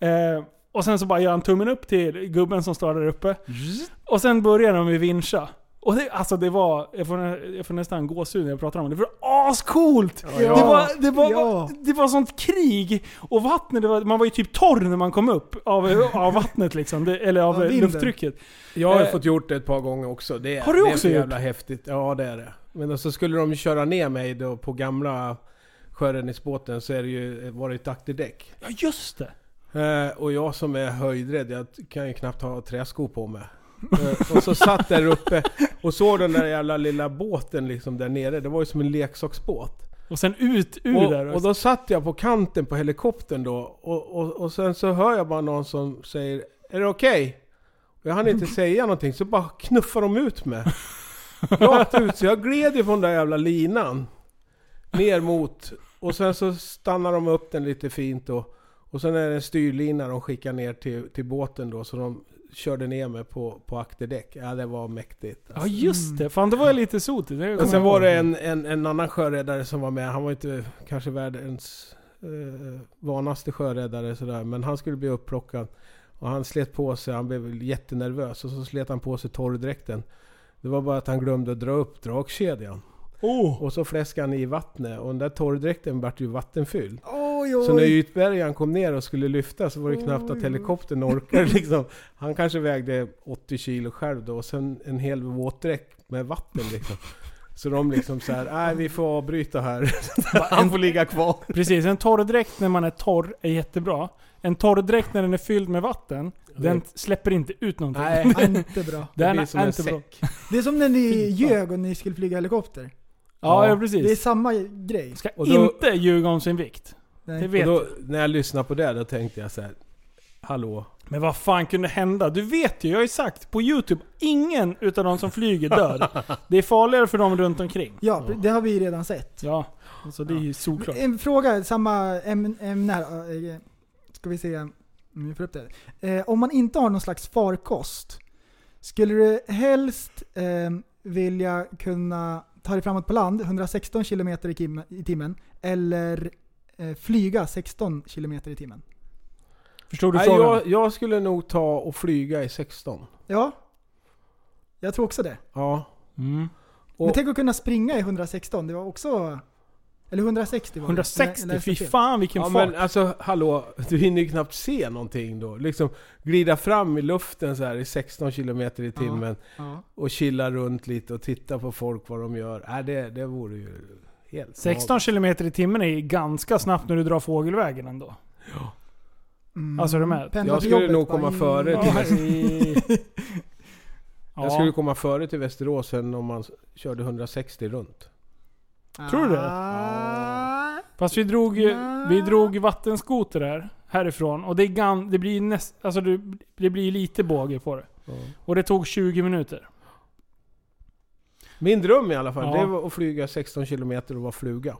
S4: Eh, och sen så bara gör han tummen upp till gubben som står där uppe. Och sen börjar de ju vincha. Och det, alltså det var, jag får, nä- jag får nästan gåshud när jag pratar om det. Det var ascoolt!
S5: ja.
S4: Det, var, det, var,
S5: Ja.
S4: det var sånt krig! Och vattnet, det var, man var ju typ torr när man kom upp av, av vattnet liksom. Det, eller av
S5: Av vinden.
S4: lufttrycket.
S6: Jag har
S4: Eh,
S6: fått gjort det ett par gånger också. Det, är-
S4: Har du
S6: det är
S4: också
S6: så
S4: gjort?
S6: jävla häftigt. Ja det är det. Men då så skulle de ju köra ner mig då på gamla sjöräddningsbåten så är det ju, eh, var det ett akterdäck.
S4: Ja just det!
S6: Eh, och jag som är höjdrädd, jag kan ju knappt ha träskor på mig. Eh, och så satt där uppe och såg den där jävla lilla båten liksom där nere. Det var ju som en leksaksbåt.
S4: Och sen ut ur där.
S6: Och, och då satt jag på kanten på helikoptern då och, och, och sen så hör jag bara någon som säger Är det okej? Och Jag hann inte säga någonting så bara knuffar de ut mig. Rakt ut. Så jag gled ju från den där jävla linan. Ner mot. Och sen så stannar de upp den lite fint då. Och sen är det en styrlina de skickar ner till, till båten då. Så de körde ner mig på, på akterdäck. Ja det var mäktigt.
S4: Ja just det, fan det var jag lite sotig. Det kommer
S6: Och sen
S4: jag
S6: var
S4: ihåg.
S6: det en, en, en annan sjöräddare som var med. Han var inte kanske världens eh, vanaste sjöräddare sådär. Men han skulle bli upplockad. Och han slet på sig. Han blev jättenervös. Och så slet han på sig torrdräkten. Det var bara att han glömde att dra upp dragkedjan.
S4: Oh!
S6: Och så fläskade han i vattnet och den där torrdräkten vart ju vattenfylld.
S5: Oj, oj.
S6: Så när ytbärgaren kom ner och skulle lyfta så var det knappt att helikoptern orkade liksom. Han kanske vägde 80 kilo själv då och sen en hel våtdräkt med vatten liksom. Så de liksom så här, nej vi får avbryta här. Han får ligga kvar.
S4: Precis, en torrdräkt när man är torr är jättebra. En torrdräkt när den är fylld med vatten, den släpper inte ut någonting.
S6: Nej.
S5: Ja, inte bra.
S4: Den
S6: blir
S4: är
S6: som en
S4: inte bra.
S5: Det är som när ni ljög och ni skulle flyga helikopter.
S4: Ja,
S6: Ja.
S4: ja
S5: Det är
S4: precis.
S5: samma grej.
S4: Ska
S6: Och då-
S4: inte ljuga om sin vikt.
S5: Nej.
S4: Det vet
S6: Och då, när jag lyssnade på det, då tänkte jag så här. Hallå?
S4: Men vad fan kunde hända? Du vet ju, jag har ju sagt på Youtube, ingen utav de som flyger dör. Det är farligare för dem runt omkring.
S5: Ja, det har vi redan sett.
S4: Ja, så det är ju solklart.
S5: En fråga, samma ämne ämne här. Eh, Ska vi se om vi får upp det. Eh, Om man inte har någon slags farkost, skulle du helst eh, vilja kunna ta dig framåt på land 116 km i kim- i timmen eller eh, flyga 16 km i timmen?
S4: Förstod du
S6: Nej,
S4: frågan?
S6: jag, jag skulle nog ta och flyga i 16.
S5: Ja, jag tror också det.
S6: Ja.
S4: Mm.
S5: Men
S6: Och-
S5: tänk att kunna springa i 116, det var också... Eller 160 var det.
S4: 160?
S5: Nej, jag läste
S4: Fy
S5: fel.
S4: fan vilken
S6: ja
S4: fart.
S6: men alltså hallå, du hinner ju knappt se någonting då. Liksom glida fram i luften så här i 16 km i timmen
S5: Ja.
S6: och chilla runt lite och titta på folk vad de gör. Äh, det, det vore ju helt
S4: 16 km i timmen är ganska snabbt när du drar fågelvägen ändå.
S5: Mm.
S4: Alltså, är du med?
S5: Pendla
S6: Jag
S5: till
S6: skulle
S5: jobbet,
S6: nog
S5: bara,
S6: komma
S5: mm.
S6: före till,
S4: Ja.
S6: jag skulle komma före till Västerås än om man s- körde 160 runt.
S4: Tror du det?
S5: Ah.
S4: Fast vi drog, ju- vi drog vattenskoter här, härifrån och det, är gan, det blir ju näst, alltså det, det blir ju lite båge på det. Och det tog 20 minuter.
S6: Min dröm i alla fall,
S4: Ja.
S6: det var att flyga 16 km och vara fluga.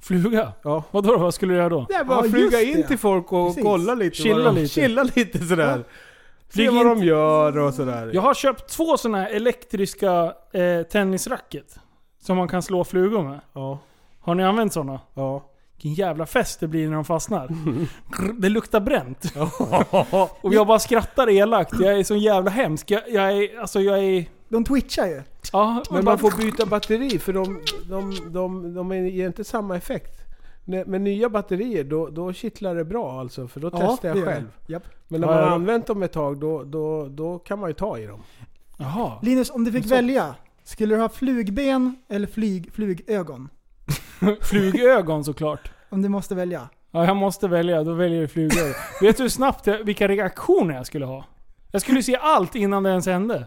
S4: Fluga?
S6: Ja.
S4: Vadå då? Vad skulle du göra då?
S6: Nej, bara
S5: Ja,
S6: flyga
S5: just
S6: in
S5: det.
S6: till folk och
S5: Precis.
S6: kolla lite.
S4: Chilla
S6: vad de,
S4: lite.
S6: Chilla lite sådär. Se
S4: Flyg
S6: vad
S4: in-
S6: de gör och sådär.
S4: Jag har köpt två sådana här elektriska eh, tennisracket. Som man kan slå flugor med.
S6: Ja.
S4: Har ni använt sådana?
S6: Ja.
S4: Vilken jävla fest det blir när de fastnar. Grr, Det luktar bränt. och jag bara skrattar elakt. Jag är så jävla hemsk. Jag, jag är... Alltså jag är...
S5: De twitchar ju.
S4: Ja,
S6: Men
S4: bara-
S6: man får byta batteri för de, de, de, de ger inte samma effekt. Nej, Med nya batterier då, då kittlar det bra alltså, för då testar jag
S5: det gör det.
S6: själv.
S5: Japp.
S6: Men när
S4: Ja,
S6: man har
S4: ja.
S6: använt dem ett tag då, då, då kan man ju ta i dem.
S4: Jaha.
S5: Linus, om du fick välja, skulle du ha flugben eller flyg, flugögon?
S4: Flugögon såklart.
S5: Om du måste välja.
S4: Ja, jag måste välja. Då väljer jag flugögon. Vet du hur snabbt jag, vilka reaktioner jag skulle ha? Jag skulle se allt innan det ens hände.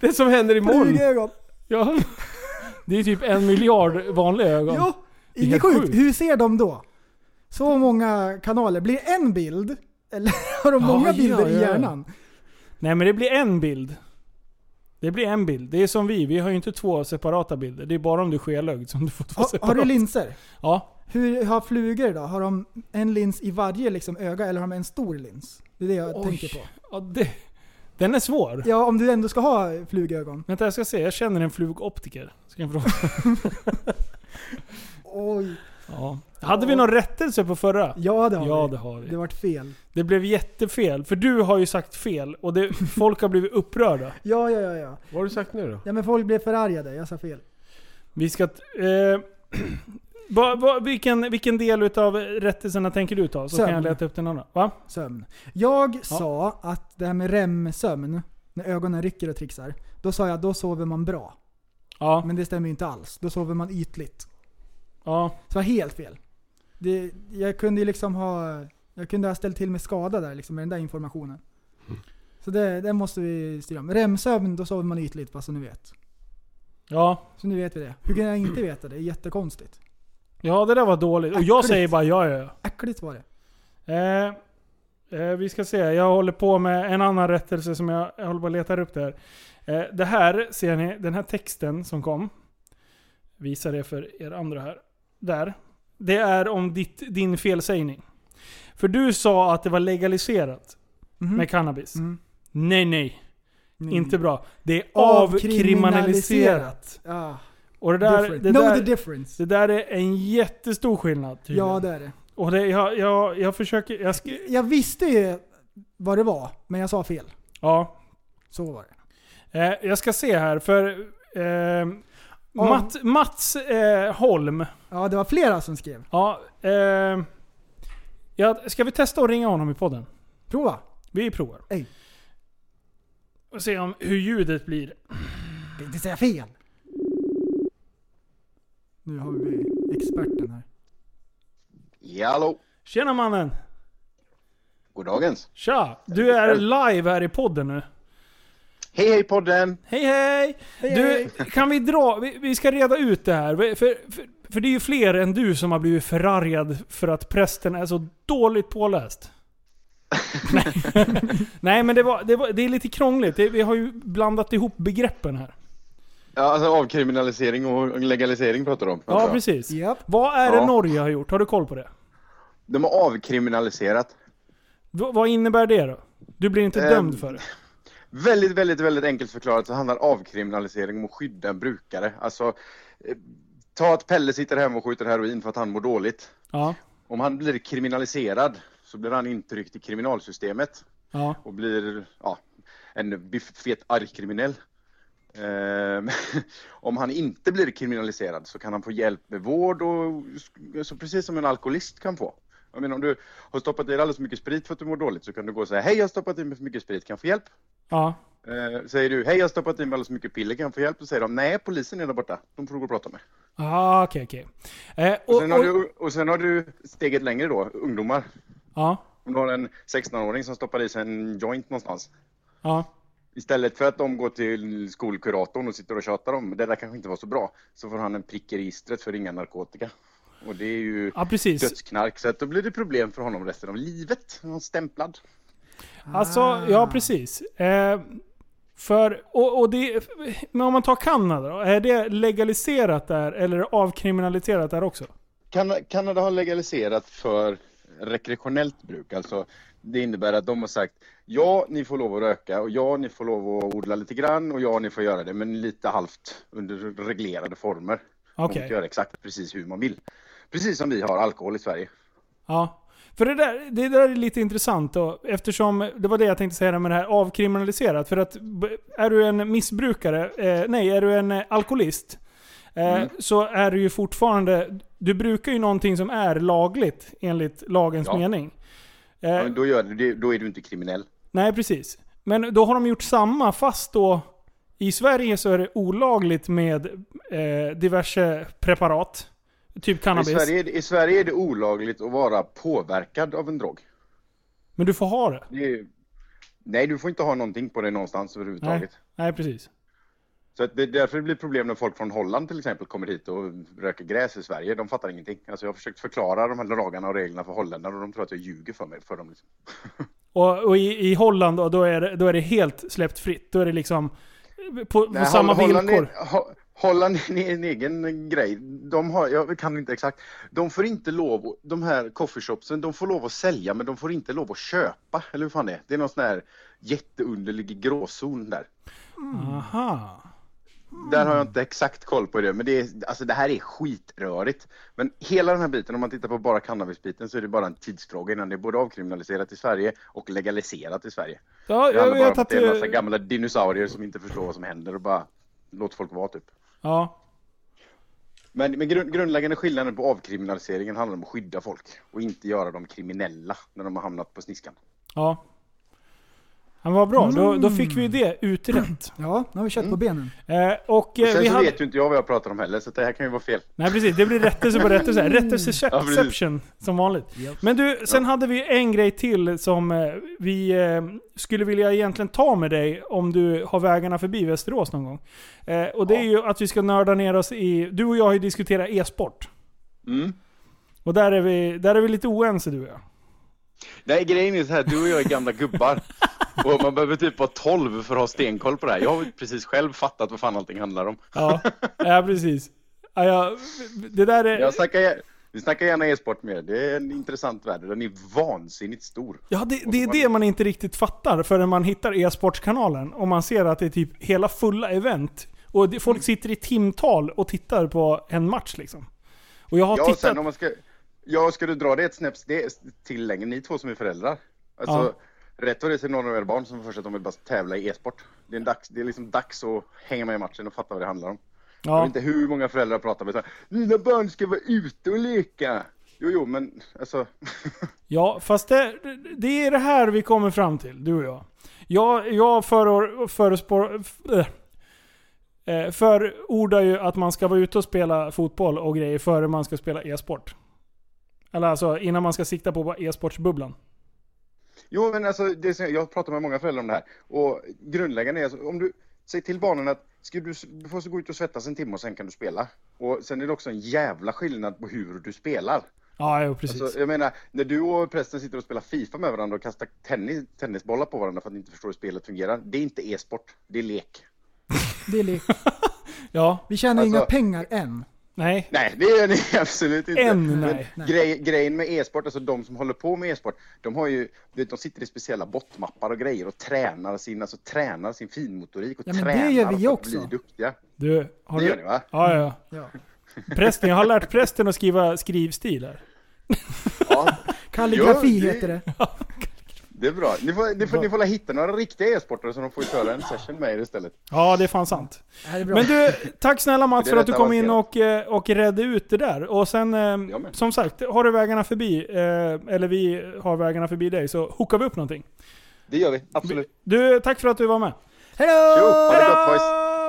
S6: Det som händer imorgon.
S5: Flugögon!
S4: Ja. Det är typ en miljard vanliga ögon.
S5: Jo!
S4: är
S5: Inget
S4: helt
S5: sjukt.
S4: sjukt.
S5: Hur ser de då? Så många kanaler. Blir det en bild? Eller har de
S4: Ja,
S5: många
S4: ja,
S5: bilder i
S4: ja, ja.
S5: hjärnan?
S4: Nej men det blir en bild. Det blir en bild. Det är som vi, vi har ju inte två separata bilder. Det är bara om du är skelögd som du får två
S5: Ha, har
S4: separata.
S5: du linser?
S4: ja.
S5: Hur har flugor då? Har de en lins i varje liksom öga eller har de en stor lins? Det är det jag
S4: Oj.
S5: tänker på.
S4: ja det, den är svår.
S5: Ja, om du ändå ska ha flugögon.
S4: Vänta jag ska se, jag känner en flugoptiker. Ska jag fråga?
S5: Oj.
S4: Ja. Hade vi någon rättelse på förra?
S5: Ja, det har
S4: Ja
S5: vi.
S4: det har
S5: Det
S4: vi.
S5: vart fel.
S4: Det blev jättefel, för du har ju sagt fel och det, folk har blivit upprörda.
S5: Ja, ja, ja, ja.
S6: Vad har du sagt nu då?
S5: Ja men folk blev förargade, jag sa fel.
S4: Vi ska... t- Eh, va, va, vilken, vilken del utav rättelserna tänker du ta? Så kan jag
S5: Sömn.
S4: leta upp den andra. Va?
S5: Sömn. Jag sa att det här med REM-sömn, när ögonen rycker och trixar. Då sa jag då sover man bra.
S4: Ja.
S5: Men det stämmer ju inte alls. Då sover man ytligt.
S4: ja.
S5: Så det var helt fel. Det, jag kunde ju liksom ha... Jag kunde ha ställt till med skada där liksom med den där informationen. Så det, det måste vi styra om. REM-sömn, då sover man ytligt, bara så ni vet.
S4: Ja.
S5: Så nu vet vi det. Hur kan jag inte veta det? Det är jättekonstigt.
S4: Ja, det där var dåligt. Och jag
S5: Äckligt.
S4: säger bara ja, ja,
S5: Äckligt var det.
S4: ja. Eh, eh, vi ska se. Jag håller på med en annan rättelse som jag, jag håller på att leta upp där. Eh, det här, ser ni, den här texten som kom. Visa det för er andra här. Där. Det är om ditt, din felsägning. För du sa att det var legaliserat
S5: Mhm.
S4: med cannabis.
S5: Mm.
S4: Nej, nej,
S5: Nej.
S4: Inte bra. Det är avkriminaliserat.
S5: Ja.
S4: Och det där,
S5: Different.
S4: det,
S5: know
S4: där,
S5: the difference.
S4: det där är en jättestor skillnad tydligen.
S5: Ja, det är det.
S4: Och det, jag, jag, jag försöker... Jag sk-
S5: Jag visste ju vad det var, men jag sa fel.
S4: ja.
S5: Så var det.
S4: Eh, jag ska se här, för
S6: Eh, Matt, Mats eh, Holm.
S5: Ja, det var flera som skrev.
S6: Ja, eh, ja, ska vi testa att ringa honom i podden?
S5: Prova.
S6: Vi provar. Och se om, hur ljudet blir.
S5: Kan inte säga fel. Nu har vi experten här.
S12: Jallå,
S6: Tjena mannen!
S12: goddagens.
S6: Tja! Du är live här i podden nu.
S12: Hej hej podden!
S6: Hej hej! Du, Eh, kan vi dra... Vi, vi ska reda ut det här. För, för, för det är ju fler än du som har blivit förargad för att prästen är så dåligt påläst. Nej. Nej men det, var, det, var, det är lite krångligt. Det, vi har ju blandat ihop begreppen här.
S12: Ja, alltså avkriminalisering och legalisering pratar de om.
S6: Ja precis. Vad är det
S12: Ja.
S6: Norge har gjort? Har du koll på det?
S12: De har avkriminaliserat.
S6: V- vad innebär det då? Du blir inte
S12: Ehm,
S6: dömd för det?
S12: Väldigt, väldigt, väldigt enkelt förklarat så handlar avkriminalisering om att skydda brukare. Alltså, eh, ta att Pelle sitter hemma och skjuter heroin för att han mår dåligt.
S6: Ja.
S12: Om han blir kriminaliserad så blir han intryckt i kriminalsystemet
S6: Ja.
S12: och blir ja, en biff- fet arkriminell. Ehm, om han inte blir kriminaliserad så kan han få hjälp med vård och så precis som en alkoholist kan få. Jag menar om du har stoppat i dig alldeles för mycket sprit för att du mår dåligt så kan du gå och säga hej jag har stoppat i mig för mycket sprit, kan jag få hjälp?
S6: Ja.
S12: Ehm, säger du hej jag har stoppat i mig alldeles för mycket piller, kan jag få hjälp? Då säger de nej polisen är där borta, de får du gå och prata med.
S6: Ah, okej okej. Eh,
S12: Och
S6: och-
S12: sen, har
S6: och-
S12: du, och sen har du steget längre då, ungdomar.
S6: Ja.
S12: Om du har en 16-åring som stoppar i sig en joint någonstans.
S6: Ja.
S12: Istället för att de går till skolkuratorn och sitter och tjatar om det där kanske inte var så bra. Så får han en prick i registret för inga narkotika. Och det är ju
S6: Ja, precis.
S12: dödsknark. Så att då blir det problem för honom resten av livet. Han är stämplad.
S6: Alltså, ja precis. Eh, för, och, och det, men om man tar Kanada då? Eh, Är det legaliserat där eller avkriminaliserat där också?
S12: Kan- Kanada har legaliserat för rekreationellt bruk. Alltså, det innebär att de har sagt ja, ni får lov att röka och ja, ni får lov att odla lite grann och ja, ni får göra det, men lite halvt under reglerade former. Man
S6: Okej.
S12: får göra exakt precis hur man vill. Precis som vi har alkohol i Sverige.
S6: Ja. För det där, det där är lite intressant då, eftersom det var det jag tänkte säga med det här avkriminaliserat. För att b- är du en missbrukare, eh, nej, är du en eh, alkoholist, eh,
S13: Mm.
S6: så är du ju fortfarande, du brukar ju någonting som är lagligt enligt lagens
S12: Ja.
S6: mening. Eh,
S12: Ja, men då, gör du, det- då är du inte kriminell.
S6: Nej, precis. Men då har de gjort samma, fast då i Sverige så är det olagligt med eh, diverse preparat. Typ
S12: I
S6: cannabis.
S12: Sverige, är det- I Sverige är det olagligt att vara påverkad av en drog.
S6: Men du får ha det.
S12: det är, nej, du får inte ha någonting på dig någonstans överhuvudtaget.
S6: Nej, nej precis.
S12: Så att det är därför det blir problem när folk från Holland till exempel kommer hit och röker gräs i Sverige. De fattar ingenting. Alltså jag har försökt förklara de här lagarna och reglerna för holländare och de tror att jag ljuger för, mig, för dem. Liksom.
S6: Och, och i, i Holland då, då, är det, då är det helt släppt fritt. Då är det liksom på, på
S12: Nej,
S6: samma
S12: Holl- Holland
S6: villkor.
S12: Är, Ho- Holland är en egen grej. De har, jag kan inte exakt. De får inte lov, de här coffeeshopsen, de får lov att sälja men de får inte lov att köpa. Eller hur fan det är? Det är någon sån här jätteunderlig gråzon där. Mm.
S6: Aha.
S12: Där har jag inte exakt koll på det, men det, är, alltså det här är skitrörigt. Men hela den här biten, om man tittar på bara cannabisbiten så är det bara en tidsfråga innan det är både avkriminaliserat i Sverige och legaliserat i Sverige.
S6: Ja,
S12: det
S6: jag
S12: handlar bara
S6: vet
S12: om
S6: att
S12: att det är en massa
S6: du...
S12: gamla dinosaurier som inte förstår vad som händer och bara låt folk vara typ.
S6: Ja,
S12: Men, men grund, grundläggande skillnaden på avkriminaliseringen handlar om att skydda folk och inte göra dem kriminella när de har hamnat på sniskan.
S6: ja. Men vad bra, då, då fick
S12: Mm.
S6: vi ju det utrett.
S5: Ja, nu har vi kött
S4: Mm.
S5: på benen.
S6: Eh, och
S12: Och
S6: eh,
S12: sen
S6: vi
S12: så
S6: hade...
S12: vet ju inte jag vad jag pratar om heller så att det här kan ju vara fel.
S6: Nej precis, det blir rättelse på rättelse.
S12: Ja, precis.
S6: Rättelseception som vanligt. Men du, sen hade vi en grej till som eh, vi eh, skulle vilja egentligen ta med dig om du har vägarna förbi Västerås någon gång. Eh, och det är ju att vi ska nörda ner oss i... Du och jag har ju diskuterat e-sport.
S12: Mm.
S6: Och där är, vi, där är vi lite oense du och jag.
S12: Nej, grejen är så här, du och jag är gamla gubbar. Och man behöver typ vara 12 för att ha stenkoll på det här. Jag har ju precis själv fattat vad fan allting handlar om.
S6: Ja, ja precis. Ja, jag, det där är...
S12: Jag snackar, ge- vi snackar gärna e-sport med er. Det är en intressant värld. Den är vansinnigt stor.
S6: Ja, det, det är det man inte riktigt fattar förrän man hittar e-sportskanalen och man ser att det är typ hela fulla event. Och det,
S12: Mm.
S6: folk sitter i timtal och tittar på en match liksom. Och jag har
S12: Ja, och
S6: tittat...
S12: sen om man ska... Ja, ska du dra det ett snäpp ste- till längre, ni två som är föräldrar. Alltså, Rätt vad det är så är det några av era barn som får för sig att de vill bara tävla i e-sport. Det är, en dags, det är liksom dags att hänga med i matchen och fatta vad det handlar om.
S4: Ja.
S12: Jag vet inte hur många föräldrar jag pratar med så här, Mina barn ska vara ute och leka! Jo, jo, men alltså...
S4: Ja, fast det, det är det här vi kommer fram till, du och jag. Jag, jag föror, förespår, eh, eh, förordar ju att man ska vara ute och spela fotboll och grejer före man ska spela e-sport. Eller alltså innan man ska sikta på e-sportsbubblan.
S12: Jo, men alltså, det, är så- jag pratar med många föräldrar om det här. Och grundläggande är, alltså, om du säger till barnen att ska du, s- du får så gå ut och svettas en timme och sen kan du spela. Och sen är det också en jävla skillnad på hur du spelar.
S4: Ja, jo, precis.
S12: Alltså, jag menar, när du och prästen sitter och spelar FIFA med varandra och kastar tennis, tennisbollar på varandra för att ni inte förstår hur spelet fungerar. Det är inte e-sport, det är lek.
S5: Det är lek.
S4: Ja.
S5: Vi tjänar
S12: Alltså-
S5: inga pengar än.
S4: Nej.
S12: Nej, det gör ni absolut inte.
S5: Än
S4: Mm,
S12: Men
S5: nej. Nej.
S12: Grej, grejen med e-sport, alltså de som håller på med e-sport, de har ju, du vet, de sitter i speciella bottmappar och grejer och tränar sin, alltså tränar sin finmotorik och
S5: Ja, men det
S12: tränar
S5: gör vi
S12: för att
S5: också.
S12: bli duktiga.
S4: Du, har
S12: Det
S4: du...
S12: gör ni, va?
S4: Ja, ja.
S5: Ja.
S4: Prästen, jag har lärt prästen att skriva skrivstil här.
S5: Kalligrafi
S12: Jo, det-
S5: heter det.
S12: Det är bra. Ni får, ni får, ni får la hitta några riktiga e-sportare som de får köra en session med er istället.
S4: Ja, det är fan sant.
S5: det är bra.
S4: Men du, tack snälla Mats
S12: Det är
S4: för att du
S12: rätt
S4: kom in och, eh, och redde ut det där. Och sen, eh, som sagt, har du vägarna förbi, eh, eller vi har vägarna förbi dig, så hookar vi upp någonting.
S12: Det gör vi, absolut.
S4: Du, tack för att du var med.
S12: Jo,
S5: Hejdå!
S12: ha det gott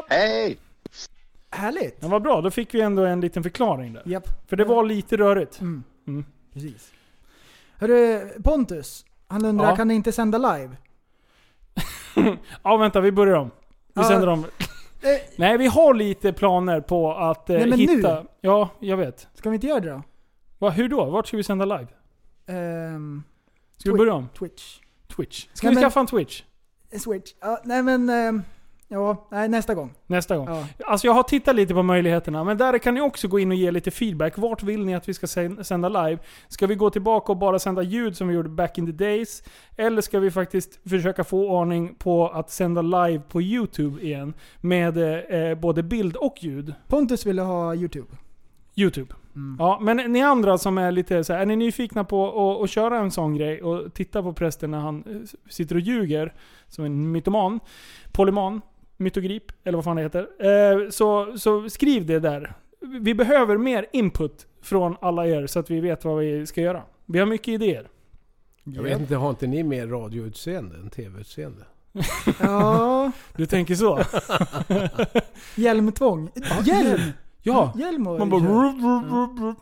S12: boys! Hej!
S5: Härligt!
S4: Det var bra, då fick vi ändå en liten förklaring där.
S5: Japp.
S4: För det var lite rörigt.
S5: Mm.
S4: Mm.
S5: Precis. Hörru, Pontus. Han undrar,
S4: Ja.
S5: kan ni inte sända live?
S4: Ja, vänta, vi börjar om. Vi
S5: Mm. Ja.
S4: sänder om.
S5: Eh.
S4: Nej, vi har lite planer på att eh,
S5: Nej, men
S4: hitta...
S5: nu.
S4: Ja, jag vet.
S5: Ska vi inte göra det då?
S4: Va, hur då? Vart ska vi sända live?
S5: Ehm,
S4: Ska vi
S5: Twi-
S4: börja om?
S5: Twitch.
S4: Twitch. Ska
S5: Nej,
S4: vi
S5: men-
S4: skaffa en Twitch?
S5: Switch. Ja, nej men... ehm, ja, nej, nästa gång.
S4: Nästa gång.
S5: Ja.
S4: Alltså jag har tittat lite på möjligheterna, men där kan ni också gå in och ge lite feedback. Vart vill ni att vi ska sän- sända live? Ska vi gå tillbaka och bara sända ljud som vi gjorde back in the days? Eller ska vi faktiskt försöka få ordning på att sända live på YouTube igen? Med eh, eh, både bild och ljud.
S5: Pontus ville ha YouTube.
S4: YouTube. Ja, men ni andra som är lite så här, är ni nyfikna på att, att köra en sån grej och titta på prästen när han eh, sitter och ljuger som en mytoman, polyman, mytogrip eller vad fan det heter. Eh, så, så skriv det där. Vi behöver mer input från alla er så att vi vet vad vi ska göra. Vi har mycket idéer.
S6: Jag vet inte, har inte ni mer radioutseende än tv-utseende?
S5: Ja,
S4: Du tänker så?
S5: hjälmtvång. Hjälm!
S4: Ja.
S5: Hjälm och
S4: Man bara...
S5: kör.
S4: rup, rup, rup, rup.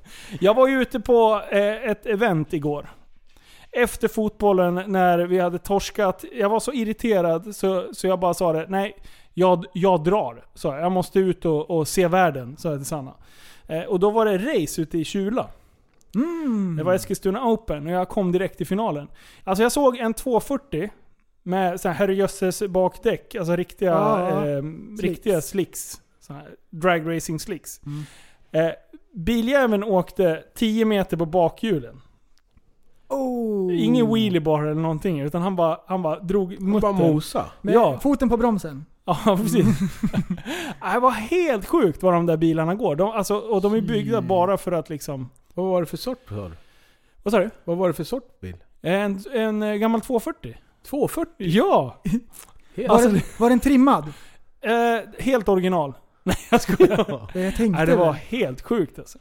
S4: Jag var ju ute på eh, ett event igår. Efter fotbollen när vi hade torskat. Jag var så irriterad så, så jag bara sa det. Nej, jag, jag drar. Så jag. jag måste ut och, och se världen, sa jag till Sanna. Eh, och då var det race ute i Kjula. Det var Eskilstuna Open och jag kom direkt till finalen. Alltså jag såg en 240 med så här herrejösses bakdäck. Alltså riktiga,
S5: Ja, ja.
S4: eh,
S5: Slicks.
S4: riktiga slicks. Så här, drag racing slicks.
S6: Mm.
S4: Eh, biljäveln åkte 10 meter på bakhjulen.
S5: Oh.
S6: Mm.
S4: Ingen wheelie bara eller någonting. Utan han bara, han bara drog muttern.
S6: mosa.
S5: Med
S4: Ja.
S5: foten på bromsen.
S4: Ja,
S6: Mm.
S4: precis. det var helt sjukt vad de där bilarna går. De, alltså, och de är byggda bara för att liksom...
S6: Vad var det för sort sa du?
S4: Vad sa du?
S6: Vad var det för sort bil?
S4: En, en eh, gammal 240.
S6: 240?
S4: Ja!
S6: Helt.
S4: Alltså,
S5: Var, den, var den trimmad?
S4: eh, helt original. Nej, jag skojar.
S5: Det Eh, Jag tänkte
S4: Nej, det var
S5: väl.
S4: helt sjukt alltså.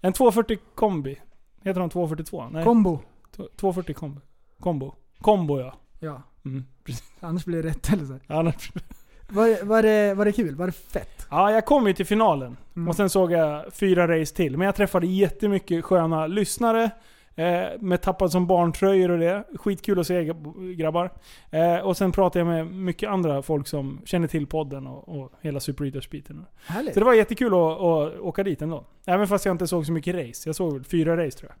S4: En 240 kombi. Heter de 242? Nej.
S5: Kombo.
S4: T- 240 kombo. Kombo. Kombo ja.
S5: Ja,
S4: Mm, precis.
S5: annars blir det rätt eller så.
S4: Annars-
S5: Var, var, det, var det kul? Var det fett?
S4: Ja, jag kom ju till finalen.
S5: Mm.
S4: Och sen såg jag fyra race till. Men jag träffade jättemycket sköna lyssnare. Eh, med tappad som barntröjor och det. Skitkul att se g- grabbar. Eh, och sen pratade jag med mycket andra folk som känner till podden och, och hela Super Eaters-biten.
S5: Härligt.
S4: Så det var jättekul att, att åka dit ändå. Även fast jag inte såg så mycket race. Jag såg väl fyra race tror jag.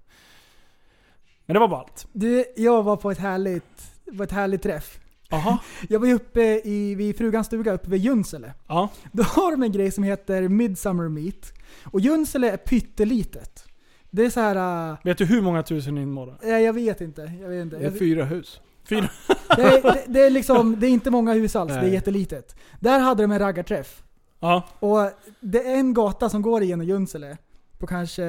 S4: Men det var ballt.
S5: Du, jag var på ett härligt, på ett härligt träff.
S4: Jaha.
S5: Jag var ju uppe i, vid frugans stuga uppe vid Junsele.
S4: Ja.
S5: Då har de en grej som heter Midsummer Meat. Och Junsele är pyttelitet. Det är så här...
S4: Vet du hur många tusen invånare?
S5: Äh, jag vet inte. Jag vet inte.
S6: Det är
S5: Jag,
S6: fyra hus.
S4: Fyra?
S5: det, är, det, det är liksom, det är inte många hus alls. Det är
S6: Nej.
S5: jättelitet. Där hade de en raggarträff.
S4: Ja.
S5: Och det är en gata som går igenom Junsele. på kanske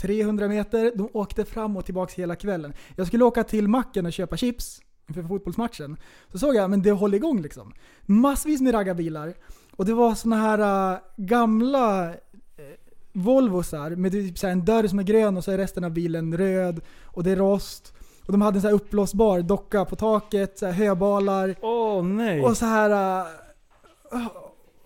S5: 300 meter. De åkte fram och tillbaka hela kvällen. Jag skulle åka till macken och köpa chips inför fotbollsmatchen. Så såg jag, men det håller igång liksom. Massvis med raggarbilar. Och det var såna här äh, gamla eh, Volvosar med typ så här en dörr som är grön och så är resten av bilen röd och det är rost. Och de hade en så här uppblåsbar docka på taket, så här höbalar.
S4: Åh nej!
S5: Och så här... äh,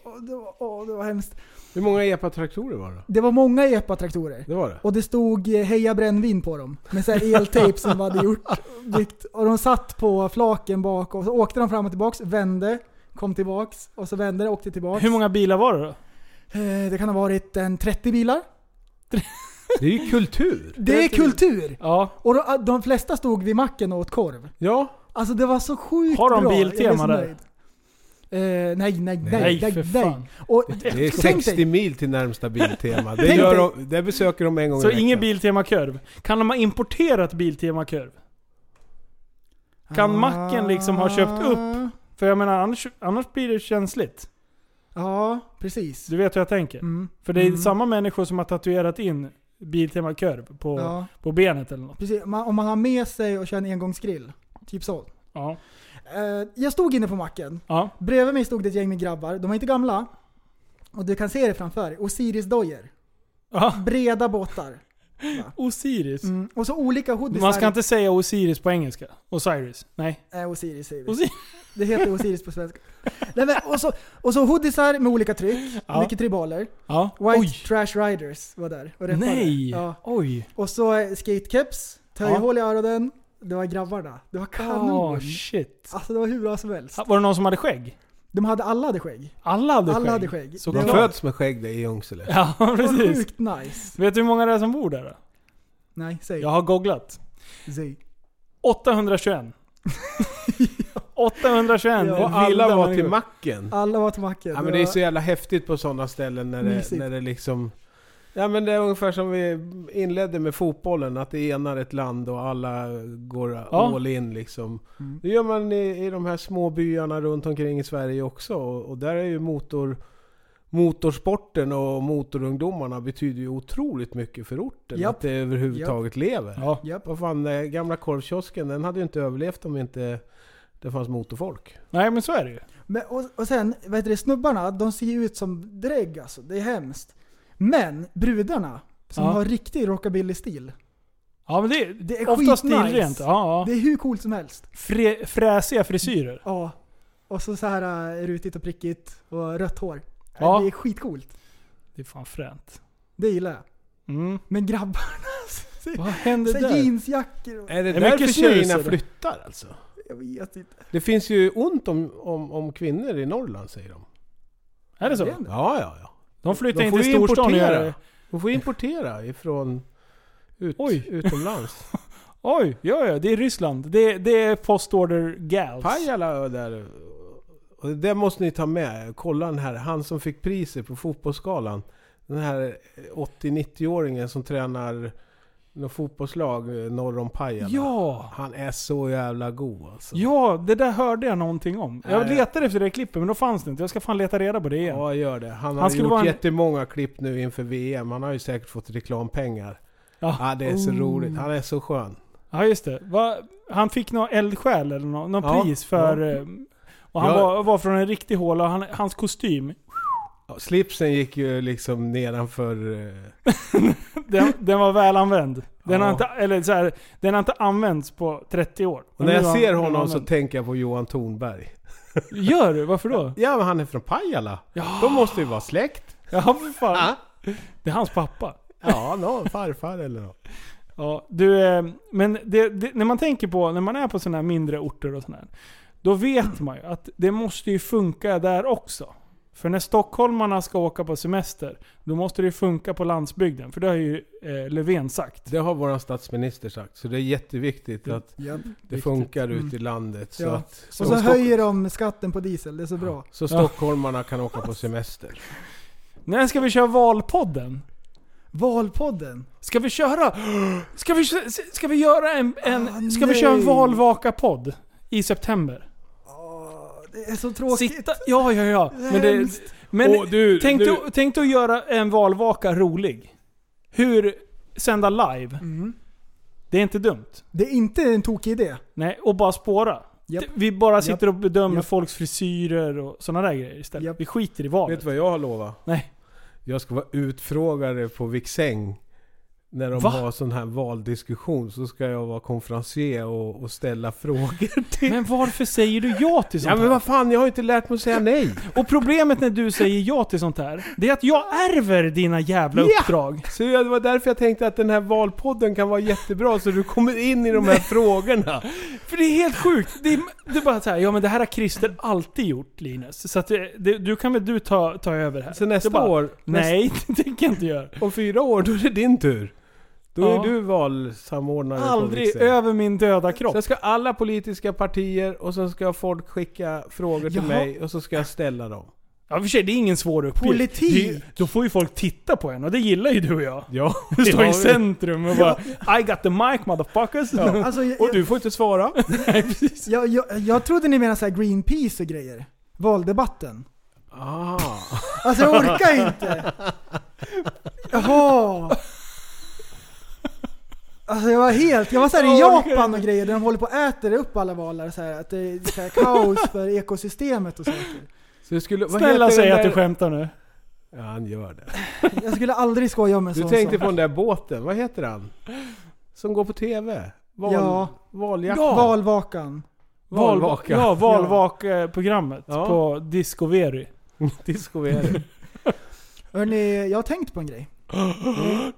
S5: åh, det, var, åh, det var hemskt.
S6: Hur många EPA-traktorer var det?
S5: Det var många EPA-traktorer.
S6: Det var det?
S5: Och det stod eh, Heja Brännvin på dem. Med så här eltejp som de hade gjort. Byggt. Och de satt på flaken bak och så åkte de fram och tillbaks, vände, kom tillbaks och så vände det, åkte tillbaks.
S4: Hur många bilar var det då?
S5: Eh, Det kan ha varit en 30 bilar.
S6: Det är ju kultur!
S5: Det är kultur!
S4: Ja.
S5: Och de, de flesta stod vid macken och åt korv.
S6: Ja.
S5: Alltså det var så sjukt
S4: Har de
S5: bra.
S4: Biltema
S5: Jag blev så
S4: där?
S5: nöjd. Eh, nej, nej, nej, nej,
S6: Nej,
S5: nej.
S6: för fan.
S5: Och,
S6: Det är
S5: tänk
S6: 60
S5: dig,
S6: mil till närmsta Biltema. Det,
S4: Tänk
S6: gör
S4: dig.
S6: de, det besöker de en gång
S4: Så
S6: i veckan.
S4: ingen Biltema-kurv. Kan de ha importerat Biltema-kurv? Kan
S5: Ah.
S4: macken liksom ha köpt upp? För jag menar annars, annars blir det känsligt.
S5: Ah, Ja, precis.
S4: Du vet hur jag tänker?
S5: Mm.
S4: För det är
S5: Mm.
S4: samma människor som har tatuerat in Biltema-kurv på,
S5: Ja.
S4: på benet eller något.
S5: Precis, man, om man har med sig och kör en engångsgrill. Typ så.
S4: Ja.
S5: Eh, jag stod inne på macken.
S4: Ja.
S5: Bredvid mig stod det ett gäng med grabbar. De var inte gamla. Och du kan se det framför dig. Osiris-dojor. Breda båtar.
S4: Osiris.
S5: Mm. Och så olika hoodies.
S4: Man ska inte säga Osiris på engelska. Osiris. Nej.
S5: Nej, Osiris säger vi.
S4: Osiris.
S5: Eh, Det heter Osiris på svenska. Nej, men, och, så, och så hoodiesar med olika tryck,
S4: Ja.
S5: mycket tribaler.
S4: Ja.
S5: White
S4: Oj.
S5: Trash Riders var där och rappade.
S4: Nej.
S5: Ja.
S4: Oj.
S5: Och så eh, skatecaps, töjhål i öronen. Det var grabbarna. Det var kanon.
S4: Åh, Ah, shit. Ah,
S5: Alltså det var hur bra som helst.
S4: Var det någon som hade skägg?
S5: De hade, alla hade skägg.
S4: Alla hade
S5: Alla
S4: skägg.
S5: hade skägg.
S4: Så
S5: Det
S6: De
S5: var-
S6: föds med skägg där i Ljungsele.
S4: Ja, precis.
S5: Sjukt nice.
S4: Vet du hur många det är som bor där då?
S5: Nej, säg.
S4: Jag har googlat.
S5: Säg.
S4: 821. 821
S6: Och alla var till
S4: människor.
S6: macken.
S5: Alla var till macken.
S6: Ja men det är så jävla häftigt på sådana ställen när det,
S5: Mysigt.
S6: när det liksom... Ja men det är ungefär som vi inledde med fotbollen, att det enar ett land och alla går
S4: Ja.
S6: all in liksom.
S5: Mm.
S6: Det gör man i, i de här små byarna runt omkring i Sverige också och, och där är ju motor, motorsporten och motorungdomarna betyder ju otroligt mycket för orten.
S5: Japp.
S6: Att det överhuvudtaget lever.
S4: Ja.
S5: Japp.
S6: Vad fan, den gamla korvkiosken den hade ju inte överlevt om inte det fanns motorfolk.
S4: Nej men så är det ju.
S5: Men, och, och sen, vad heter det, snubbarna, de ser ju ut som drägg alltså. Det är hemskt. Men brudarna, som
S4: Ja.
S5: har riktig rockabilly-stil.
S4: Ja men det,
S5: Det är
S4: ofta
S5: skitnice.
S4: stilrent. Ja,
S5: Det
S4: ja.
S5: är hur coolt som helst.
S4: Frä, fräsiga frisyrer.
S5: Ja. Och så så här eh, rutigt och prickigt och rött hår.
S4: Ja.
S5: Det är skitcoolt.
S4: Det är fan fränt.
S5: Det gillar jag.
S4: Mm.
S5: Men grabbarna, så-
S4: Vad hände
S5: så här
S4: där?
S5: jeansjackor och...
S6: Är det,
S4: Det är
S6: därför
S4: mycket snus,
S6: tjejerna
S4: är det?
S6: flyttar alltså?
S5: Jag vet inte.
S6: Det finns ju ont om, om, om kvinnor i Norrland säger de.
S4: Är det så?
S5: Det-
S6: Ja, ja, ja.
S4: De flyttar
S6: De
S4: in
S6: får
S4: till
S6: ju
S4: storstan och gör
S6: importera.
S4: det.
S6: De får importera ifrån ut,
S4: Oj.
S6: utomlands.
S4: Oj, ja ja. Det är Ryssland. Det, det är postorder gals.
S6: Pajala där. Och det där måste ni ta med. Kolla den här, han som fick priset på fotbollsskalan. Den här 80-90-åringen som tränar något fotbollslag eh, norr om Pajala.
S4: Ja!
S6: Han är så jävla god alltså.
S4: Ja, det där hörde jag någonting om. Jag
S6: Nej.
S4: letade efter det klippet men då fanns det inte. Jag ska fan leta reda på det igen.
S6: Ja, gör det. Han har
S4: Han
S6: han
S4: skulle
S6: gjort
S4: vara en-
S6: jättemånga klipp nu inför VM. Han har ju säkert fått reklampengar.
S4: Ja.
S6: Ja, det är så
S5: Oh.
S6: roligt. Han är så skön.
S4: Ja just det. Va, han fick någon eldsjäl eller någon, någon
S6: Ja,
S4: pris för...
S6: ja.
S4: eh, Och han
S6: Ja.
S4: var, var från en riktig håla och han, hans kostym,
S6: Ja, slipsen gick ju liksom nedanför... eh,
S4: den, den var väl använd. Den, har
S6: Ja.
S4: inte, eller så här, den har inte använts på 30 år.
S6: Och
S4: Men
S6: när
S4: nu
S6: jag
S4: har
S6: ser
S4: den
S6: honom så
S4: använd.
S6: tänker jag på Johan Tornberg.
S4: Gör du? Varför då?
S6: Ja, men han är från Pajala. De måste ju vara släkt.
S4: Ja, för fan.
S6: Ja.
S4: Det är hans pappa.
S6: Ja, någon farfar eller något.
S4: Ja, du, eh, men det, det, när man tänker på, när man är på sådana här mindre orter och sådär. Då vet man ju att det måste ju funka där också. För när stockholmarna ska åka på semester, då måste det ju funka på landsbygden. För det har ju eh, Löfven sagt.
S6: Det har vår statsminister sagt. Så det är jätteviktigt att
S5: Japp.
S6: det funkar ute i landet. Så,
S5: Mm. Ja.
S6: att,
S5: Och så höjer de skatten på diesel, det är så bra.
S6: så stockholmarna kan åka på semester.
S4: När ska vi köra valpodden?
S5: Valpodden.
S4: Ska vi köra... Ska vi, kö- ska vi göra en... en
S5: Ah,
S4: ska vi köra en
S5: nej.
S4: valvaka-podd? I september.
S5: Det är så tråkigt.
S4: Sitta... Ja, ja, ja. Men, det,
S5: Hemskt.
S4: men
S6: Åh, du,
S4: tänk,
S6: du-
S4: Dig, tänk dig att göra en valvaka rolig. hur sända live.
S6: Mm.
S4: Det är inte dumt.
S5: Det är inte en tokig idé.
S4: Nej, och bara spåra.
S5: Japp.
S4: Det- Vi bara
S5: Japp.
S4: sitter och bedömer
S5: Japp.
S4: folks frisyrer och sådana där grejer istället. Vi skiter i valet.
S6: Vet du vad jag har lovat?
S4: Nej.
S6: Jag ska vara utfrågare på Viksäng. När de
S4: Va?
S6: har sån här valdiskussion så ska jag vara konferencier och, och ställa frågor.
S4: Men varför säger du ja till sånt
S6: Ja, men
S4: vad
S6: fan, jag har inte lärt mig att säga nej.
S4: Och problemet när du säger ja till sånt här, det är att jag ärver dina jävla
S6: Ja!
S4: uppdrag.
S6: Så det var därför jag tänkte att den här valpodden kan vara jättebra så du kommer in i de här frågorna.
S4: För det är helt sjukt. Det är, det är bara så här, ja men det här har Christer alltid gjort Linus. Så att det, det, du kan väl du ta, ta över här.
S6: Så nästa
S4: Det är bara,
S6: år-
S4: Nej, det tänker jag inte göra.
S6: Om fyra år, då är det din tur. Då
S4: Ja.
S6: är du valsamordnare på
S4: Aldrig
S6: Riksdagen.
S4: över min döda kropp.
S6: Sen ska alla politiska partier och sen ska folk skicka frågor till
S4: Jaha.
S6: mig och så ska jag ställa dem.
S4: Ja i och för sig, det är ingen svår uppgift.
S6: Politik.
S4: Det är- då får ju folk titta på en och det gillar ju du och jag.
S6: Ja.
S4: Du står
S6: Ja.
S4: i centrum och bara I got the mic motherfuckers.
S5: Ja, alltså, jag-
S4: och du får inte svara.
S5: Jag, jag, jag trodde ni menade så här Greenpeace och grejer. Valdebatten.
S6: Ah.
S5: Alltså jag orkar inte. Jaha. Alltså jag var helt, jag var såhär i
S4: Jag orkar
S5: Japan och grejer där de håller på och äter upp alla valar så här, att det är så här kaos för ekosystemet och saker.
S6: Så det skulle, vad
S4: Snälla
S6: heter den
S4: säg att
S6: där-
S4: du skämtar nu.
S6: Ja, han gör det.
S5: Jag skulle aldrig skoja om en
S6: Du
S5: sån
S6: tänkte
S5: sak.
S6: på den där båten, vad heter han? Som går på TV? Val,
S5: Ja.
S6: Valjakt?
S5: Ja. Valvakan.
S6: Valvaka.
S4: Ja, valvak-programmet
S6: Ja.
S4: på Disco Veri.
S6: Disco Veri.
S5: Hörrni, jag har tänkt på en grej.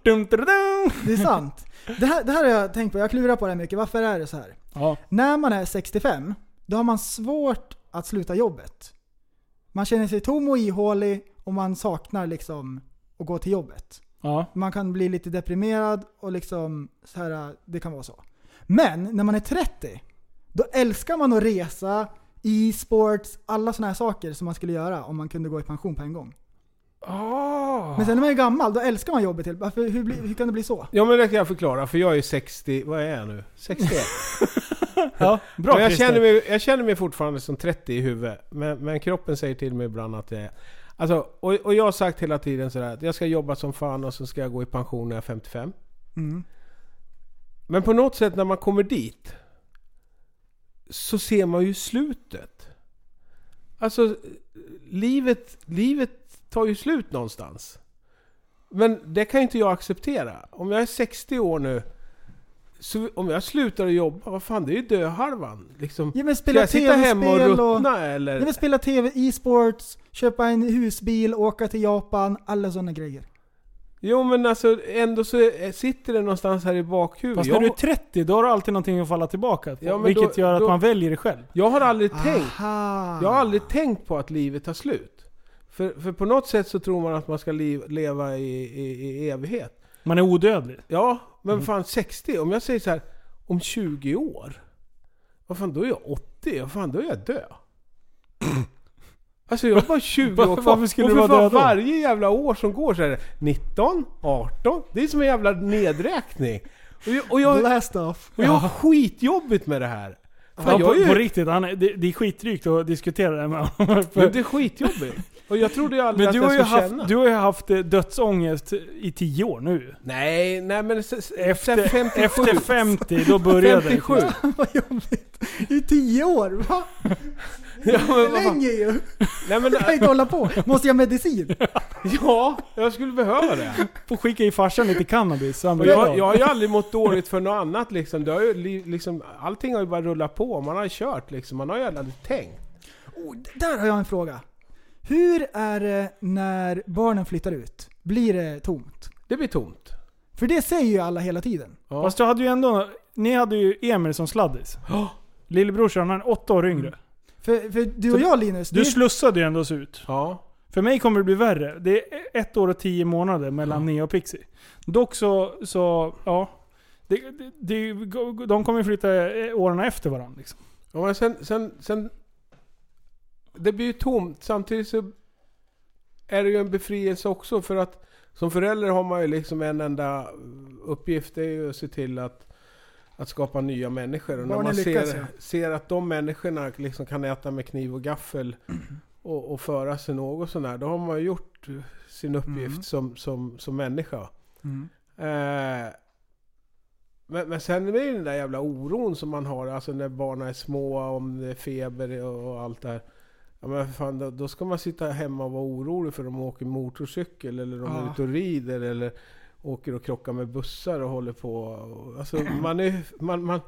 S4: Dum, dum, dum.
S5: Det är sant. Det här, det här har jag tänkt på, jag klurar på det här mycket. Varför är det så här?
S4: Ja.
S5: När man är 65, då har man svårt att sluta jobbet. Man känner sig tom och ihålig och man saknar liksom att gå till jobbet.
S4: Ja.
S5: Man kan bli lite deprimerad och liksom så här, det kan vara så. Men när man är 30, då älskar man att resa, e-sports, alla sådana här saker som man skulle göra om man kunde gå i pension på en gång.
S4: Ah.
S5: Men sen när man är gammal, då älskar man jobbet helt. Varför, hur, blir- hur kan det bli så?
S6: Ja men det kan jag förklara, för jag är 60, vad är jag nu? 61.
S4: ja, bra
S6: Men jag,
S4: Christer.
S6: känner mig, jag känner mig fortfarande som 30 i huvudet, men, men kroppen säger till mig ibland att jag är... Alltså, och, och jag har sagt hela tiden sådär att jag ska jobba som fan och så ska jag gå i pension när jag är 55.
S5: Mm.
S6: Men på något sätt när man kommer dit så ser man ju slutet. Alltså, livet, livet tar ju slut någonstans. Men det kan ju inte jag acceptera. Om jag är 60 år nu, så om jag slutar att jobba, vad fan det är ju döhalvan. Liksom,
S5: Ja, men
S6: ska
S5: spela
S6: jag sitta hemma och
S5: TV-spel
S6: ruttna
S5: och-
S6: eller?
S5: Jag vill spela TV, e-sports, köpa en husbil, åka till Japan, alla sådana grejer.
S6: Jo men alltså ändå så är- sitter det någonstans här i bakhuvudet.
S4: Fast när du är 30, då har du alltid någonting att falla tillbaka på.
S6: Ja, men
S4: vilket
S6: då-
S4: gör att
S6: då-
S4: man väljer det själv.
S6: Jag har aldrig tänkt.
S5: Aha.
S6: Jag har aldrig tänkt på att livet tar slut. För, för på något sätt så tror man att man ska liv, leva i, i, i evighet.
S4: Man är odödlig.
S6: Ja, men
S4: Mm.
S6: fan 60. Om jag säger så här, om 20 år. Vad fan, då är jag 80. Vad fan, då är jag död. Alltså jag har bara 20 år
S4: Varför-
S6: kvar.
S4: varför skulle du
S6: Och för
S4: vara
S6: fan,
S4: död då?
S6: Varje jävla år som går så är det 19, 18. Det är som en jävla nedräkning. Och jag, och jag,
S5: Blast off.
S6: och jag har skitjobbigt med det här. Fan,
S4: Ja,
S6: jag
S4: på,
S6: är ju-
S4: på riktigt, han, är- det, det är skitdrygt att diskutera det med honom.
S6: Men det är skitjobbigt. Och jag trodde ju aldrig
S4: Men
S6: att
S4: du har,
S6: jag
S4: ju
S6: skulle
S4: haft,
S6: känna.
S4: du har ju haft eh, dödsångest i 10 år nu.
S6: Nej, nej men s- s-
S4: Efter,
S6: efter 57.
S4: efter 50, då började
S6: 57.
S4: det.
S5: I tio år? Va?
S6: Ja, men vad fan.
S5: Länge ju!
S6: Nej, men,
S5: Jag kan inte hålla på. Måste jag ha medicin?
S6: ja, jag skulle behöva det.
S4: Får skicka i farsan lite cannabis så han
S6: Och
S4: blir
S6: jag,
S4: glad.
S6: jag har ju aldrig mått dåligt för något annat liksom. Det har ju, li- liksom. Allting har ju bara rullat på. Man har ju kört liksom. Man har ju aldrig tänkt.
S5: Oh, d- där har jag en fråga. Hur är det när barnen flyttar ut? Blir det tomt?
S6: Det blir tomt.
S5: För det säger ju alla hela tiden.
S4: Fast du hade ju ändå... Ni hade ju Emil som sladdis. Lillebrorsan, han är åtta år yngre.
S6: Mm.
S5: För, för du och jag Linus,
S4: Du
S5: det-
S4: slussade ju ändå oss ut.
S6: Ja.
S4: För mig kommer det bli värre. Det är ett år och tio månader mellan Nea och Pixie. Dock så, så ja. Det, det, det, de kommer ju flytta eh, åren efter varandra. Liksom.
S6: Ja, men sen, sen, sen... Det blir ju tomt. Samtidigt så är det ju en befrielse också för att som förälder har man ju liksom en enda uppgift. Det är ju att se till att, att skapa nya människor. Och när
S5: Barnen
S6: man
S5: lyckas,
S6: ser,
S5: ja.
S6: ser att de människorna liksom kan äta med kniv och gaffel och, och föra sig något sånär. Då har man ju gjort sin uppgift som, som, som människa.
S5: Mm.
S6: Eh, men, men sen är det ju den där jävla oron som man har, alltså när barnen är små, om det är feber och, och allt det här. Ja, men för fan, då, då ska man sitta hemma och vara orolig för de åker motorcykel eller de är
S14: Ja.
S6: ute och rider eller åker och krockar med bussar och håller på. Alltså man är man, man,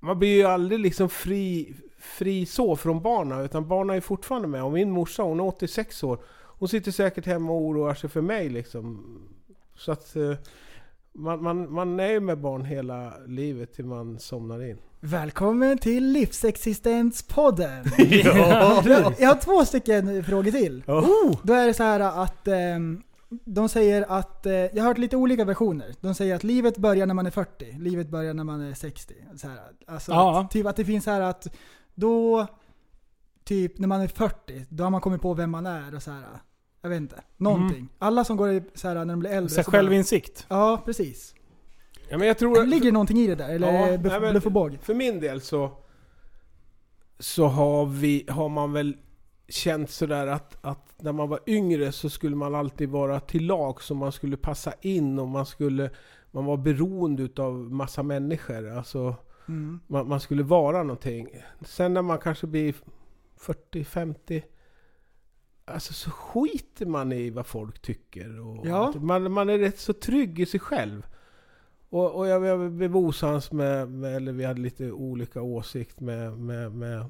S6: man blir ju aldrig liksom fri, fri så från barna utan barna är fortfarande med. Och min morsa hon är 86 år. Hon sitter säkert hemma och oroar sig för mig liksom. Så att eh, man, man, man är ju med barn hela livet till man somnar in.
S5: Välkommen till Livsexistenspodden!
S6: Ja.
S5: jag har två stycken frågor till. Då är det så här att ehm, de säger att, eh, jag har hört lite olika versioner. De säger att livet börjar när man är 40, livet börjar när man är 60. Så här, alltså
S4: Ja.
S5: att, typ att det finns så här att då, typ när man är 40, då har man kommit på vem man är och så här. Jag vet inte. Någonting.
S4: Mm.
S5: Alla som går i, så här, när de blir äldre.
S4: Så här
S5: bara-
S4: självinsikt.
S5: Ja, precis.
S6: Ja, men jag tror
S5: Ligger det någonting i det där? Eller
S6: Ja,
S5: är det bluff,
S6: nej, men
S5: bluff och båg?
S6: För min del så, så har, vi, har man väl känt sådär att, att när man var yngre så skulle man alltid vara till lag så man skulle passa in och man skulle man var beroende utav massa människor. Alltså,
S5: Mm.
S6: man, man skulle vara någonting. Sen när man kanske blir 40, 50 Alltså så skiter man i vad folk tycker. Och
S5: Ja.
S6: att man, man är rätt så trygg i sig själv. Och, och jag, jag blev osams med, med, eller vi hade lite olika åsikt med, med, med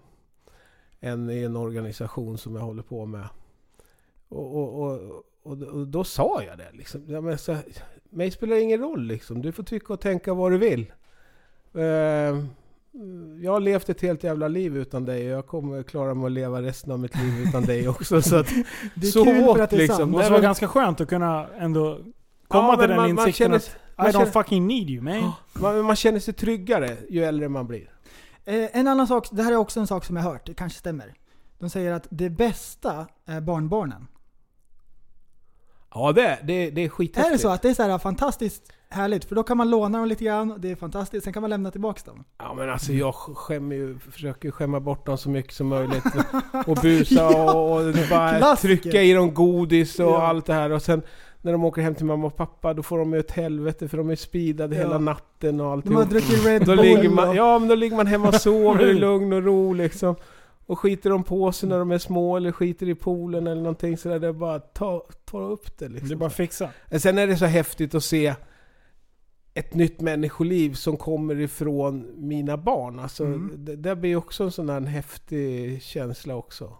S6: en i en organisation som jag håller på med. Och, och, och, och, och då sa jag det liksom. Ja, men så, mig spelar det ingen roll liksom. Du får tycka och tänka vad du vill. Eh, jag har levt ett helt jävla liv utan dig och jag kommer klara mig att leva resten av mitt liv utan dig också. Så att,
S4: Det är
S6: så
S4: kul för
S6: åt,
S4: att det är sant. Det måste
S6: Nej,
S4: vara
S6: men-
S4: ganska skönt att kunna ändå
S6: Ja,
S4: komma
S6: men
S4: till den
S6: man- man
S4: insikten
S6: känner-
S4: att I
S6: man
S4: don't
S6: känner- Ah,
S4: fucking need you man.
S6: man, man känner sig tryggare ju äldre man blir.
S5: Eh, en annan sak, det här är också en sak som jag hört, det kanske stämmer. De säger att det bästa är barnbarnen.
S6: Ja det, det, det är skithäftigt.
S5: Är det så att det är så här fantastiskt härligt? För då kan man låna dem lite grann, och det är fantastiskt, sen kan man lämna tillbaka dem.
S6: Ja men alltså jag skämmer ju, försöker ju skämma bort dem så mycket som möjligt. Och busa och, och bara
S5: klassiker.
S6: trycka i dem godis och
S5: Ja.
S6: allt det här. Och sen när de åker hem till mamma och pappa då får de ju ett helvete för de är speedade
S5: Ja.
S6: hela natten och allting.
S5: De har druckit Red
S6: då
S5: Bull
S6: ligger man,
S5: och-
S6: Ja men då ligger man hemma och sover i lugn och ro liksom. Och skiter de på sig när de är små eller skiter i poolen eller någonting sådär. Det är bara att ta, ta upp det liksom.
S4: Det är bara att fixa.
S6: Men Sen är det så häftigt att se ett nytt människoliv som kommer ifrån mina barn. Alltså,
S4: Mm.
S6: det, det blir också en sån där en häftig känsla också.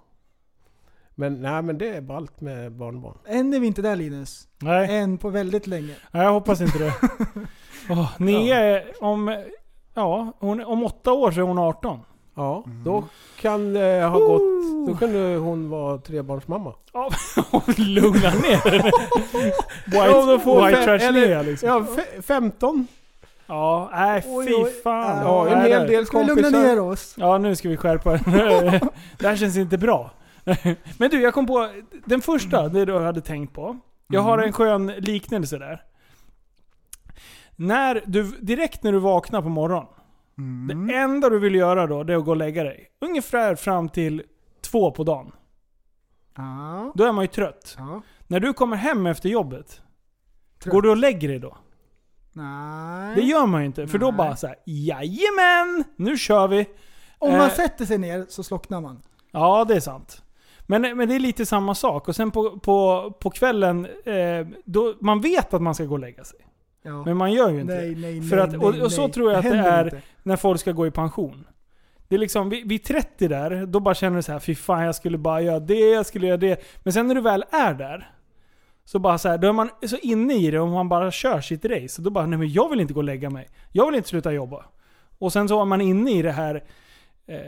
S6: Men nej, men det är ballt med barnbarn.
S5: Än är vi inte där Linus.
S6: Eh.
S4: Nej.
S5: Än på väldigt länge.
S4: Nej, jag hoppas inte det. Åh, ni
S5: Ja.
S4: är om... Ja, hon, om åtta år så är hon 18.
S6: Ja, då kan det ha gått... Då kan du, hon vara trebarnsmamma.
S4: Lugna ner dig.
S6: Ja, om de
S4: White,
S6: får
S4: white
S6: fe-
S4: trash
S6: eller-
S4: ner liksom.
S6: Ja, fe- 15.
S4: Ja, nej fy fan.
S6: Ja, en hel del Ska vi lugna kompisar. ner
S5: oss?
S4: Ja, nu ska vi skärpa Det här känns inte bra. Men du, jag kom på den första,
S6: Mm.
S4: det du hade tänkt på. Jag har en skön liknelse där. När du, direkt när du vaknar på morgonen.
S6: Mm.
S4: Det enda du vill göra då, det är att gå och lägga dig. Ungefär fram till två på dagen. Då är man ju trött. När du kommer hem efter jobbet, går du och lägger dig då?
S5: Nej.
S6: Mm.
S4: Det gör man ju inte. För då bara så här, jajamän! Nu kör vi!
S5: Om man
S4: Eh,
S5: sätter sig ner så slocknar man.
S4: Ja, det är sant. Men, men det är lite samma sak. Och sen på, på, på kvällen, eh, då, man vet att man ska gå och lägga sig.
S5: Ja.
S4: Men man gör ju inte
S5: Nej,
S4: det.
S5: nej,
S4: För
S5: nej,
S4: att, och,
S5: nej,
S4: och så
S5: nej.
S4: tror jag att det,
S5: händer
S4: är
S5: inte.
S4: när folk ska gå i pension. Det är liksom, vid, vid 30 där, då bara känner du så här, fy fan jag skulle bara göra det, jag skulle göra det. Men sen när du väl är där, så bara så här, då är man så inne i det och man bara kör sitt race. Så då bara, nej men jag vill inte gå och lägga mig. Jag vill inte sluta jobba. Och sen så är man inne i det här eh,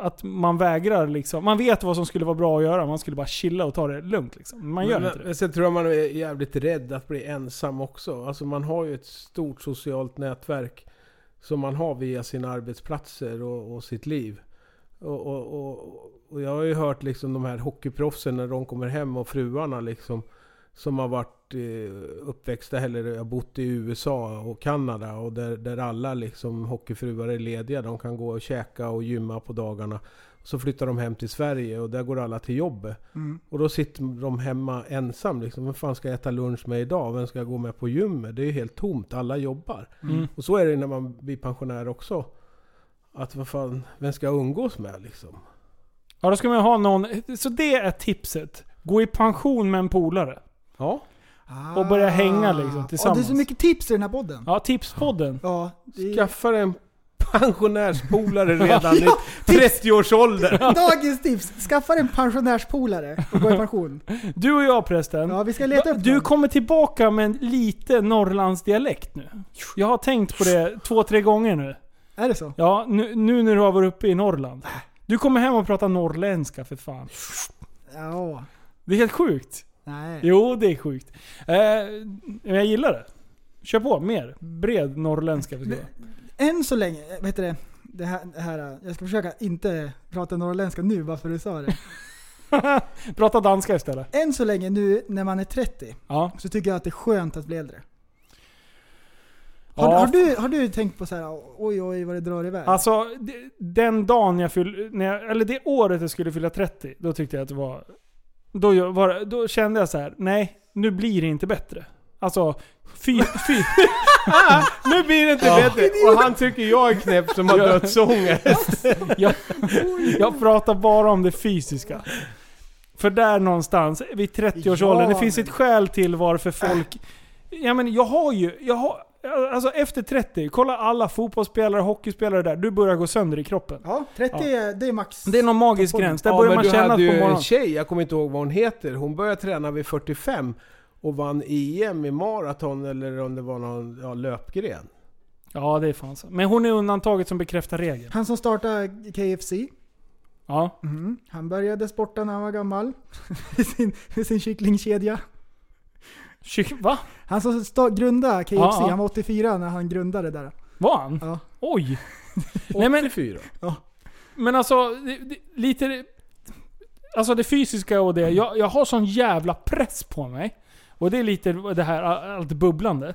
S4: att man vägrar liksom. Man vet vad som skulle vara bra att göra. Man skulle bara chilla och ta det lugnt liksom. Men Man gör
S6: men,
S4: inte det.
S6: men sen tror jag man är jävligt rädd att bli ensam också. Alltså man har ju ett stort socialt nätverk som man har via sina arbetsplatser och, och sitt liv. Och, och, och, och jag har ju hört liksom de här hockeyproffsen när de kommer hem och fruarna liksom som har varit eh, uppväxta eller har bott i USA och Kanada och där, där alla liksom hockeyfruar är lediga. De kan gå och käka och gymma på dagarna. Så flyttar de hem till Sverige och där går alla till jobbet.
S4: Mm.
S6: Och då sitter de hemma ensam liksom. Vem fan ska jag äta lunch med idag? Vem ska jag gå med på gymmet? Det är ju helt tomt. Alla jobbar.
S4: Mm.
S6: Och så är det när man blir pensionär också. Att vad fan, vem ska jag umgås med liksom?
S4: Ja, då ska man ju ha någon... Så det är tipset. Gå i pension med en polare.
S6: Ja.
S4: Och börja hänga liksom
S5: Ah. Ja,
S4: tillsammans.
S5: det är så mycket tips i den här podden.
S4: Ja, tipspodden.
S5: Ja, det...
S6: Skaffa dig en pensionärspolare redan i
S5: Ja, tips.
S6: 30-årsåldern.
S5: Dagens tips! Skaffa dig en pensionärspolare och gå i pension.
S4: Du och jag prästen.
S5: Ja, vi ska leta upp
S4: Du
S5: någon.
S4: kommer tillbaka med en lite Norrlandsdialekt nu. Jag har tänkt på det två, tre gånger nu.
S5: Är det så?
S4: Ja, nu, nu när du har varit uppe i Norrland. Du kommer hem och pratar norrländska för fan.
S5: Ja.
S4: Det är helt sjukt.
S5: Nej.
S4: Jo, det är sjukt. Eh, men jag gillar det. Kör på, mer. Bred norrländska. vi ska ha.
S5: Än så länge, vad heter det? Det här, det här, jag ska försöka inte prata norrländska nu bara för att du sa det.
S4: Prata danska istället.
S5: Än så länge nu när man är 30
S4: Ja.
S5: så tycker jag att det är skönt att bli äldre. Har,
S4: Ja.
S5: har, du, har du tänkt på så här, oj oj vad det drar iväg?
S4: Alltså, d- den dagen jag fyllde... när jag- Eller det året jag skulle fylla 30, då tyckte jag att det var... Då, gör- var, då kände jag så här: nej, nu blir det inte bättre. Alltså, fy... fy
S6: nu blir det inte
S4: Ja.
S6: bättre! Och han tycker jag är knäpp som har dödsångest.
S4: jag, jag pratar bara om det fysiska. För där någonstans, vid 30-årsåldern,
S6: Ja,
S4: det finns ett skäl till varför folk... Ja, men jag har ju... Jag har, alltså efter 30, kolla alla fotbollsspelare, hockeyspelare där. Du börjar gå sönder i kroppen.
S5: Ja, 30 är, det är max.
S4: Det är någon magisk gräns. Där
S6: Ja,
S4: börjar
S6: men
S4: man
S6: du
S4: känna
S6: hade
S4: att på
S6: ju en
S4: morgonen...
S6: tjej, jag kommer inte ihåg vad hon heter, hon började träna vid 45 och vann EM i maraton eller om det var någon ja, löpgren.
S4: Ja, det är fan så. Men hon är undantaget som bekräftar regeln.
S5: Han som startade KFC,
S4: Ja.
S5: mhm, han började sporta när han var gammal. med, sin, med sin kycklingkedja.
S4: Kyck- Va?
S5: Han som sta- grundade KFC,
S4: Ja, ja.
S5: han var 84 när han grundade det där.
S4: Var han?
S5: Ja.
S4: Oj! Nej, men,
S6: 84.
S4: men alltså, det, det, lite... Alltså det fysiska och det. Jag, jag har sån jävla press på mig. Och det är lite det här all- allt bubblande.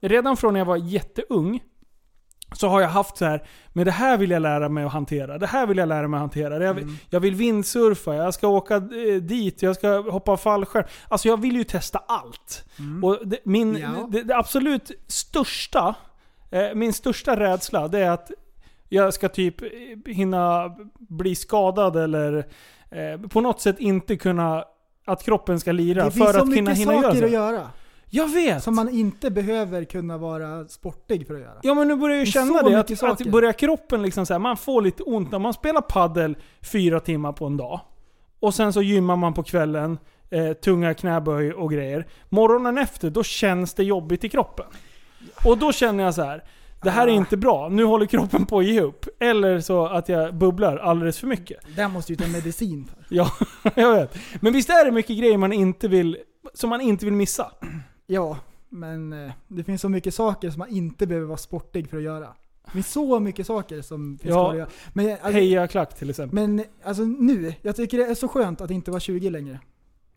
S4: Redan från när jag var jätteung så har jag haft så här, men det här vill jag lära mig att hantera. Det här vill jag lära mig att hantera. Jag vill, jag vill vindsurfa, jag ska åka eh, dit, jag ska hoppa fallskärm. Alltså jag vill ju testa allt. Och det, min,
S5: Ja.
S4: det, det absolut största, eh, min största rädsla det är att jag ska typ eh, hinna bli skadad eller eh, på något sätt inte kunna, att kroppen ska lira
S5: Det finns
S4: för
S5: så
S4: att hinna,
S5: mycket
S4: hinna
S5: saker
S4: göra
S5: att
S4: det.
S5: göra.
S4: Jag vet!
S5: Som man inte behöver kunna vara sportig för att göra.
S4: Ja men nu börjar jag ju
S5: Det är
S4: känna
S5: så
S4: det.
S5: mycket
S4: Att, att
S5: saker.
S4: börjar kroppen liksom så här, man får lite ont när man spelar paddel fyra timmar på en dag. Och sen så gymmar man på kvällen, eh, tunga knäböj och grejer. Morgonen efter, då känns det jobbigt i kroppen. Och då känner jag så här. Det
S5: Ah.
S4: här är inte bra, nu håller kroppen på att ge upp. Eller så att jag bubblar alldeles för mycket.
S5: Där måste ju ta medicin för.
S4: Ja, jag vet. Men visst är det mycket grejer man inte vill, som man inte vill missa?
S5: Ja, men eh, det finns så mycket saker som man inte behöver vara sportig för att göra. Det finns så mycket saker som finns
S4: Ja.
S5: kvar att göra. Men, alltså,
S4: Heja klack till exempel.
S5: men alltså nu, jag tycker det är så skönt att inte vara 20 längre.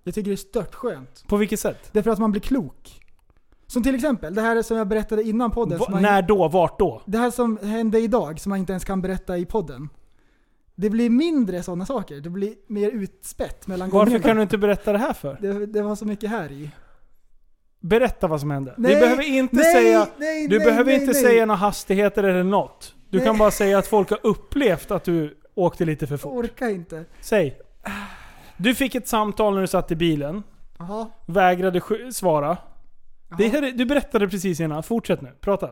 S5: Jag tycker det är stört skönt.
S4: På vilket sätt?
S5: Därför att man blir klok. Som till exempel, det här som jag berättade innan podden.
S4: Va,
S5: som man-
S4: när då? Vart då?
S5: det här som hände idag, som man inte ens kan berätta i podden. Det blir mindre sådana saker. Det blir mer utspätt mellan
S4: Varför
S5: gångerna.
S4: kan du inte berätta det här för?
S5: Det, det var så mycket här i.
S4: Berätta vad som hände.
S5: Nej,
S4: vi behöver inte
S5: nej,
S4: säga,
S5: nej,
S4: du
S5: nej,
S4: behöver
S5: nej,
S4: inte
S5: nej.
S4: säga några hastigheter eller något. Du
S5: Nej.
S4: kan bara säga att folk har upplevt att du åkte lite för
S5: Jag
S4: fort.
S5: orkar inte.
S4: Säg. Du fick ett samtal när du satt i bilen.
S5: Jaha.
S4: Vägrade sk- svara. Det här, är- du berättade precis innan. Fortsätt nu. Prata.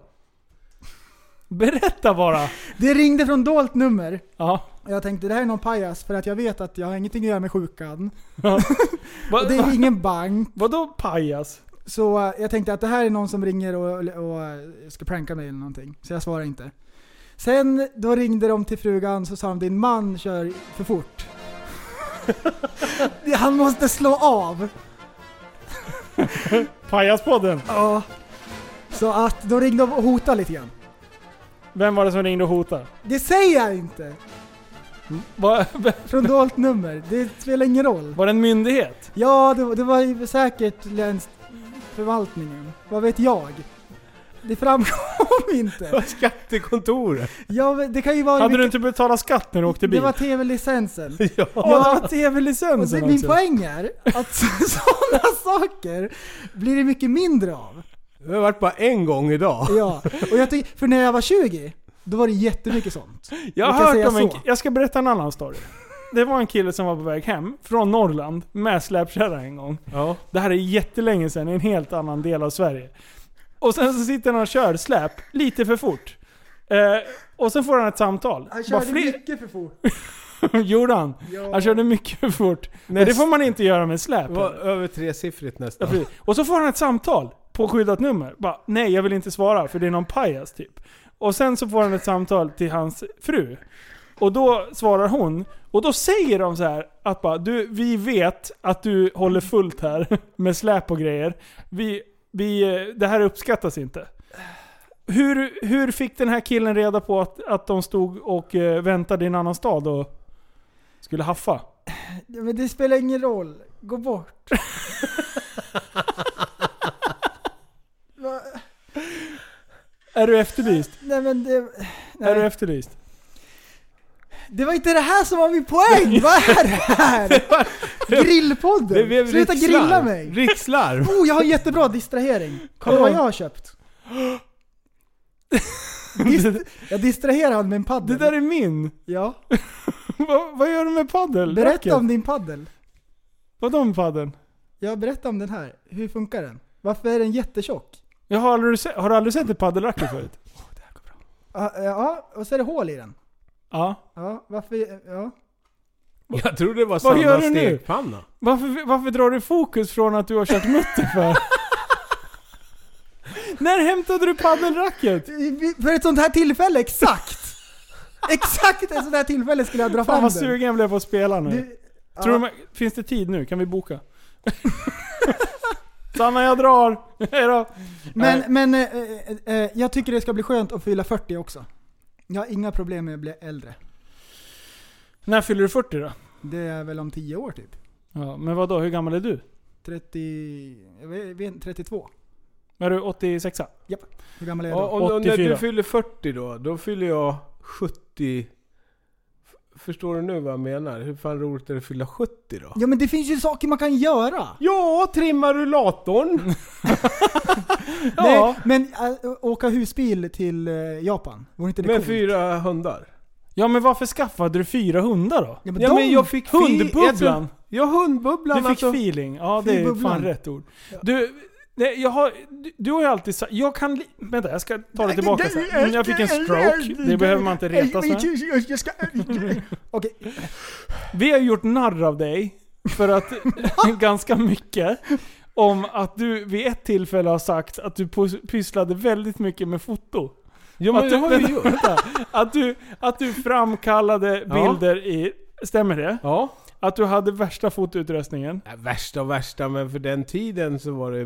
S4: Berätta bara.
S5: Det ringde från dolt nummer.
S4: Ja.
S5: Och jag tänkte det här är någon pajas för att jag vet att jag har ingenting att göra med sjukan.
S4: Va,
S5: Och det
S4: va,
S5: är ingen bank.
S4: vadå pajas?
S5: Så eh, jag tänkte att det här är någon som ringer och, och eh, ska pranka mig eller någonting. Så jag svarar inte. Sen då ringde de till frugan så sa de din man kör för fort. Han måste slå av.
S4: Pajaspodden.
S5: Ja. Så att då ringde de och hotade lite grann.
S4: Vem var det som ringde och hotade?
S5: Det säger jag inte!
S4: Var,
S5: Från dolt nummer. Det spelar ingen roll.
S4: var det en myndighet?
S5: Ja, det, det var ju säkert länsförvaltningen. Vad vet jag? Det framkom inte.
S6: Skattekontoret.
S5: Ja, men det kan ju vara...
S4: Hade du inte betalat skatt när du åkte bil?
S5: Det var tv-licensen.
S4: Ja.
S5: Ja,
S4: tv-licensen
S5: Och det, min
S4: också.
S5: poäng är att sådana saker blir det mycket mindre av.
S6: Det har varit bara en gång idag.
S5: Ja, och jag tycker, för när jag var 20, då var det jättemycket sånt.
S4: Jag
S5: kan
S4: har hört
S5: säga
S4: om en,
S5: så.
S4: Jag ska berätta en annan story. Det var en kille som var på väg hem från Norrland med släpkärra en gång. Det här är jättelänge sedan i en helt annan del av Sverige. Och sen så sitter han och kör släp lite för fort. Eh, och sen får han ett samtal.
S5: Han
S4: Bara
S5: körde mycket för fort.
S4: Gjorde han?
S5: Ja.
S4: Han körde mycket för fort. Men det
S6: Näst-
S4: får man inte göra med släp.
S6: Det var över tresiffrigt
S4: Ja,
S6: nästan.
S4: precis. Och så får han ett samtal på skyddat nummer. Bara, nej jag vill inte svara för det är någon pajas typ. Och sen så får han ett samtal till hans fru. Och då svarar hon. Och då säger de så här att bara, du, vi vet att du håller fullt här med släp och grejer. Vi, vi, eh, det här uppskattas inte. Hur, hur fick den här killen reda på att, att de stod och eh, väntade i en annan stad och skulle haffa?
S5: Ja, Men det spelar ingen roll. Gå bort. Va?
S4: Är du efterlyst?
S5: Nej men det...
S4: Är du
S5: Nej.
S4: efterlyst?
S5: Det var inte det här som var min poäng! Vad är det här?
S6: Det blev
S5: Grillpodden! Sluta
S6: rikslarv.
S5: grilla mig!
S6: Rikslarv.
S5: Oh, jag har jättebra distrahering. Kolla vad jag har köpt. Dist- jag distraherar honom med en
S4: Det
S5: paddel.
S4: där är min!
S5: Ja.
S4: vad, vad gör du med paddeln?
S5: Berätta om din paddel.
S4: Vadå med paddeln?
S5: Jag berättar om den här. Hur funkar den? Varför är den jättetjock?
S4: Jag har, aldrig se- har du aldrig sett ett paddelracket förut?
S5: Ja, ja, och så är det hål i den.
S4: Ja.
S5: Ja, varför... Ja.
S6: Jag trodde det var
S4: Vad gör
S6: Sannas
S4: du nu?
S6: stekpanna.
S4: Varför, varför drar du fokus från att du har kört mutter för? När hämtade du paddelracket?
S5: För ett sånt här tillfälle, exakt! exakt ett sånt här tillfälle skulle jag dra
S4: Fan
S5: fram
S4: vad
S5: den.
S4: sugen jag blev på att spela nu.
S5: Du-
S4: Tror du,
S5: ja.
S4: man- finns det tid nu? Kan vi boka? Sanna jag drar! Hejdå!
S5: Men,
S4: Nej.
S5: men eh, eh, eh, jag tycker det ska bli skönt att fylla 40 också. Jag har inga problem med att bli äldre.
S4: När fyller du 40 då?
S5: Det är väl om 10 år typ.
S4: Ja, men vad då? hur gammal är du?
S5: 30... Jag vet, inte, 32.
S4: Är du 86?
S5: Japp. Hur gammal är jag
S6: Ja,
S5: då?
S6: och, och när du
S4: 84.
S6: fyller 40 då, då fyller jag 70... F- Förstår du nu vad jag menar? Hur fan roligt är det att fylla 70 då?
S5: Ja men det finns ju saker man kan göra!
S6: Ja, trimma rullatorn! ja,
S5: Nej, men eh, åka husbil till eh, Japan, vore inte det
S6: med
S5: coolt?
S6: fyra hundar.
S4: Ja men varför skaffade du fyra hundar då?
S5: Ja, men
S6: Ja
S5: de,
S6: men jag fick fi- jag
S4: Hundbubblan!
S6: tror- Ja, hundbubblan
S4: Du fick
S6: alltså.
S4: feeling. Ja, det är
S5: Feelbubblan.
S4: fan rätt ord. Du, nej, jag har, du, du har ju alltid sagt... Jag kan... li- Vänta, jag ska ta det tillbaka sen. Mm, Jag fick en stroke. Det behöver man inte retas med.
S5: Okej,
S4: Vi har gjort narr av dig för att... ganska mycket. Om att du vid ett tillfälle har sagt att du pus- pysslade väldigt mycket med foto.
S6: Ja men
S4: att
S6: det
S4: du,
S6: har vi
S4: vänta,
S6: gjort.
S4: vänta. att, du, att du framkallade
S6: Ja.
S4: bilder i... Stämmer det?
S6: Ja.
S4: Att du hade värsta fotoutrustningen.
S6: Nej, Värsta och värsta, men för den tiden så var det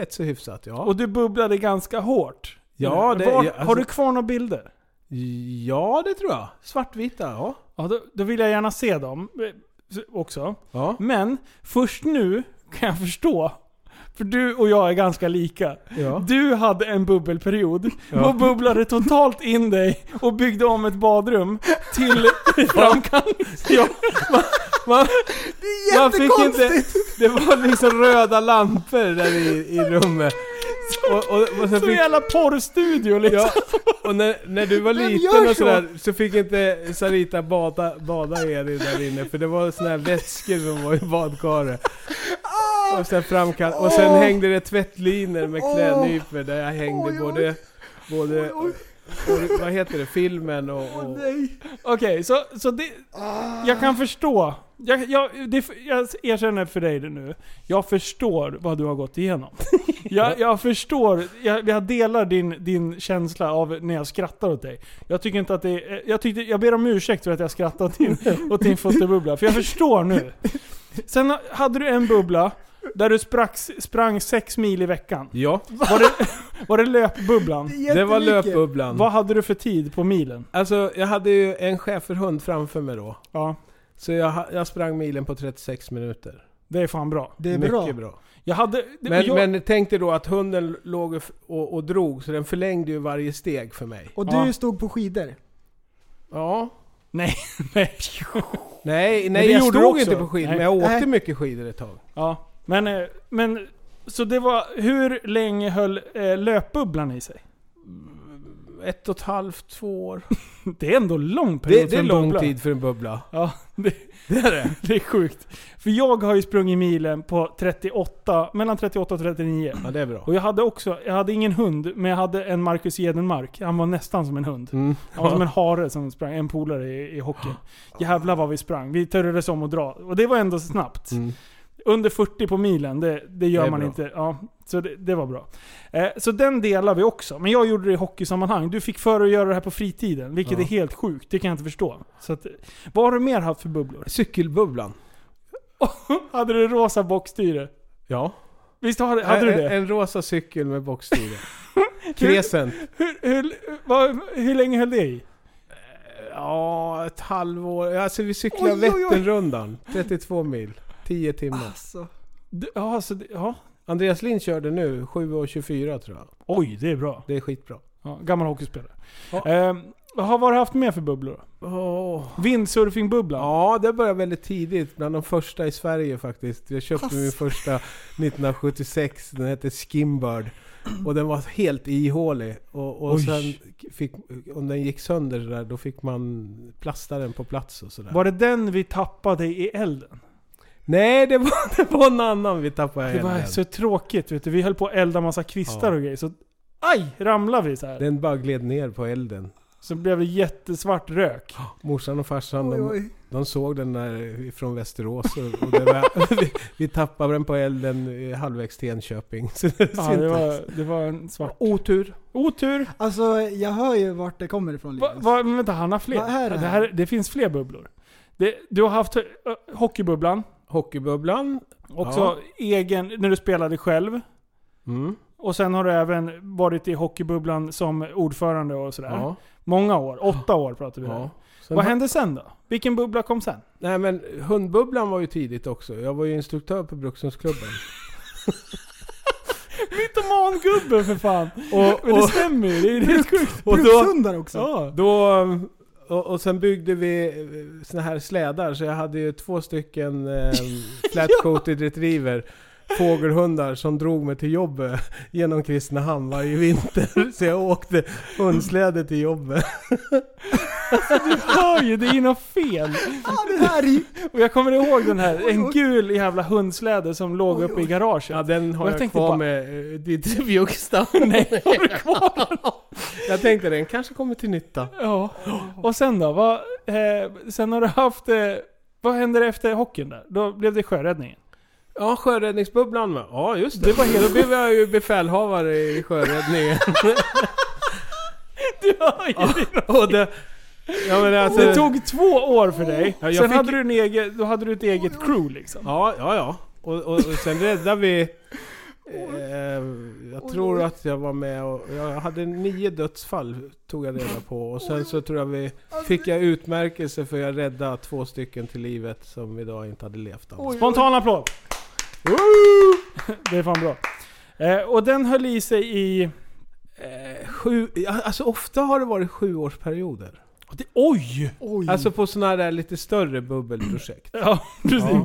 S6: rätt så hyfsat ja.
S4: Och du bubblade ganska hårt.
S6: Ja, det-
S4: Vart,
S6: ja, alltså-
S4: Har du kvar några bilder?
S6: ja det tror jag. Svartvita ja.
S4: Ja, då, då vill jag gärna se dem eh, också.
S6: Ja.
S4: Men först nu kan jag förstå. För du och jag är ganska lika.
S6: Ja.
S4: Du hade en bubbelperiod
S6: Ja.
S4: och bubblade totalt in dig och byggde om ett badrum till framkant. Ja. Man, man,
S5: det är
S6: Man fick
S5: jättekonstigt!
S6: inte, det var liksom röda lampor där i, i rummet. Och, och, och sen
S4: så
S6: fick,
S4: jävla porrstudio liksom.
S6: ja, och när, när du var
S5: Vem gör
S6: liten och
S5: så?
S6: sådär så fick inte Sarita bada, bada i dig där inne för det var såna här vätskor som var i badkaret. Och sen, framkall- och sen
S5: Ah! Åh.
S6: hängde det tvättlinor med
S5: Åh.
S6: klädnypor där jag hängde
S5: Oj, oj.
S6: både, både
S5: Oj, oj.
S6: både- vad heter det, filmen och...
S5: Åh
S6: och
S5: nej.
S4: Okej, så, så det, jag kan förstå. Jag, jag, det, jag erkänner för dig det nu. Jag förstår vad du har gått igenom. Jag, jag förstår, jag, jag delar din, din känsla av när jag skrattar åt dig. Jag tycker inte att det är- jag, tyckte, jag ber om ursäkt för att jag skrattar åt din, åt din fotobubbla, för jag förstår nu. Sen hade du en bubbla där du sprack, sprang sex mil i veckan.
S6: ja,
S4: Var det, var det löpbubblan?
S6: det var
S5: Jättemycket.
S6: löpbubblan.
S4: Vad hade du för tid på milen?
S6: Alltså jag hade ju en schäferhund framför mig då.
S4: Ja.
S6: Så jag, ha- jag sprang milen på 36 minuter.
S4: Det är fan bra.
S5: Det är
S6: Mycket
S5: bra.
S6: bra.
S4: Jag hade... det-
S6: Men,
S4: jag,
S6: men tänk dig då att hunden låg och, f- och, och drog, så den förlängde ju varje steg för mig.
S5: Och du
S6: ja.
S5: stod på skidor.
S6: Ja.
S4: Nej, nej.
S6: Nej,
S4: Men
S6: nej
S4: det
S6: jag
S4: gjorde
S6: stod
S4: du också.
S6: inte på skidor,
S4: Nej.
S6: men jag åkte
S4: Nej.
S6: mycket skidor ett tag.
S4: Ja, men, eh, men... Så det var... Hur länge höll eh, löpbubblan i sig?
S6: Ett och ett halvt, två år.
S4: Det är ändå lång
S6: Det,
S4: period
S6: det
S4: för
S6: är
S4: en
S6: lång
S4: bubbla.
S6: tid för en bubbla.
S4: Ja, det,
S6: det är det.
S4: det är sjukt. För jag har ju sprungit milen på 38, mellan 38 och 39.
S6: Ja, det är bra.
S4: Och jag hade också, jag hade ingen hund, men jag hade en Marcus Jedenmark. Han var nästan som en hund.
S6: Mm.
S4: Han var som en hare som sprang, en polare i, i hockey. Jävlar vad vi sprang. Vi turades om att dra. Och det var ändå snabbt. Under 40 på milen, det, Mm. det gör
S6: Det är
S4: man
S6: bra.
S4: inte. Ja, så det, det var bra. Eh, så den delar vi också. Men jag gjorde det i hockeysammanhang. Du fick för att göra det här på fritiden, vilket
S6: Ja.
S4: är helt sjukt. Det kan jag inte förstå. Så att, vad har du mer haft för bubblor?
S6: Cykelbubblan.
S4: hade du rosa eh, bockstyre?
S6: Ja.
S4: Visst hade, hade du
S6: en,
S4: det?
S6: En rosa cykel med boxstyre. Crescent.
S4: Hur, hur, vad, hur länge höll det i?
S6: Ja, ett halvår. Alltså vi
S4: Oj,
S6: cyklade
S4: oj, oj.
S6: Vätternrundan. 32 mil. 10 timmar.
S4: D- Ja, så det, ja.
S6: Andreas Lind körde nu 7.24 tror jag.
S4: Oj, det är bra.
S6: Det är skitbra.
S4: Ja, gammal hockeyspelare. Ehm, har, vad har du haft mer för bubblor?
S6: Oh.
S4: Windsurfingbubblan?
S6: Ja, det började väldigt tidigt. Bland de första i Sverige faktiskt. Jag köpte
S4: Pass.
S6: min första 1976. Den hette Skimbird. Och den var helt ihålig. Och, och
S4: Oj.
S6: sen fick, om den gick sönder så där, då fick man plasta den på plats och sådär.
S4: Var det den vi tappade i elden?
S6: Nej, det var, det var en annan vi tappade
S4: Det var
S6: elden.
S4: så tråkigt vet du. Vi höll på att elda massa kvistar
S6: Ja.
S4: och grejer. Så aj, ramlade vi så här.
S6: Den bara gled ner på elden.
S4: Så blev det jättesvart rök.
S6: Morsan och farsan
S5: Oj,
S6: de,
S5: oj.
S6: de såg den där från Västerås och, och det var, vi, vi tappade den på elden eh, halvvägs till Enköping. Så det
S4: Ja, det,
S6: syntes.
S4: var, det var en svart...
S6: Otur.
S4: Otur!
S5: Alltså jag hör ju vart det kommer ifrån
S4: Va,
S5: Linus.
S4: va, men vänta, han har fler.
S5: Vad är det
S4: det,
S5: här?
S4: här, det finns fler bubblor. Det, du har haft ö, hockeybubblan.
S6: Hockeybubblan.
S4: Också
S6: Ja.
S4: egen, när du spelade själv.
S6: Mm.
S4: Och sen har du även varit i hockeybubblan som ordförande och sådär.
S6: Ja.
S4: Många år. Åtta år pratar vi
S6: Ja.
S4: där.
S6: Sen
S4: Vad
S6: ha-
S4: hände sen då? Vilken bubbla kom sen?
S6: Nej men hundbubblan var ju tidigt också. Jag var ju instruktör på Brukshundsklubben.
S4: Mytomangubben för fan!
S6: Och-
S4: Men det
S6: och-
S4: stämmer ju, det är helt sjukt.
S6: Och då-
S5: Brukshundar också.
S4: Ja.
S6: Då, och, och sen byggde vi eh, såna här slädar, så jag hade ju två stycken eh, flat-coated retriever. Fågelhundar som drog mig till jobbet genom Kristinehamn varje vinter. Så jag åkte hundsläde till jobbet.
S4: Du hör ju, det är ju något fel.
S5: Ah, det här är ju...
S4: Och jag kommer ihåg den här, en
S5: oj.
S4: gul jävla hundsläde som låg
S5: Oj,
S4: uppe i
S5: oj.
S4: garaget.
S6: Ja den
S4: Och
S6: har
S4: jag
S6: jag,
S4: tänkte
S6: kvar
S4: bara-
S6: med eh, ditt Bjugsta.
S4: Nej, har du kvar den?
S6: Jag tänkte den kanske kommer till nytta.
S4: Ja. Och sen då? Vad, eh, sen har du haft... Eh, vad hände efter hockeyn där? Då blev det sjöräddningen.
S6: Ja, sjöräddningsbubblan med. Ja just det. det var helt... Då blev jag ju befälhavare i sjöräddningen.
S4: Du hör ju det.
S6: Och det... Ja, men alltså,
S4: Det tog två år för dig.
S6: Ja, jag
S4: sen
S6: fick-
S4: hade du en egen, då hade du ett eget crew liksom.
S6: Ja, ja, ja. Och, och, och sen räddade vi... Eh, jag tror att jag var med och... Jag hade nio dödsfall, tog jag reda på. Och sen så tror jag vi... Fick jag utmärkelse för jag räddade två stycken till livet som idag inte hade levt annars.
S4: Spontan applåd! Det är fan bra. Eh, och den höll i sig i...
S6: Eh, sju, ja, alltså ofta har det varit sjuårsperioder.
S4: Det, oj!
S5: Oj.
S6: Alltså på sådana där lite större bubbelprojekt.
S4: Ja, precis.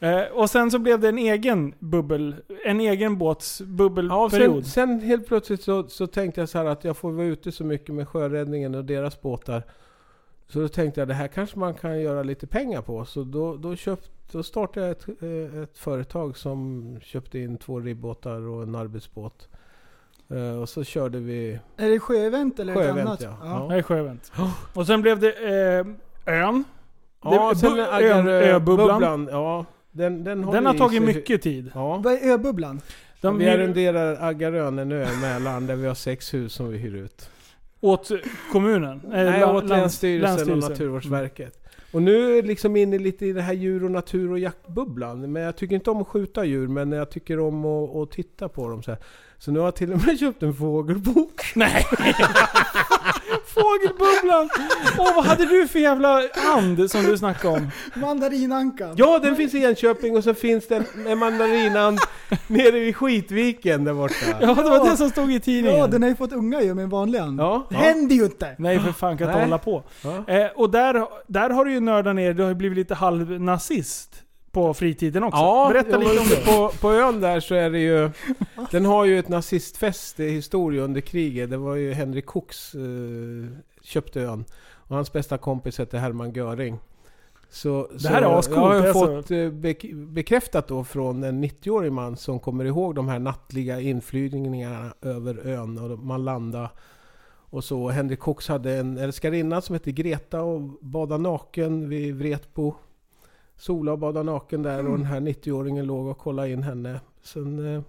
S4: Eh, och sen så blev det en egen bubbel... En egen båts
S6: Ja, sen,
S4: bubbelperiod.
S6: sen helt plötsligt så, så tänkte jag så här att jag får vara ute så mycket med sjöräddningen och deras båtar. Så då tänkte jag det här kanske man kan göra lite pengar på. Så då, då, köpt, då startade jag ett, eh, ett företag som köpte in två ribbåtar och en arbetsbåt. Eh, Och så körde vi
S5: Är det sjöevent eller något
S6: sjöevent.
S5: annat?
S6: Ja.
S4: Det
S6: Ja.
S4: är sjövänt. Och sen blev det eh, ön.
S6: Ja,
S4: Det-
S6: sen
S4: bu-
S6: Aggarö-
S4: ö- ö-bubblan.
S6: bubblan, Ja, den, den,
S4: Den
S6: håller
S4: har
S6: i
S4: tagit
S6: sig-
S4: mycket tid.
S6: Ja.
S5: Vad är öbubblan?
S4: De
S6: vi
S4: hyr-
S6: arrenderar Aggarön, en ö i Mälaren, där vi har sex hus som vi hyr ut.
S4: Åt kommunen? Eh,
S6: Nej,
S4: la-
S6: åt
S4: lands-
S6: Länsstyrelsen, och
S4: länsstyrelsen.
S6: Naturvårdsverket. Och nu är jag liksom inne lite i det här djur och natur och jaktbubblan. Men jag tycker inte om att skjuta djur, men jag tycker om att, att titta på dem så här. Så nu har jag till och med köpt en fågelbok.
S4: Nej! Fågelbubblan! Åh, vad hade du för jävla and som du snackade om?
S5: Mandarinankan.
S6: Ja, den finns i Enköping och så finns den med mandarinan nere vid Skitviken där borta.
S4: Ja, det var det som stod i tidningen.
S5: Ja, den har ju fått unga ju med en vanlig and.
S4: Ja.
S5: Det händer ju inte!
S4: Nej för fan kan inte
S5: Nej.
S4: hålla på.
S5: Ja.
S4: Eh, och där, där har du ju nördat ner, du har ju blivit lite halvnazist på fritiden också.
S6: Ja,
S4: Berätta lite om det.
S6: På, på ön där så är det ju... Den har ju ett nazistfäste i historia under kriget. Det var ju Henrik Koks eh, köpte ön. Och hans bästa kompis hette Hermann Göring. Så,
S4: Det här är
S6: så
S4: ascoolt,
S6: Jag har ju
S4: alltså.
S6: fått eh, bek- bekräftat då från en 90-årig man som kommer ihåg de här nattliga inflygningarna över ön och man landade och så. Henrik Cox hade en älskarinna som hette Greta och badade naken vid Vretbo. Sola och badade naken där och den här 90-åringen låg och kollade in henne. Sen, eh,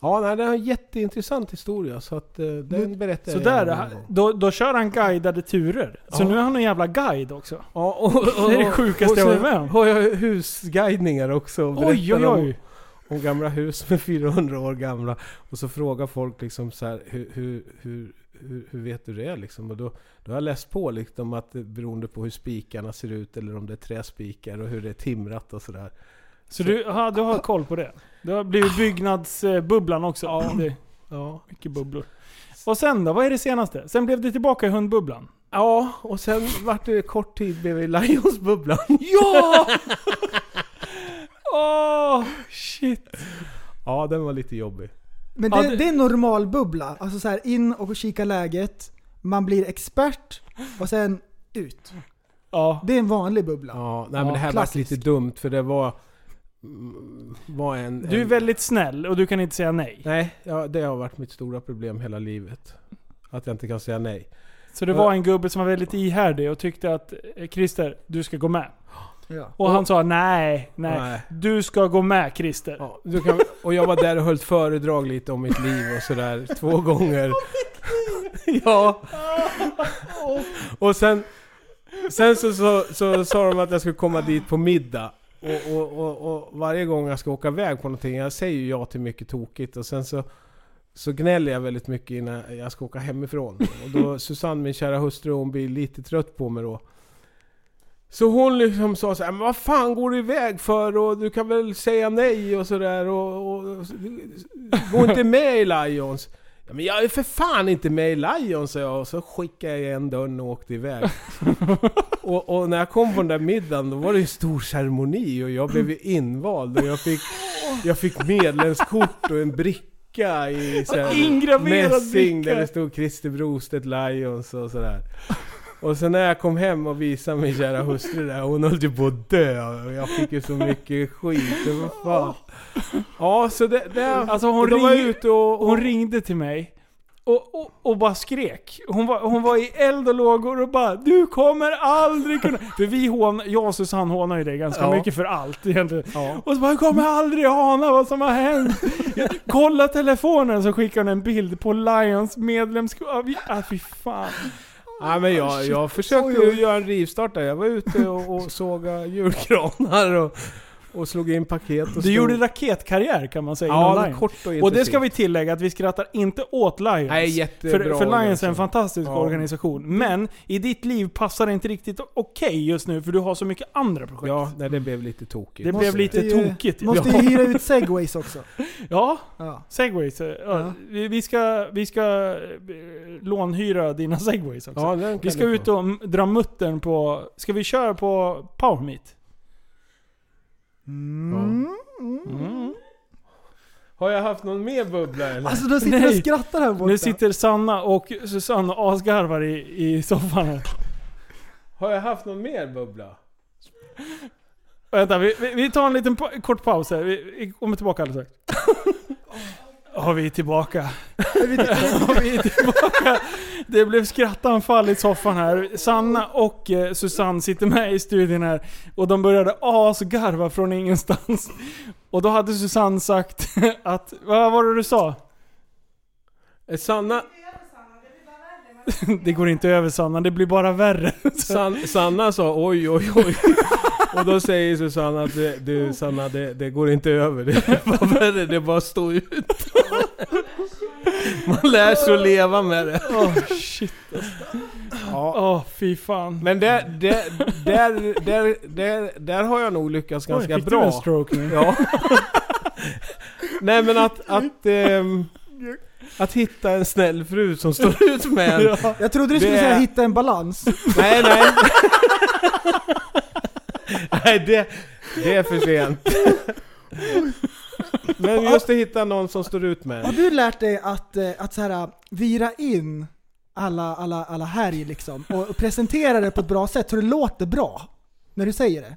S6: ja, nej, det är en jätteintressant historia så att eh, den berättar
S4: Mm. Så
S6: jag
S4: där, eh,
S6: gärna någon
S4: ha-
S6: gång.
S4: då, då kör han guidade turer. Så nu har han en jävla guide också.
S6: Ja, och, och,
S4: det är det sjukaste jag
S6: och
S4: varit
S6: så
S4: med om.
S6: har jag husguidningar också. och
S4: Oj, oj,
S6: berättar
S4: oj.
S6: Om, om gamla hus som är 400 år gamla. Och så frågar folk liksom så här, hur, hur, hur, hur, hur vet du det liksom? Och då, då har jag läst på liksom att det- beroende på hur spikarna ser ut eller om det är träspikar och hur det är timrat och sådär.
S4: Så du, ja, du har koll på det? Du har blivit byggnadsbubblan också? Ja. Det,
S6: ja.
S4: Mycket bubblor. Och sen då? Vad är det senaste? Sen blev det tillbaka i hundbubblan?
S6: Ja, och sen vart det kort tid bredvid Lionsbubblan.
S4: Ja! Åh, shit.
S6: Ja, den var lite jobbig.
S5: Men det,
S6: Ja,
S5: det är en normal bubbla. Alltså så här in och kika läget, man blir expert och sen ut.
S4: Ja.
S5: Det är en vanlig bubbla.
S6: Ja, nej men det här var
S5: klassiskt.
S6: lite dumt för det var... mm, var en,
S4: Du är
S6: en,
S4: väldigt snäll och du kan inte säga nej.
S6: Nej, ja, det har varit mitt stora problem hela livet. Att jag inte kan säga nej.
S4: Så det var en gubbe som var väldigt ihärdig och tyckte att eh, Christer, du ska gå med.
S5: Ja.
S4: Och han sa nej, nej,
S6: Nej.
S4: Du ska gå med Christer.
S6: Du kan, och jag var där och höll ett föredrag lite om mitt liv och sådär två gånger. ja. och sen, sen så, så, så sa de att jag skulle komma dit på middag. Och, och, och, och varje gång jag ska åka iväg på någonting, jag säger ju ja till mycket tokigt och sen så så gnäller jag väldigt mycket innan jag ska åka hemifrån. Och då Susanne, min kära hustru, hon blir lite trött på mig då. Så hon liksom sa så här, men vad fan går du iväg för? Och du kan väl säga nej och sådär och, och, och Gå inte med i Lions. Ja, men jag är för fan inte med i Lions sa jag och så skickade jag igen dörren och åkte iväg. och, och när jag kom på den där middagen då var det ju stor ceremoni och jag blev ju invald och jag fick, jag fick medlemskort och en bricka i så här
S4: Ingraverad
S6: mässing
S4: bricka.
S6: där det stod Christer Brostedt Lions och sådär. Och sen när jag kom hem och visade min kära hustru där, hon höll ju på att dö. Och jag fick ju så mycket skit. Det var fan. Ja, så det... det
S4: Alltså hon,
S6: då var jag
S4: ring,
S6: ute och, och
S4: hon ringde till mig och, och, och bara skrek. Hon var, hon var i eld och lågor och bara Du kommer aldrig kunna... För vi hån, jag och Susanne hånar ju dig ganska
S6: Ja.
S4: mycket för allt egentligen.
S6: Ja.
S4: Och så bara, jag kommer aldrig ana vad som har hänt. Kolla telefonen så skickar hon en bild på Lions medlemskap. Ah, vi- Ah, fy fan.
S6: Nej men jag, jag försökte ju göra en rivstart där. Jag var ute och, och såga julgranar och, och slog in paket och
S4: Du
S6: stod-
S4: gjorde raketkarriär kan man säga
S6: Ja,
S4: inom
S6: det är
S4: Lions.
S6: kort
S4: och
S6: och
S4: det ska
S6: intensivt.
S4: vi tillägga att vi skrattar inte åt Lions.
S6: Nej, jättebra
S4: för, för Lions är en
S6: organisation.
S4: fantastisk
S6: Ja.
S4: organisation. Men i ditt liv passar det inte riktigt okej just nu för du har så mycket andra projekt.
S6: Ja, nej, det blev lite tokigt.
S4: Det blev lite
S5: ju-
S4: tokigt.
S5: Måste ju
S4: ja.
S5: hyra ut segways också.
S4: Ja,
S5: Ja.
S4: segways. eh, Ja. Vi, vi ska, vi ska eh, lånhyra dina segways också.
S6: Ja, den kan
S4: vi ska
S6: du
S4: ut
S6: få.
S4: och m- dra muttern på... Ska vi köra på PowerMeet? Mm.
S6: Har jag haft någon mer bubbla eller?
S5: Alltså de sitter
S4: Nej.
S5: och skrattar här borta.
S4: Nu sitter Sanna och Susanne och asgarvar i, i soffan här.
S6: Har jag haft någon mer bubbla?
S4: Vänta, vi, vi- vi tar en liten pa- kort paus här. Vi, vi kommer tillbaka alldeles strax. Ja, vi är tillbaka. vi är tillbaka. Det blev skrattanfall i soffan här. Sanna och eh, Susanne sitter med i studion här. Och de började asgarva från ingenstans. Och då hade Susanne sagt att... Vad var det du sa?
S6: Eh, Sanna...
S4: Det går inte över Sanna, det blir bara värre.
S6: San, Sanna sa oj oj oj. Och då säger Susanna att det- du Sanna det, det går inte över. Det är bara värre, det är bara att stå ut. Man lär sig att leva med det.
S4: Åh shit. Åh, fy fan.
S6: Men där, där, där, där, där, där har jag nog lyckats
S4: Oj,
S6: ganska
S4: fick du
S6: bra.
S4: en stroke nu?
S6: Ja. Nej men att, att, ehm, att hitta en snäll fru som står ut med en.
S5: Ja. Jag trodde du skulle
S6: Det-
S5: säga hitta en balans.
S6: Nej, nej. Nej, det, det är för sent. Men just att hitta någon som står ut med
S5: Har
S6: en.
S5: du lärt dig att, eh, att så här, vira in alla, alla, alla härj liksom och presentera det på ett bra sätt så det låter bra när du säger det?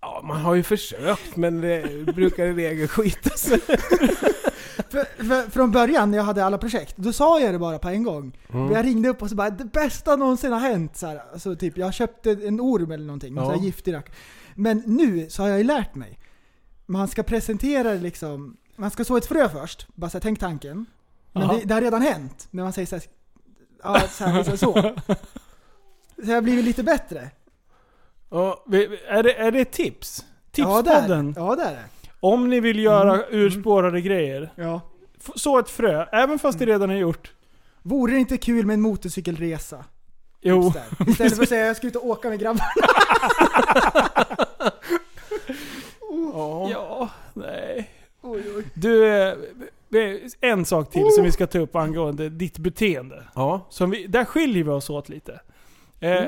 S6: Ja, man har ju försökt men det brukar i regel skita sig.
S5: För, för, från början när jag hade alla projekt, då sa jag det bara på en gång.
S6: Mm.
S5: Men Jag ringde upp och så bara det bästa någonsin har hänt. Så här, alltså, typ, jag köpte en orm eller någonting,
S6: Ja.
S5: så här, giftig rack. Men nu så har jag ju lärt mig. Man ska presentera det liksom, man ska så ett frö först. Bara så här, tänk tanken. Men
S4: Aha.
S5: det, det har redan hänt. Men man säger så här, ja, så, här liksom, så. Så jag har blivit lite bättre.
S4: Ja, vi- vi- är, det, är det ett tips?
S5: Ja, det är det.
S4: Tipspodden?
S5: Ja, det är det.
S4: Om ni vill göra urspårade grejer,
S5: Ja.
S4: f- så ett frö, även fast det redan är gjort.
S5: Vore det inte kul med en motorcykelresa?
S4: Jo.
S5: Där. Istället för att säga jag ska ut och åka med grabbarna.
S4: Ja. nej.
S5: Oj, oj.
S4: Du, eh, vi- en sak till som vi ska ta upp angående ditt beteende.
S6: Ja.
S4: Som vi, där skiljer vi oss åt lite. Eh,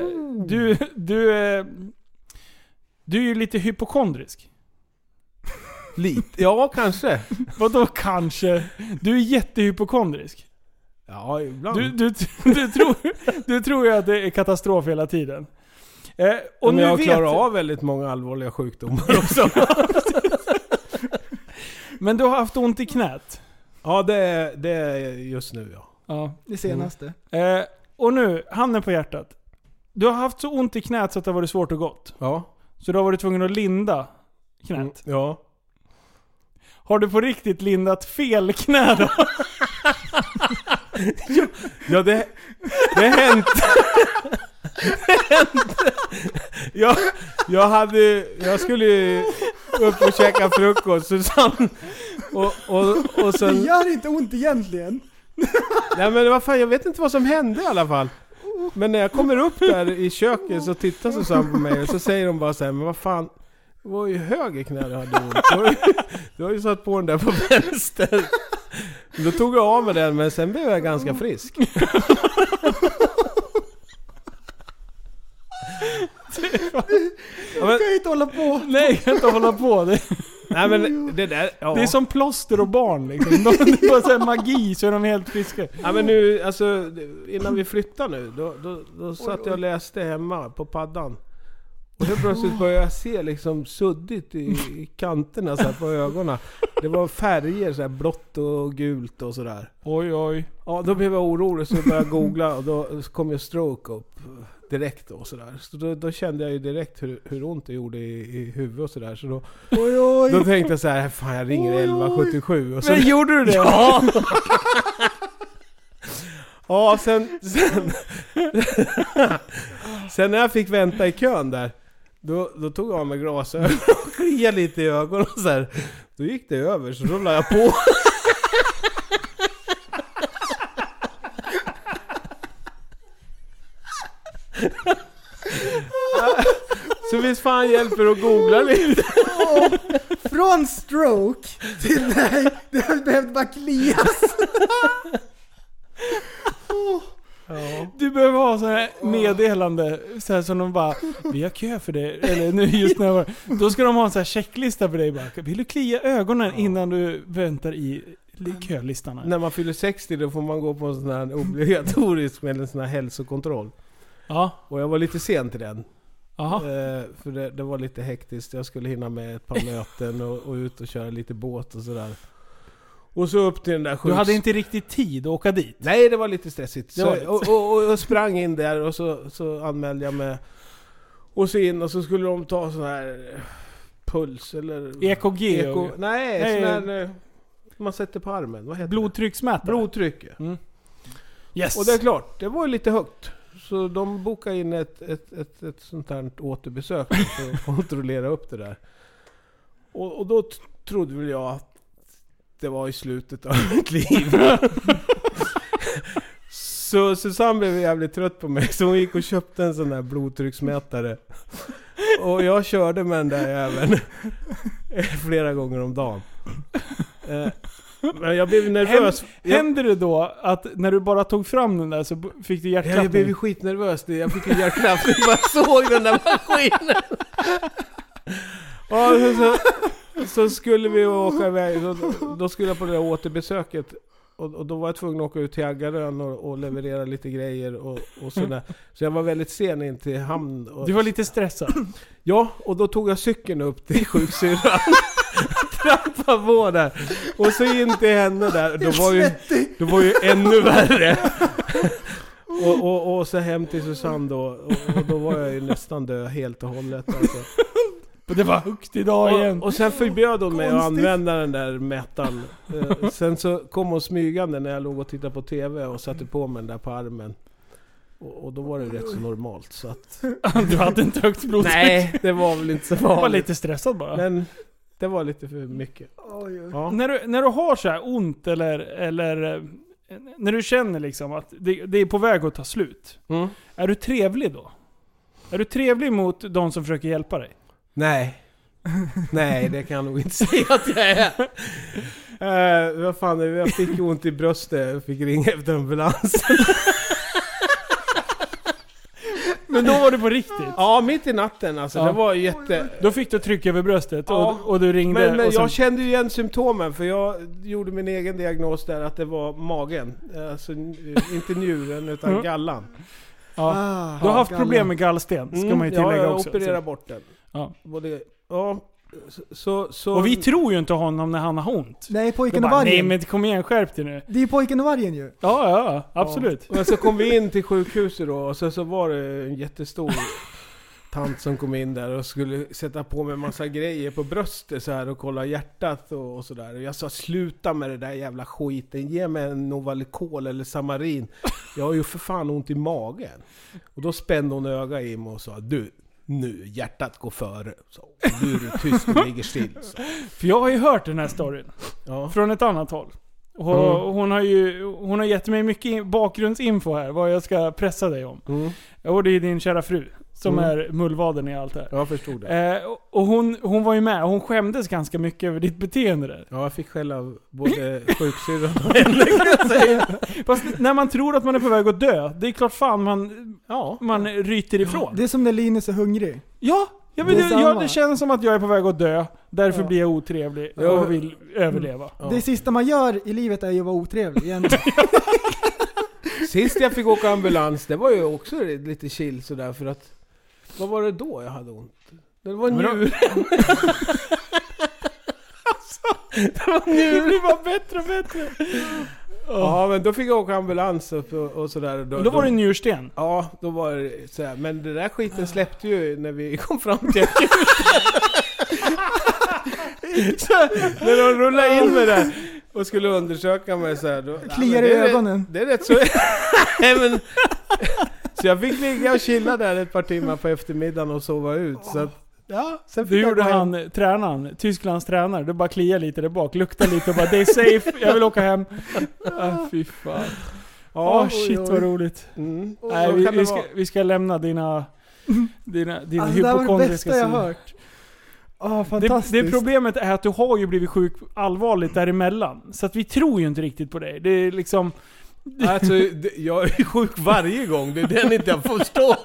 S4: du, du, eh, du är ju lite hypokondrisk.
S6: Lite? Ja, kanske.
S4: Vadå kanske? Du är jättehypokondrisk.
S6: Ja, ibland.
S4: Du, du, du, tror, du tror ju att det är katastrof hela tiden. Eh, och
S6: Och men
S4: nu
S6: jag
S4: vet,
S6: klarar av väldigt många allvarliga sjukdomar också.
S4: Men du har haft ont i knät.
S6: ja, det är, det är just nu ja.
S4: Ja.
S5: Det senaste.
S4: Eh, och nu, handen på hjärtat. Du har haft så ont i knät så att det har varit svårt att gått.
S6: Ja.
S4: Så du har varit tvungen att linda knät.
S6: Mm. Ja.
S4: Har du på riktigt lindat fel knä då?
S6: Ja, det, det hänt. det hänt. Jag, jag hade Jag skulle ju upp och käka frukost, Susanne. Och, och, och
S5: Det
S6: sen...
S5: gör inte ont egentligen.
S6: Nej men vad fan, jag vet inte vad som hände i alla fall. Men när jag kommer upp där i köket så tittar Susanne på mig och så säger hon bara så här, men vad fan. Det var ju höger knä du hade ont. Du har ju, du har ju satt på den där på vänster. Då tog jag av mig den men sen blev jag ganska frisk. Ja, men,
S5: Du kan ju inte hålla på.
S4: Nej, jag kan inte hålla på. Det,
S6: nej men det där, ja.
S4: det är som plåster och barn liksom. De, det är bara så här magi så är de helt friska.
S6: Ja men nu, alltså innan vi flyttade nu, då, då, då satt jag och läste hemma på paddan. Och helt plötsligt började jag se liksom suddigt i, i kanterna så här, på ögonen. Det var färger så här, blått och gult och sådär.
S4: Oj oj.
S6: Ja, då blev jag orolig så började jag googla och då kom ju stroke upp direkt och sådär. Så då, då kände jag ju direkt hur, hur ont det gjorde i, i huvudet och sådär. Så då,
S5: Oj, oj.
S6: då tänkte jag så här, fan jag ringer 1177 och så...
S4: Men gjorde du det?
S6: Ja! ja, sen... Sen, sen när jag fick vänta i kön där, då, då tog jag av mig glasögonen och kliade lite i ögonen och så här. Då gick det över, så då la jag på. Så visst fan hjälper det att googla lite?
S5: Från stroke till nej, det har behövt bara klias.
S4: Du behöver ha sådana här meddelande, så här som de bara Vi har kö för dig, eller nu just när jag var Då ska de ha en sån här checklista för dig bara. Vill du klia ögonen innan du väntar i li- kölistan? här?
S6: När man fyller 60 då får man gå på en sån här obligatorisk med en sån här hälsokontroll.
S4: Ja,
S6: Och jag var lite sen till den.
S4: jaha.
S6: Eh, för det, det var lite hektiskt. Jag skulle hinna med ett par möten och, och ut och köra lite båt och sådär. Och så upp till den där
S4: Du
S6: sjuks...
S4: hade inte riktigt tid att åka dit?
S6: Nej, det var lite stressigt.
S4: Det var
S6: Så,
S4: lite-
S6: och, och, och, och sprang in där och så, så anmälde jag mig. Och så in och så skulle de ta sån här eh, puls eller...
S4: EKG?
S6: Eko, nej,
S4: Nej.
S6: sån här... eh, Man sätter på armen. Vad heter det?
S4: Blodtrycksmätare?
S6: Blodtryck. ja.
S4: Yes!
S6: Och det är klart, det var ju lite högt. Så de bokade in ett, ett, ett, ett sånt här återbesök för att kontrollera upp det där. Och, och då t- trodde väl jag att det var i slutet av mitt liv. Så Susanne blev jävligt trött på mig, så hon gick och köpte en sån där blodtrycksmätare. Och jag körde med den där jäveln flera gånger om dagen. Eh, Men jag blev nervös. Jag-
S4: Hände det då att när du bara tog fram den där så b- fick du hjärtklappning?
S6: Ja, jag blev ju skitnervös. Det- Jag fick en hjärtklapp när jag bara såg den där maskinen. Ja, så, så, så skulle vi åka iväg. Då, då skulle jag på det där återbesöket. Och, och då var jag tvungen att åka ut till Aggarön och, och leverera lite grejer och, och sådär. Så jag var väldigt sen in till hamn. Och,
S4: Du var lite stressad?
S6: Ja, och då tog jag cykeln upp till sjuksyrran. Trappade på där. Och så in till henne där. Då var ju, då var ju ännu värre. Och, och, och så hem till Susanne då. Och, och då var jag ju nästan död helt och hållet. Alltså.
S4: Det var högt idag igen.
S6: Och, och sen förbjöd hon mig att
S4: Konstigt.
S6: använda den där mätaren. Eh, Sen så kom hon smygande när jag låg och tittade på TV och satte på mig den där på armen. Och, och då var det rätt så normalt så att...
S4: Du hade inte högt blodtryck?
S6: Nej, det var väl inte så
S4: Du
S6: vanligt.
S4: var lite stressad bara.
S6: Men det var lite för mycket. Ja.
S4: När, du, när du har så här ont eller, eller eh, när du känner liksom att det, det är på väg att ta slut.
S6: Mm.
S4: Är du trevlig då? Är du trevlig mot de som försöker hjälpa dig?
S6: Nej. Nej, det kan jag nog inte säga att jag är. Eh, vad fan, jag fick ont i bröstet och fick ringa efter ambulans.
S4: Men då var du på riktigt?
S6: Ja, mitt i natten alltså.
S4: Ja.
S6: Det var jätte...
S4: Då fick du tryck över bröstet
S6: Ja.
S4: och, och du ringde
S6: Men, men
S4: och sen,
S6: jag kände ju igen symptomen för jag gjorde min egen diagnos där att det var magen. Alltså n- inte njuren utan
S4: Mm.
S6: gallan.
S4: ja.
S6: Ah,
S4: Du har haft
S6: gallan.
S4: problem med gallsten, ska man ju
S6: Mm, ja,
S4: tillägga
S6: jag
S4: också.
S6: opererade
S4: Så-
S6: bort den.
S4: Ja.
S6: Både, ja, så, så, så...
S4: Och vi tror ju inte honom när han har ont.
S5: Nej,
S4: Då
S5: pojken och
S4: bara, nej
S5: vargen.
S4: men kom igen, skärp dig nu.
S5: Det är pojken och vargen ju.
S4: Ja, ja, ja, absolut.
S6: Ja. Men så kom vi in till sjukhuset då och så, så var det en jättestor tant som kom in där och skulle sätta på mig en massa grejer på bröstet så här och kolla hjärtat och, och sådär. Och jag sa sluta med det där jävla skiten, ge mig en Novalucol eller Samarin. Jag har ju för fan ont i magen. Och då spände hon öga i mig och sa du, nu hjärtat går före. Så, nu är du tyst och ligger still. Så.
S4: För jag har ju hört den här storyn.
S6: Ja.
S4: Från ett annat håll. Och
S6: Mm.
S4: Hon har ju hon har gett mig mycket in- bakgrundsinfo här, vad jag ska pressa dig om. Och det är din kära fru, som
S6: Mm.
S4: är mullvaden i allt det här.
S6: Jag förstod det.
S4: Eh, och- och hon, hon var ju med, och hon skämdes ganska mycket över ditt beteende där.
S6: Ja, jag fick skäll av både sjuksyrran och henne kan jag säga.
S4: Fast när man tror att man är på väg att dö, det är klart fan man, man ryter ifrån.
S5: Det är som när Linus är hungrig.
S4: Ja, ja men
S5: Det är
S4: det,
S5: samma.
S4: jag, det känns som att jag är på väg att dö, därför
S5: Ja. Mm.
S4: blir jag otrevlig
S6: Ja.
S4: och vill överleva.
S5: Det sista man gör i livet är ju att vara otrevlig egentligen.
S6: Sist jag fick åka ambulans, det var ju också lite chill sådär för att... Vad var det då jag hade ont? Det var
S4: Men då-
S6: njuren! alltså, det var njuren!
S4: Det var bättre och bättre.
S6: Ja men då fick jag åka ambulans och, och sådär.
S4: Och då var det njursten.
S6: Ja, då var det sådär. Men den där skiten släppte ju när vi kom fram till akuten. Så, när de rullade in mig där och skulle undersöka mig såhär. Då,
S5: Kliar
S6: men
S5: i
S6: det är rätt-
S5: ögonen.
S6: Det är rätt så... Nej, men, så jag fick ligga och chilla där ett par timmar på eftermiddagen och sova ut. Så att, ja, sen
S4: Det
S6: fick jag
S4: gjorde
S6: gå hem.
S4: han, tränaren, Tysklands tränare. Det bara kliar lite där bak, luktar lite och bara det är safe, jag vill åka hem. Ah, fy fan.
S6: Ja,
S4: Ja, shit vad roligt.
S6: Mm.
S4: Nej,
S6: Så
S4: vi,
S6: kan det
S4: vi, ska,
S6: vara.
S4: vi ska lämna dina, dina, dina
S5: Alltså, det här var det
S4: hypokondriska
S5: bästa jag
S4: sidor.
S5: hört. Åh,
S4: Det,
S5: fantastiskt.
S4: det problemet är att du har ju blivit sjuk allvarligt däremellan. Så att vi tror ju inte riktigt på dig. Det är liksom...
S6: Alltså, det- jag är sjuk varje gång, det är den inte jag förstår.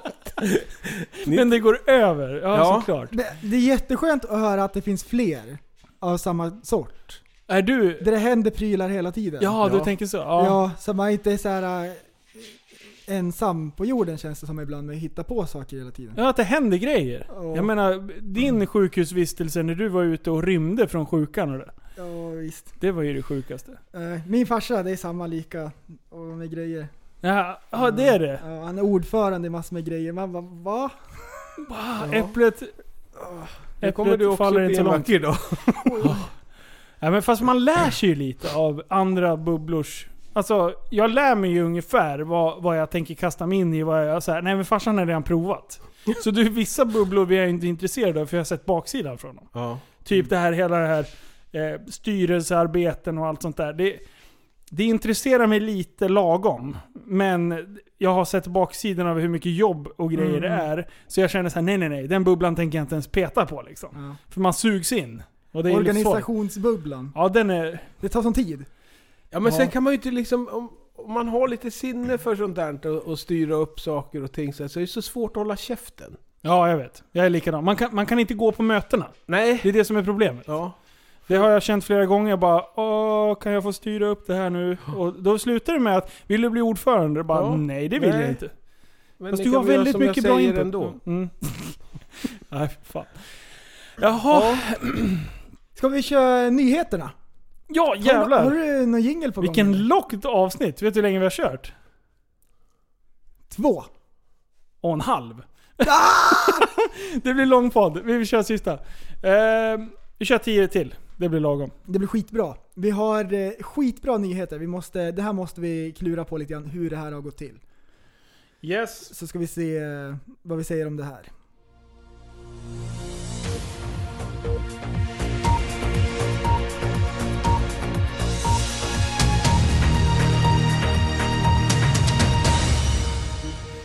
S4: Men det går över. Ja,
S6: Ja.
S4: såklart.
S5: Det, det är jätteskönt att höra att det finns fler av samma sort.
S4: Är du...
S5: Där det händer prylar hela tiden.
S4: Ja, du
S6: Ja.
S4: tänker så.
S5: Ja,
S4: Ja.
S5: så man inte är så här eh, ensam på jorden känns det som ibland med att hitta på saker hela tiden.
S4: Ja, att det händer grejer.
S5: Ja.
S4: Jag menar, din sjukhusvistelse när du var ute och rymde från sjukan och det.
S5: Ja, visst.
S4: Det var ju det sjukaste.
S5: Eh, Min farsa, det är samma lika och med grejer.
S4: Ja, ja det är det.
S5: Ja, han är ordförande i massor med grejer. Man bara, va?
S4: Ah, Äpplet...
S6: Nu kommer du
S4: Äpplet
S6: också
S4: faller
S6: bli
S4: inte
S6: en
S4: långt.
S6: vacker dag.
S4: Ja, men fast man lär sig ju lite av andra bubblors... Alltså, jag lär mig ju ungefär vad, vad jag tänker kasta mig in i. Vad jag, så här, nej men farsan har redan provat. Så du, vissa bubblor vi är jag inte intresserade av för jag har sett baksidan från dem.
S6: Ja.
S4: Typ det här, hela det här eh, styrelsearbeten och allt sånt där. Det, det intresserar mig lite lagom. Men jag har sett baksidan av hur mycket jobb och grejer det
S6: Mm.
S4: är. Så jag känner så här: nej nej nej, den bubblan tänker jag inte ens peta på liksom. För man sugs in. Och det är livsfarligt.
S5: Organisationsbubblan.
S4: Ja den är...
S5: Det tar sån tid.
S6: Ja men
S4: Ja.
S6: sen kan man ju inte liksom, om, om man har lite sinne för sånt där och, och styra upp saker och ting så, här, så är det så svårt att hålla käften.
S4: Ja, jag vet. Jag är likadan. Man kan, man kan inte gå på mötena.
S6: Nej.
S4: Det är det som är problemet.
S6: Ja.
S4: Det har jag känt flera gånger. Jag bara Åh, kan jag få styra upp det här nu? Och då slutar det med att Vill du bli ordförande? Jag bara
S6: Ja.
S4: Nej, det vill
S6: Nej.
S4: jag inte.
S6: Men
S4: Fast
S6: det
S4: du
S6: kan
S4: har
S6: vi göra
S4: väldigt
S6: som jag
S4: mycket bra
S6: säger
S4: input.
S6: ändå.
S4: Mm. Nej, för fan. Jaha.
S5: Ska vi köra nyheterna?
S4: Ja, jävlar.
S5: Har, har du någon jingle på gång?
S4: Vilken långt avsnitt. Vet du hur länge vi har kört?
S5: Två.
S4: Och en halv. det blir lång podd. Vi kör sista. Ehm, vi kör tio till. Det blir lagom.
S5: Det blir skitbra. Vi har eh, skitbra nyheter. Vi måste, det här måste vi klura på lite grann hur det här har gått till.
S4: Yes.
S5: Så ska vi se eh, vad vi säger om det här.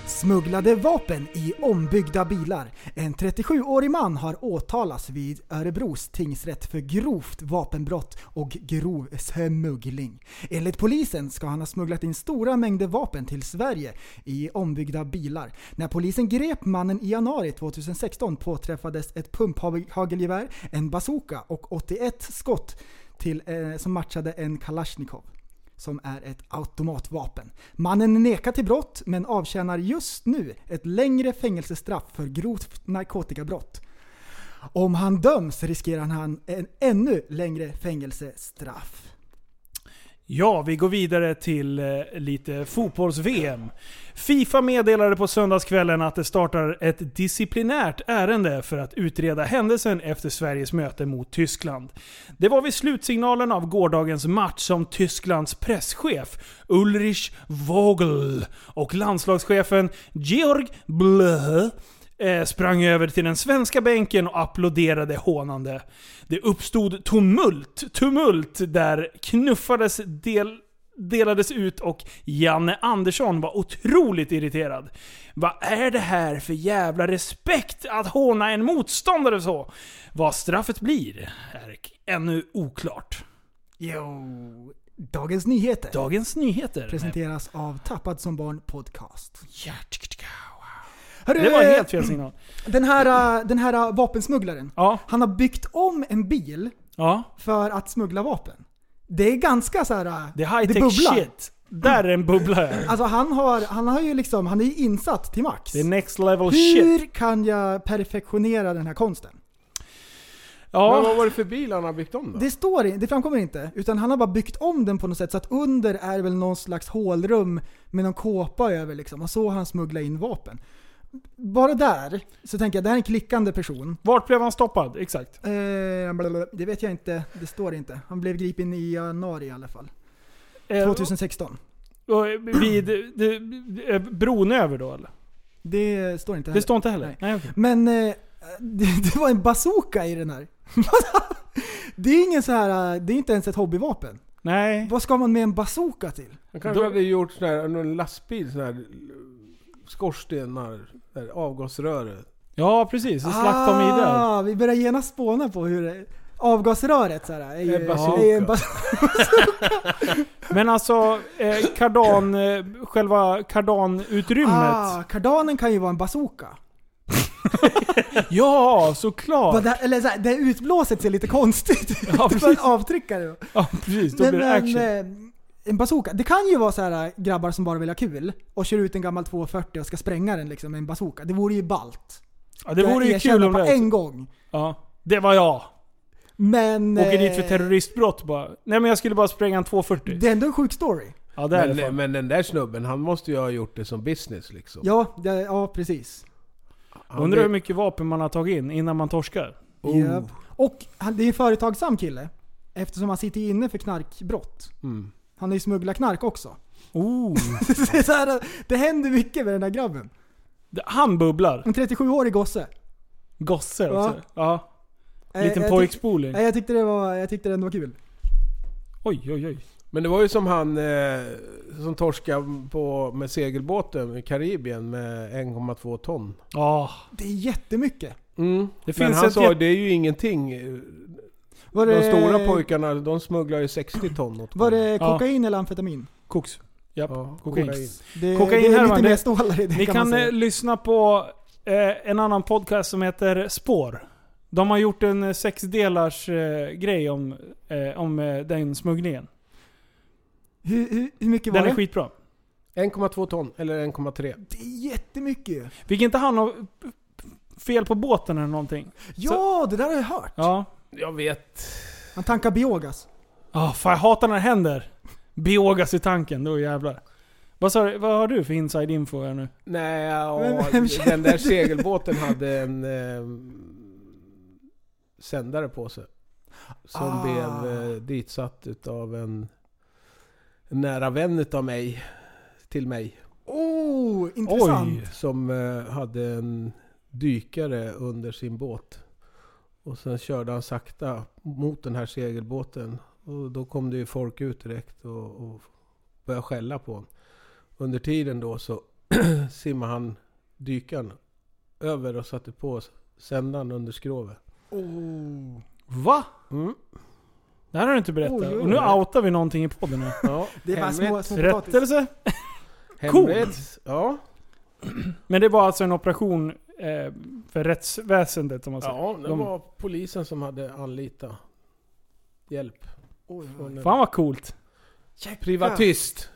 S5: Smugglade vapen i ombyggda bilar. En 37-årig man har åtalats vid Örebros tingsrätt för grovt vapenbrott och grov smuggling. Enligt polisen ska han ha smugglat in stora mängder vapen till Sverige i ombyggda bilar. När polisen grep mannen i januari 2016 påträffades ett pumphagelgevär, en bazooka och 81 skott till, eh, som matchade en Kalashnikov som är ett automatvapen. Mannen nekar till brott men avtjänar just nu ett längre fängelsestraff för grovt narkotikabrott. Om han döms riskerar han en ännu längre fängelsestraff.
S4: Ja, vi går vidare till eh, lite fotbolls-VM. Fifa meddelade på söndagskvällen att det startar ett disciplinärt ärende för att utreda händelsen efter Sveriges möte mot Tyskland. Det var vid slutsignalen av gårdagens match som Tysklands presschef Ulrich Vogel och landslagschefen Georg Blöhö eh, sprang över till den svenska bänken och applåderade hånande. Det uppstod tumult, tumult där knuffades del delades ut och Janne Andersson var otroligt irriterad. Vad är det här för jävla respekt att håna en motståndare så? Vad straffet blir är k- ännu oklart.
S5: Jo, Dagens Nyheter.
S4: Dagens Nyheter.
S5: Presenteras av Tappad som barn podcast.
S4: Det var en helt fel signal.
S5: Den här, eh, den här vapensmugglaren,
S4: ja.
S5: han har byggt om en bil
S4: Ja.
S5: för att smuggla vapen. Det är ganska så här. eh,
S4: Det är high-tech
S5: bubblar.
S4: shit. Där är en bubbla. här.
S5: Alltså han har, han har ju liksom, han är ju insatt till max.
S4: Det är next level
S5: Hur
S4: shit.
S5: kan jag perfektionera den här konsten?
S6: Men vad var det för bil han har byggt om då?
S5: Det står i- det framkommer inte. Utan han har bara byggt om den på något sätt så att under är väl någon slags hålrum med någon kåpa över liksom. Och så har han smugglat in vapen. Bara där så tänker jag, det här är en klickande person.
S4: Vart blev han stoppad? Exakt.
S5: Eh, blablabla. det vet jag inte, det står inte. Han blev gripen i januari i alla fall.
S4: Eh,
S5: 2016.
S4: Och Vid det, det, eh, bron över då eller?
S5: Det står inte
S4: Det står inte heller? Nej, okej.
S5: Men eh, det, det var en bazooka i den här. det är ingen så här, eh, det är inte ens ett hobbyvapen.
S4: Nej.
S5: Vad ska man med en bazooka till?
S6: Han kanske hade gjort sån här, en lastbil, sån här skorstenar, så här avgasrör.
S4: Ja precis,
S6: så slaktar de i där.
S5: Ah, vi börjar genast spåna på hur det- avgasröret så här, eh, är, ju,
S4: En bazooka.
S5: är en bazooka.
S4: Men alltså, eh, kardan, eh, själva kardanutrymmet.
S5: Ah, kardanen kan ju vara en bazooka.
S4: ja, såklart.
S5: Vad Det, eller så här, det här utblåset ser lite konstigt ut. det var en avtryckare.
S4: Ja precis, då blir det
S5: Nej,
S4: action.
S5: eh, en bazooka. Det kan ju vara så här eh, grabbar som bara vill ha kul och kör ut en gammal 240 och ska spränga den liksom med en bazooka. Det vore ju ballt.
S4: Ja, det
S5: Ska
S4: vore ju
S5: erkänna
S4: kul om
S5: på
S4: det-
S5: en gång.
S4: Ja, det var jag.
S5: Men...
S4: Åker
S5: eh,
S4: dit för terroristbrott bara. Nej men jag skulle bara spränga en 240.
S5: Det är ändå en sjuk story.
S4: Ja, det är det
S6: Men,
S4: fan.
S6: men den där snubben, han måste ju ha gjort det som business liksom.
S5: Ja, det, ja precis.
S6: Han
S4: Undrar hur
S6: vet-
S4: mycket vapen man har tagit in innan man torskar.
S5: Japp. Och han, det är en företagsam kille. Eftersom han sitter inne för knarkbrott.
S6: Mm.
S5: Han har ju smugglat knark också.
S4: Oh.
S5: det, är så här, det händer mycket med den där grabben.
S4: Han bubblar.
S5: En 37-årig gosse.
S4: Gosse också.
S5: Ja.
S4: Ja.
S5: Eh,
S4: Liten
S5: jag tyck-
S4: pojkspoling.
S5: Nej, Jag tyckte det var, jag tyckte det ändå var kul.
S4: Oj, oj, oj.
S6: Men det var ju som han eh, som torskade på, med segelbåten i Karibien med 1,2 ton.
S4: Ja.
S5: Det är jättemycket.
S6: Mm.
S4: Det
S6: Men
S4: finns
S6: han
S4: ett
S6: sa
S4: jätt-
S6: det är ju ingenting.
S5: Var
S6: De
S5: det-
S6: stora pojkarna de smugglar ju 60 ton åt
S5: Var det
S6: Ja.
S5: kokain eller amfetamin?
S4: Koks. Japp,
S6: Ja,
S4: kokain.
S6: kokain.
S5: Det,
S4: Kokain
S5: det är
S4: härmar,
S5: lite
S4: det-
S5: mer stålar i det
S4: Ni
S5: kan,
S4: kan
S5: man
S4: eh,
S5: säga.
S4: lyssna på eh, en annan podcast som heter Spår. De har gjort en eh, sexdelars eh, grej om, eh, om eh, den smugglingen.
S5: Hur, hur, hur mycket
S4: den
S5: var
S4: är
S5: det?
S4: skitbra.
S6: 1,2 ton eller 1,3.
S5: Det är jättemycket ju.
S4: Fick inte han ha fel på båten eller någonting?
S5: Ja, det där har jag hört.
S4: Ja.
S6: Jag vet.
S5: Han tankar biogas.
S4: Ah, fan jag hatar när det händer. Biogas i tanken, då jävlar. Vad, sa, du- vad har du för inside info här nu?
S6: Nej, ja,
S4: Men vem känner
S6: den där
S4: till-
S6: segelbåten hade en eh, sändare på sig. Som
S5: Ah.
S6: blev eh, ditsatt utav en en nära vän utav mig. Till mig.
S5: Oh, intressant.
S6: Som eh, hade en dykare under sin båt. Och sen körde han sakta mot den här segelbåten. Och då kom det ju folk ut direkt och, och började skälla på honom. Under tiden då så simmade han dykaren över och satte på sändaren under skrovet.
S5: Oh.
S4: Va?
S6: Mm.
S4: Det här har du inte berättat.
S6: Oj, oj,
S4: och nu
S6: oj.
S4: outar vi någonting i podden här.
S6: Ja,
S5: Det är bara små, små potatis.
S4: Rättelse?
S6: Hemligt. Ja.
S4: Men det var alltså en operation eh, för rättsväsendet om man säger.
S6: ja, det
S4: De-
S6: var polisen som hade anlitat hjälp. Från en
S4: Fan vad coolt.
S6: Privatist.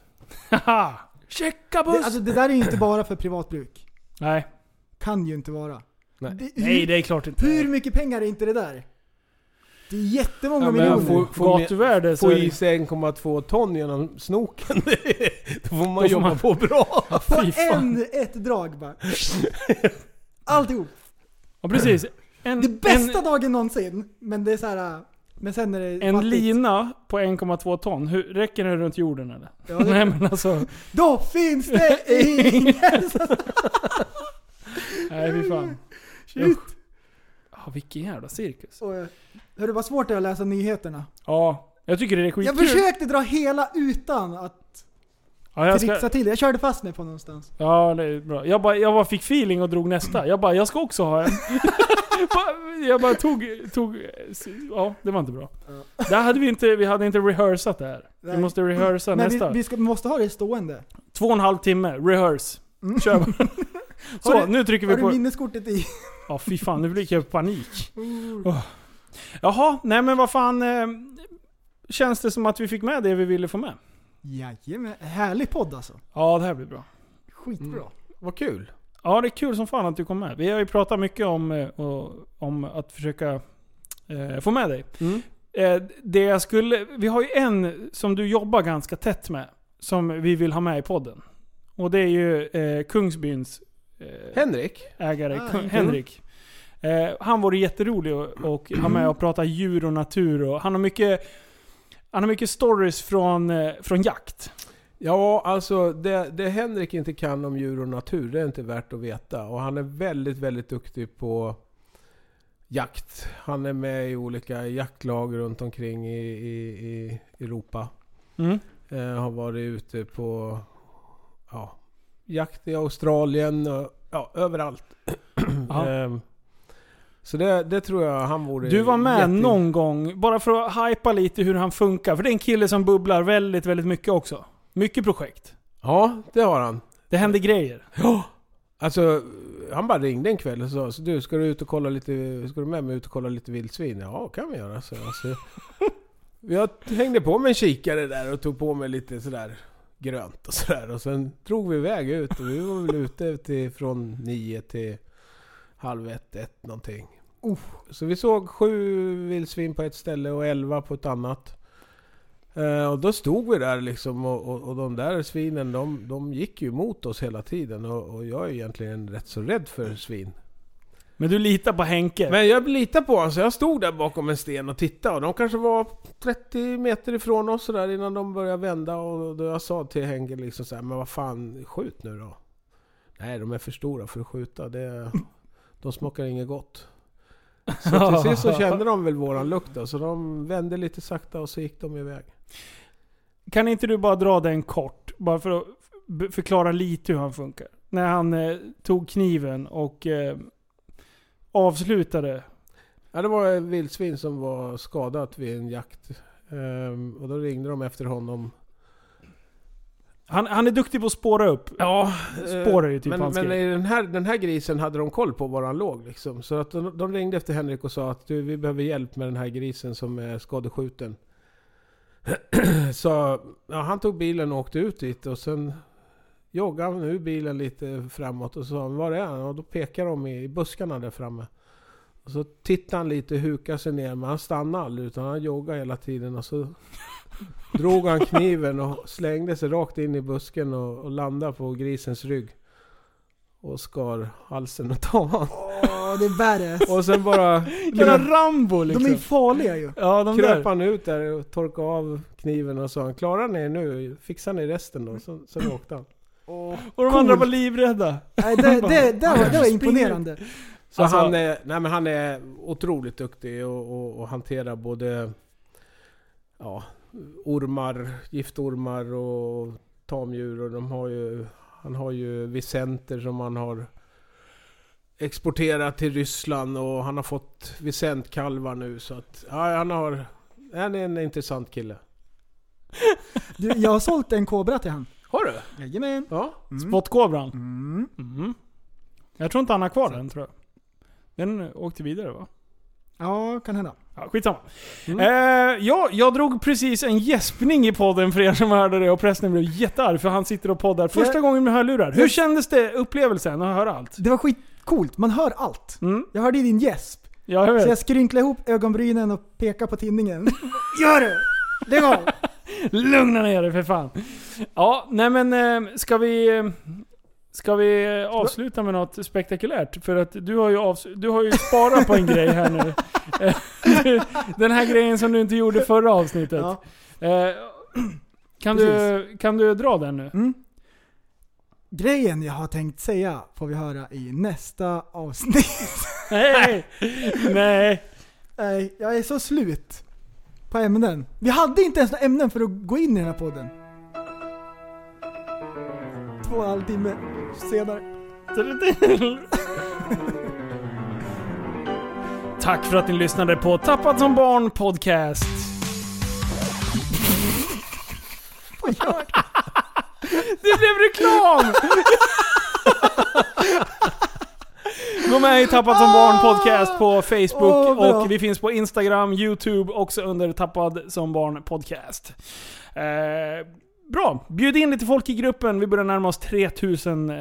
S4: Haha.
S6: Checka
S5: Det, alltså, det där är ju inte bara för privatbruk.
S4: Nej.
S5: Kan ju inte vara.
S6: Nej.
S5: Det, hur,
S4: Nej, det är klart inte.
S5: hur mycket pengar är inte det där? Det är jättemånga
S6: Ja, men
S5: miljoner.
S6: får- får med-
S4: Gatuvärde så
S6: Få
S4: är
S6: i
S4: det...
S6: sig 1,2 ton genom snoken. Då får man
S4: får
S6: jobba
S4: man-
S6: på bra.
S4: Fy
S5: På
S4: fan.
S5: en, ett drag bara. Alltihop.
S4: Ja, precis. En,
S5: Det bästa
S4: en,
S5: dagen någonsin, men det är så här. äh, Men sen är det
S4: en
S5: fattigt.
S4: lina på 1,2 ton. Hur, räcker den runt jorden eller?
S5: Ja, det-
S4: Nej men alltså.
S5: Då finns det ingen!
S4: Nej fy fan.
S5: Shit.
S4: Usch. Ja, vilken jävla cirkus.
S5: Och, eh, Hörru vad svårt det är att läsa nyheterna.
S4: Ja, jag tycker det är skitkul.
S5: Jag försökte dra hela utan att
S4: ja, jag
S5: trixa
S4: ska,
S5: till det. Jag körde fast mig på någonstans.
S4: ja, det är bra. Jag bara, jag bara fick feeling och drog nästa. Jag bara, jag ska också ha en. Bara- jag bara tog, tog... Ja, det var inte bra. Där hade vi inte, vi hade inte rehearsat det här. Vi
S5: Nej.
S4: måste rehearsa
S5: Men vi,
S4: nästa.
S5: vi ska, vi måste ha det stående.
S4: Två och en halv timme, rehearse. Kör bara. Så,
S5: Mm. Har du-
S4: nu trycker vi
S5: Har du
S4: på...
S5: minneskortet i?
S4: Ja, fy fan. Nu fick jag panik. Oh. Jaha, nej men vad fan. Eh, känns det som att vi fick med det vi ville få med?
S5: Jajamän. Härlig podd alltså.
S4: Ja, det här blir bra.
S5: Skitbra.
S4: Mm.
S6: Vad kul.
S4: Ja, det är kul som fan att du kom med. Vi har ju pratat mycket om, eh, och, om att försöka eh, få med dig.
S6: Mm.
S4: Eh, det jag skulle, vi har ju en som du jobbar ganska tätt med, som vi vill ha med i podden. Och det är ju eh, Kungsbyns eh,
S6: Henrik.
S4: ägare,
S5: Ah,
S4: Kung,
S5: mm.
S4: Henrik. Eh, han vore jätterolig och, och ha med och prata djur och natur. Och, han, har mycket, han har mycket stories från, eh, från jakt.
S6: Ja, alltså det, det Henrik inte kan om djur och natur, det är inte värt att veta. Och han är väldigt, väldigt duktig på jakt. Han är med i olika jaktlag runt omkring i, i, i Europa.
S4: Mm.
S6: Eh, har varit ute på ja, jakt i Australien och ja, överallt.
S4: Ja.
S6: Ehm, så det, det tror jag han vore...
S4: Du var med
S6: jätte-
S4: någon gång, bara för att hypa lite hur han funkar. För det är en kille som bubblar väldigt, väldigt mycket också. Mycket projekt.
S6: Ja, det har han.
S4: Det händer grejer.
S6: Ja! Alltså, han bara ringde en kväll och sa så du, ska du ut och kolla lite, ska du med mig ut och kolla lite vildsvin? Ja, kan vi göra, så. Alltså, jag hängde på mig en kikare där och tog på mig lite sådär grönt och sådär. Och sen drog vi iväg ut och vi var väl ute till, från nio till halv ett, ett någonting. Så vi såg sju vildsvin på ett ställe och elva på ett annat. Eh, och då stod vi där liksom och, och, och de där svinen de, de gick ju mot oss hela tiden och, och jag är egentligen rätt så rädd för svin.
S4: Men du litar på Henke.
S6: Men jag litar på honom så jag stod där bakom en sten och tittade och de kanske var 30 meter ifrån oss så där innan de började vända och då jag sa till Henke liksom så här, men vad fan, skjut nu då. Nej, de är för stora för att skjuta. Det, de smakar inget gott. Så till sist så kände de väl våran lukt då, så de vände lite sakta och så gick de iväg.
S4: Kan inte du bara dra den kort? Bara för att f- förklara lite hur han funkar. När han eh, tog kniven och eh, avslutade.
S6: Ja, det var ett vildsvin som var skadat vid en jakt. Ehm, och då ringde de efter honom.
S4: Han, han är duktig på att spåra upp.
S6: Ja,
S4: Spårar ju typ
S6: Eh, men,
S4: hans
S6: men
S4: grej.
S6: i den här, den här grisen hade de koll på var han låg liksom. Så att de, de ringde efter Henrik och sa att du, vi behöver hjälp med den här grisen som är skadeskjuten. Så ja, han tog bilen och åkte ut dit och sen joggade han ur bilen lite framåt och så sa han var är han? Och då pekar de i, i buskarna där framme. Och så tittade han lite, hukade sig ner men han stannade aldrig utan han joggade hela tiden och så drog han kniven och slängde sig rakt in i busken och, och landade på grisens rygg. Och skar halsen och tavan.
S5: Åh, det är värre.
S6: Och sen bara...
S4: Jävla Rambo liksom.
S5: De är ju farliga ju.
S4: Ja, de
S6: kröp
S4: där.
S6: han ut där och torkade av kniven och sa han klarar ni er nu? Fixar ni resten då? Så, så åkte han.
S4: Och de andra var livrädda.
S5: Nej, det, det, det, var, det var imponerande.
S6: Så
S4: Alltså-
S6: han, är, nej, men han är otroligt duktig och, och, och hanterar både ja, ormar, giftormar och tamdjur. Och de har ju, han har ju vicenter som han har exporterat till Ryssland och han har fått vicentkalvar nu. Så att, ja, han, har, han är en intressant kille.
S5: Du, jag har sålt en kobra till han.
S6: Har du?
S5: Jajamän.
S6: Ja.
S4: Spottkobran.
S5: Mm.
S4: Mm. Jag tror inte han har kvar den tror jag. Den åkte vidare va?
S5: Ja, kan hända.
S4: Ja, skitsamma. Eh, ja, jag drog precis en gäspning i podden för er som hörde det och prästen blev jättearg för han sitter och poddar första
S5: Jag-
S4: gången med hörlurar. Hur
S5: Jag-
S4: kändes det, upplevelsen att höra allt?
S5: Det var skitcoolt, man hör allt.
S4: Mm.
S5: Jag hörde din gäsp.
S4: Ja, jag
S5: Så jag
S4: vet.
S5: skrynklade ihop ögonbrynen och pekade på tinningen. Gör det! Lägg av!
S4: Lugna ner dig för fan. Ja, nej men eh, ska vi... Ska vi eh, avsluta med något spektakulärt? För att du har ju, avs- du har ju sparat på en grej här nu. Eh, du- Den här grejen som du inte gjorde förra avsnittet.
S5: Ja.
S4: Eh, Kan, du, kan du dra den nu?
S5: Grejen jag har tänkt säga får vi höra i nästa avsnitt.
S4: Nej! Nej!
S5: Nej, jag är så slut på ämnen. Vi hade inte ens några ämnen för att gå in i den här podden. Två och en halv timme senare.
S4: Tack för att ni lyssnade på Tappad som barn podcast. Det blev reklam! Gå med i Tappad som barn podcast på Facebook
S5: Åh, bra.
S4: och vi finns på Instagram, Youtube också under Tappad som barn podcast. Eh, bra, bjud in lite folk i gruppen. Vi börjar närma oss 3000 eh,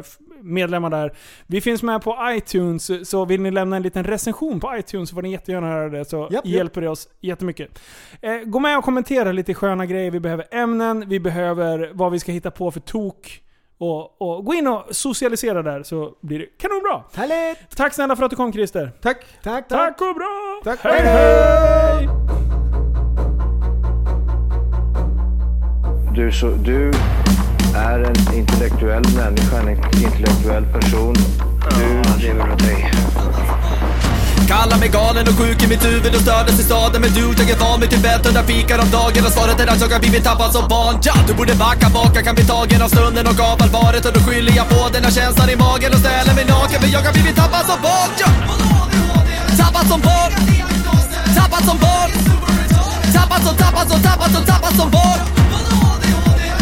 S4: f- medlemmar där. Vi finns med på iTunes, så vill ni lämna en liten recension på iTunes så får ni jättegärna höra det så
S5: Japp, japp.
S4: hjälper det oss jättemycket. Eh, gå med och kommentera lite sköna grejer. Vi behöver ämnen, vi behöver vad vi ska hitta på för tok. Och, och gå in och socialisera där så blir det kanonbra.
S5: Härligt!
S4: Tack snälla för att du kom Christer.
S6: Tack!
S5: Tack, tack!
S4: Tack och bra!
S6: Tack!
S4: Hej hej!
S3: Du, så, du är en intellektuell människa, en intellektuell person. Du lever av dig.
S1: Kallar mig galen och sjuk i mitt huvud och stördes i staden Men du, jag är van vid Tibet och där fikar om dagen Och svaret är att jag har blivit tappad som barn ja, Du borde backa bak, jag kan bli tagen av stunden och av allvaret Och då skyller jag på den här känslan i magen och ställer mig naken För jag har blivit tappad som barn ja. Tappad som barn Tappad som barn Tappad som, tappad som, tappad som, tappad som barn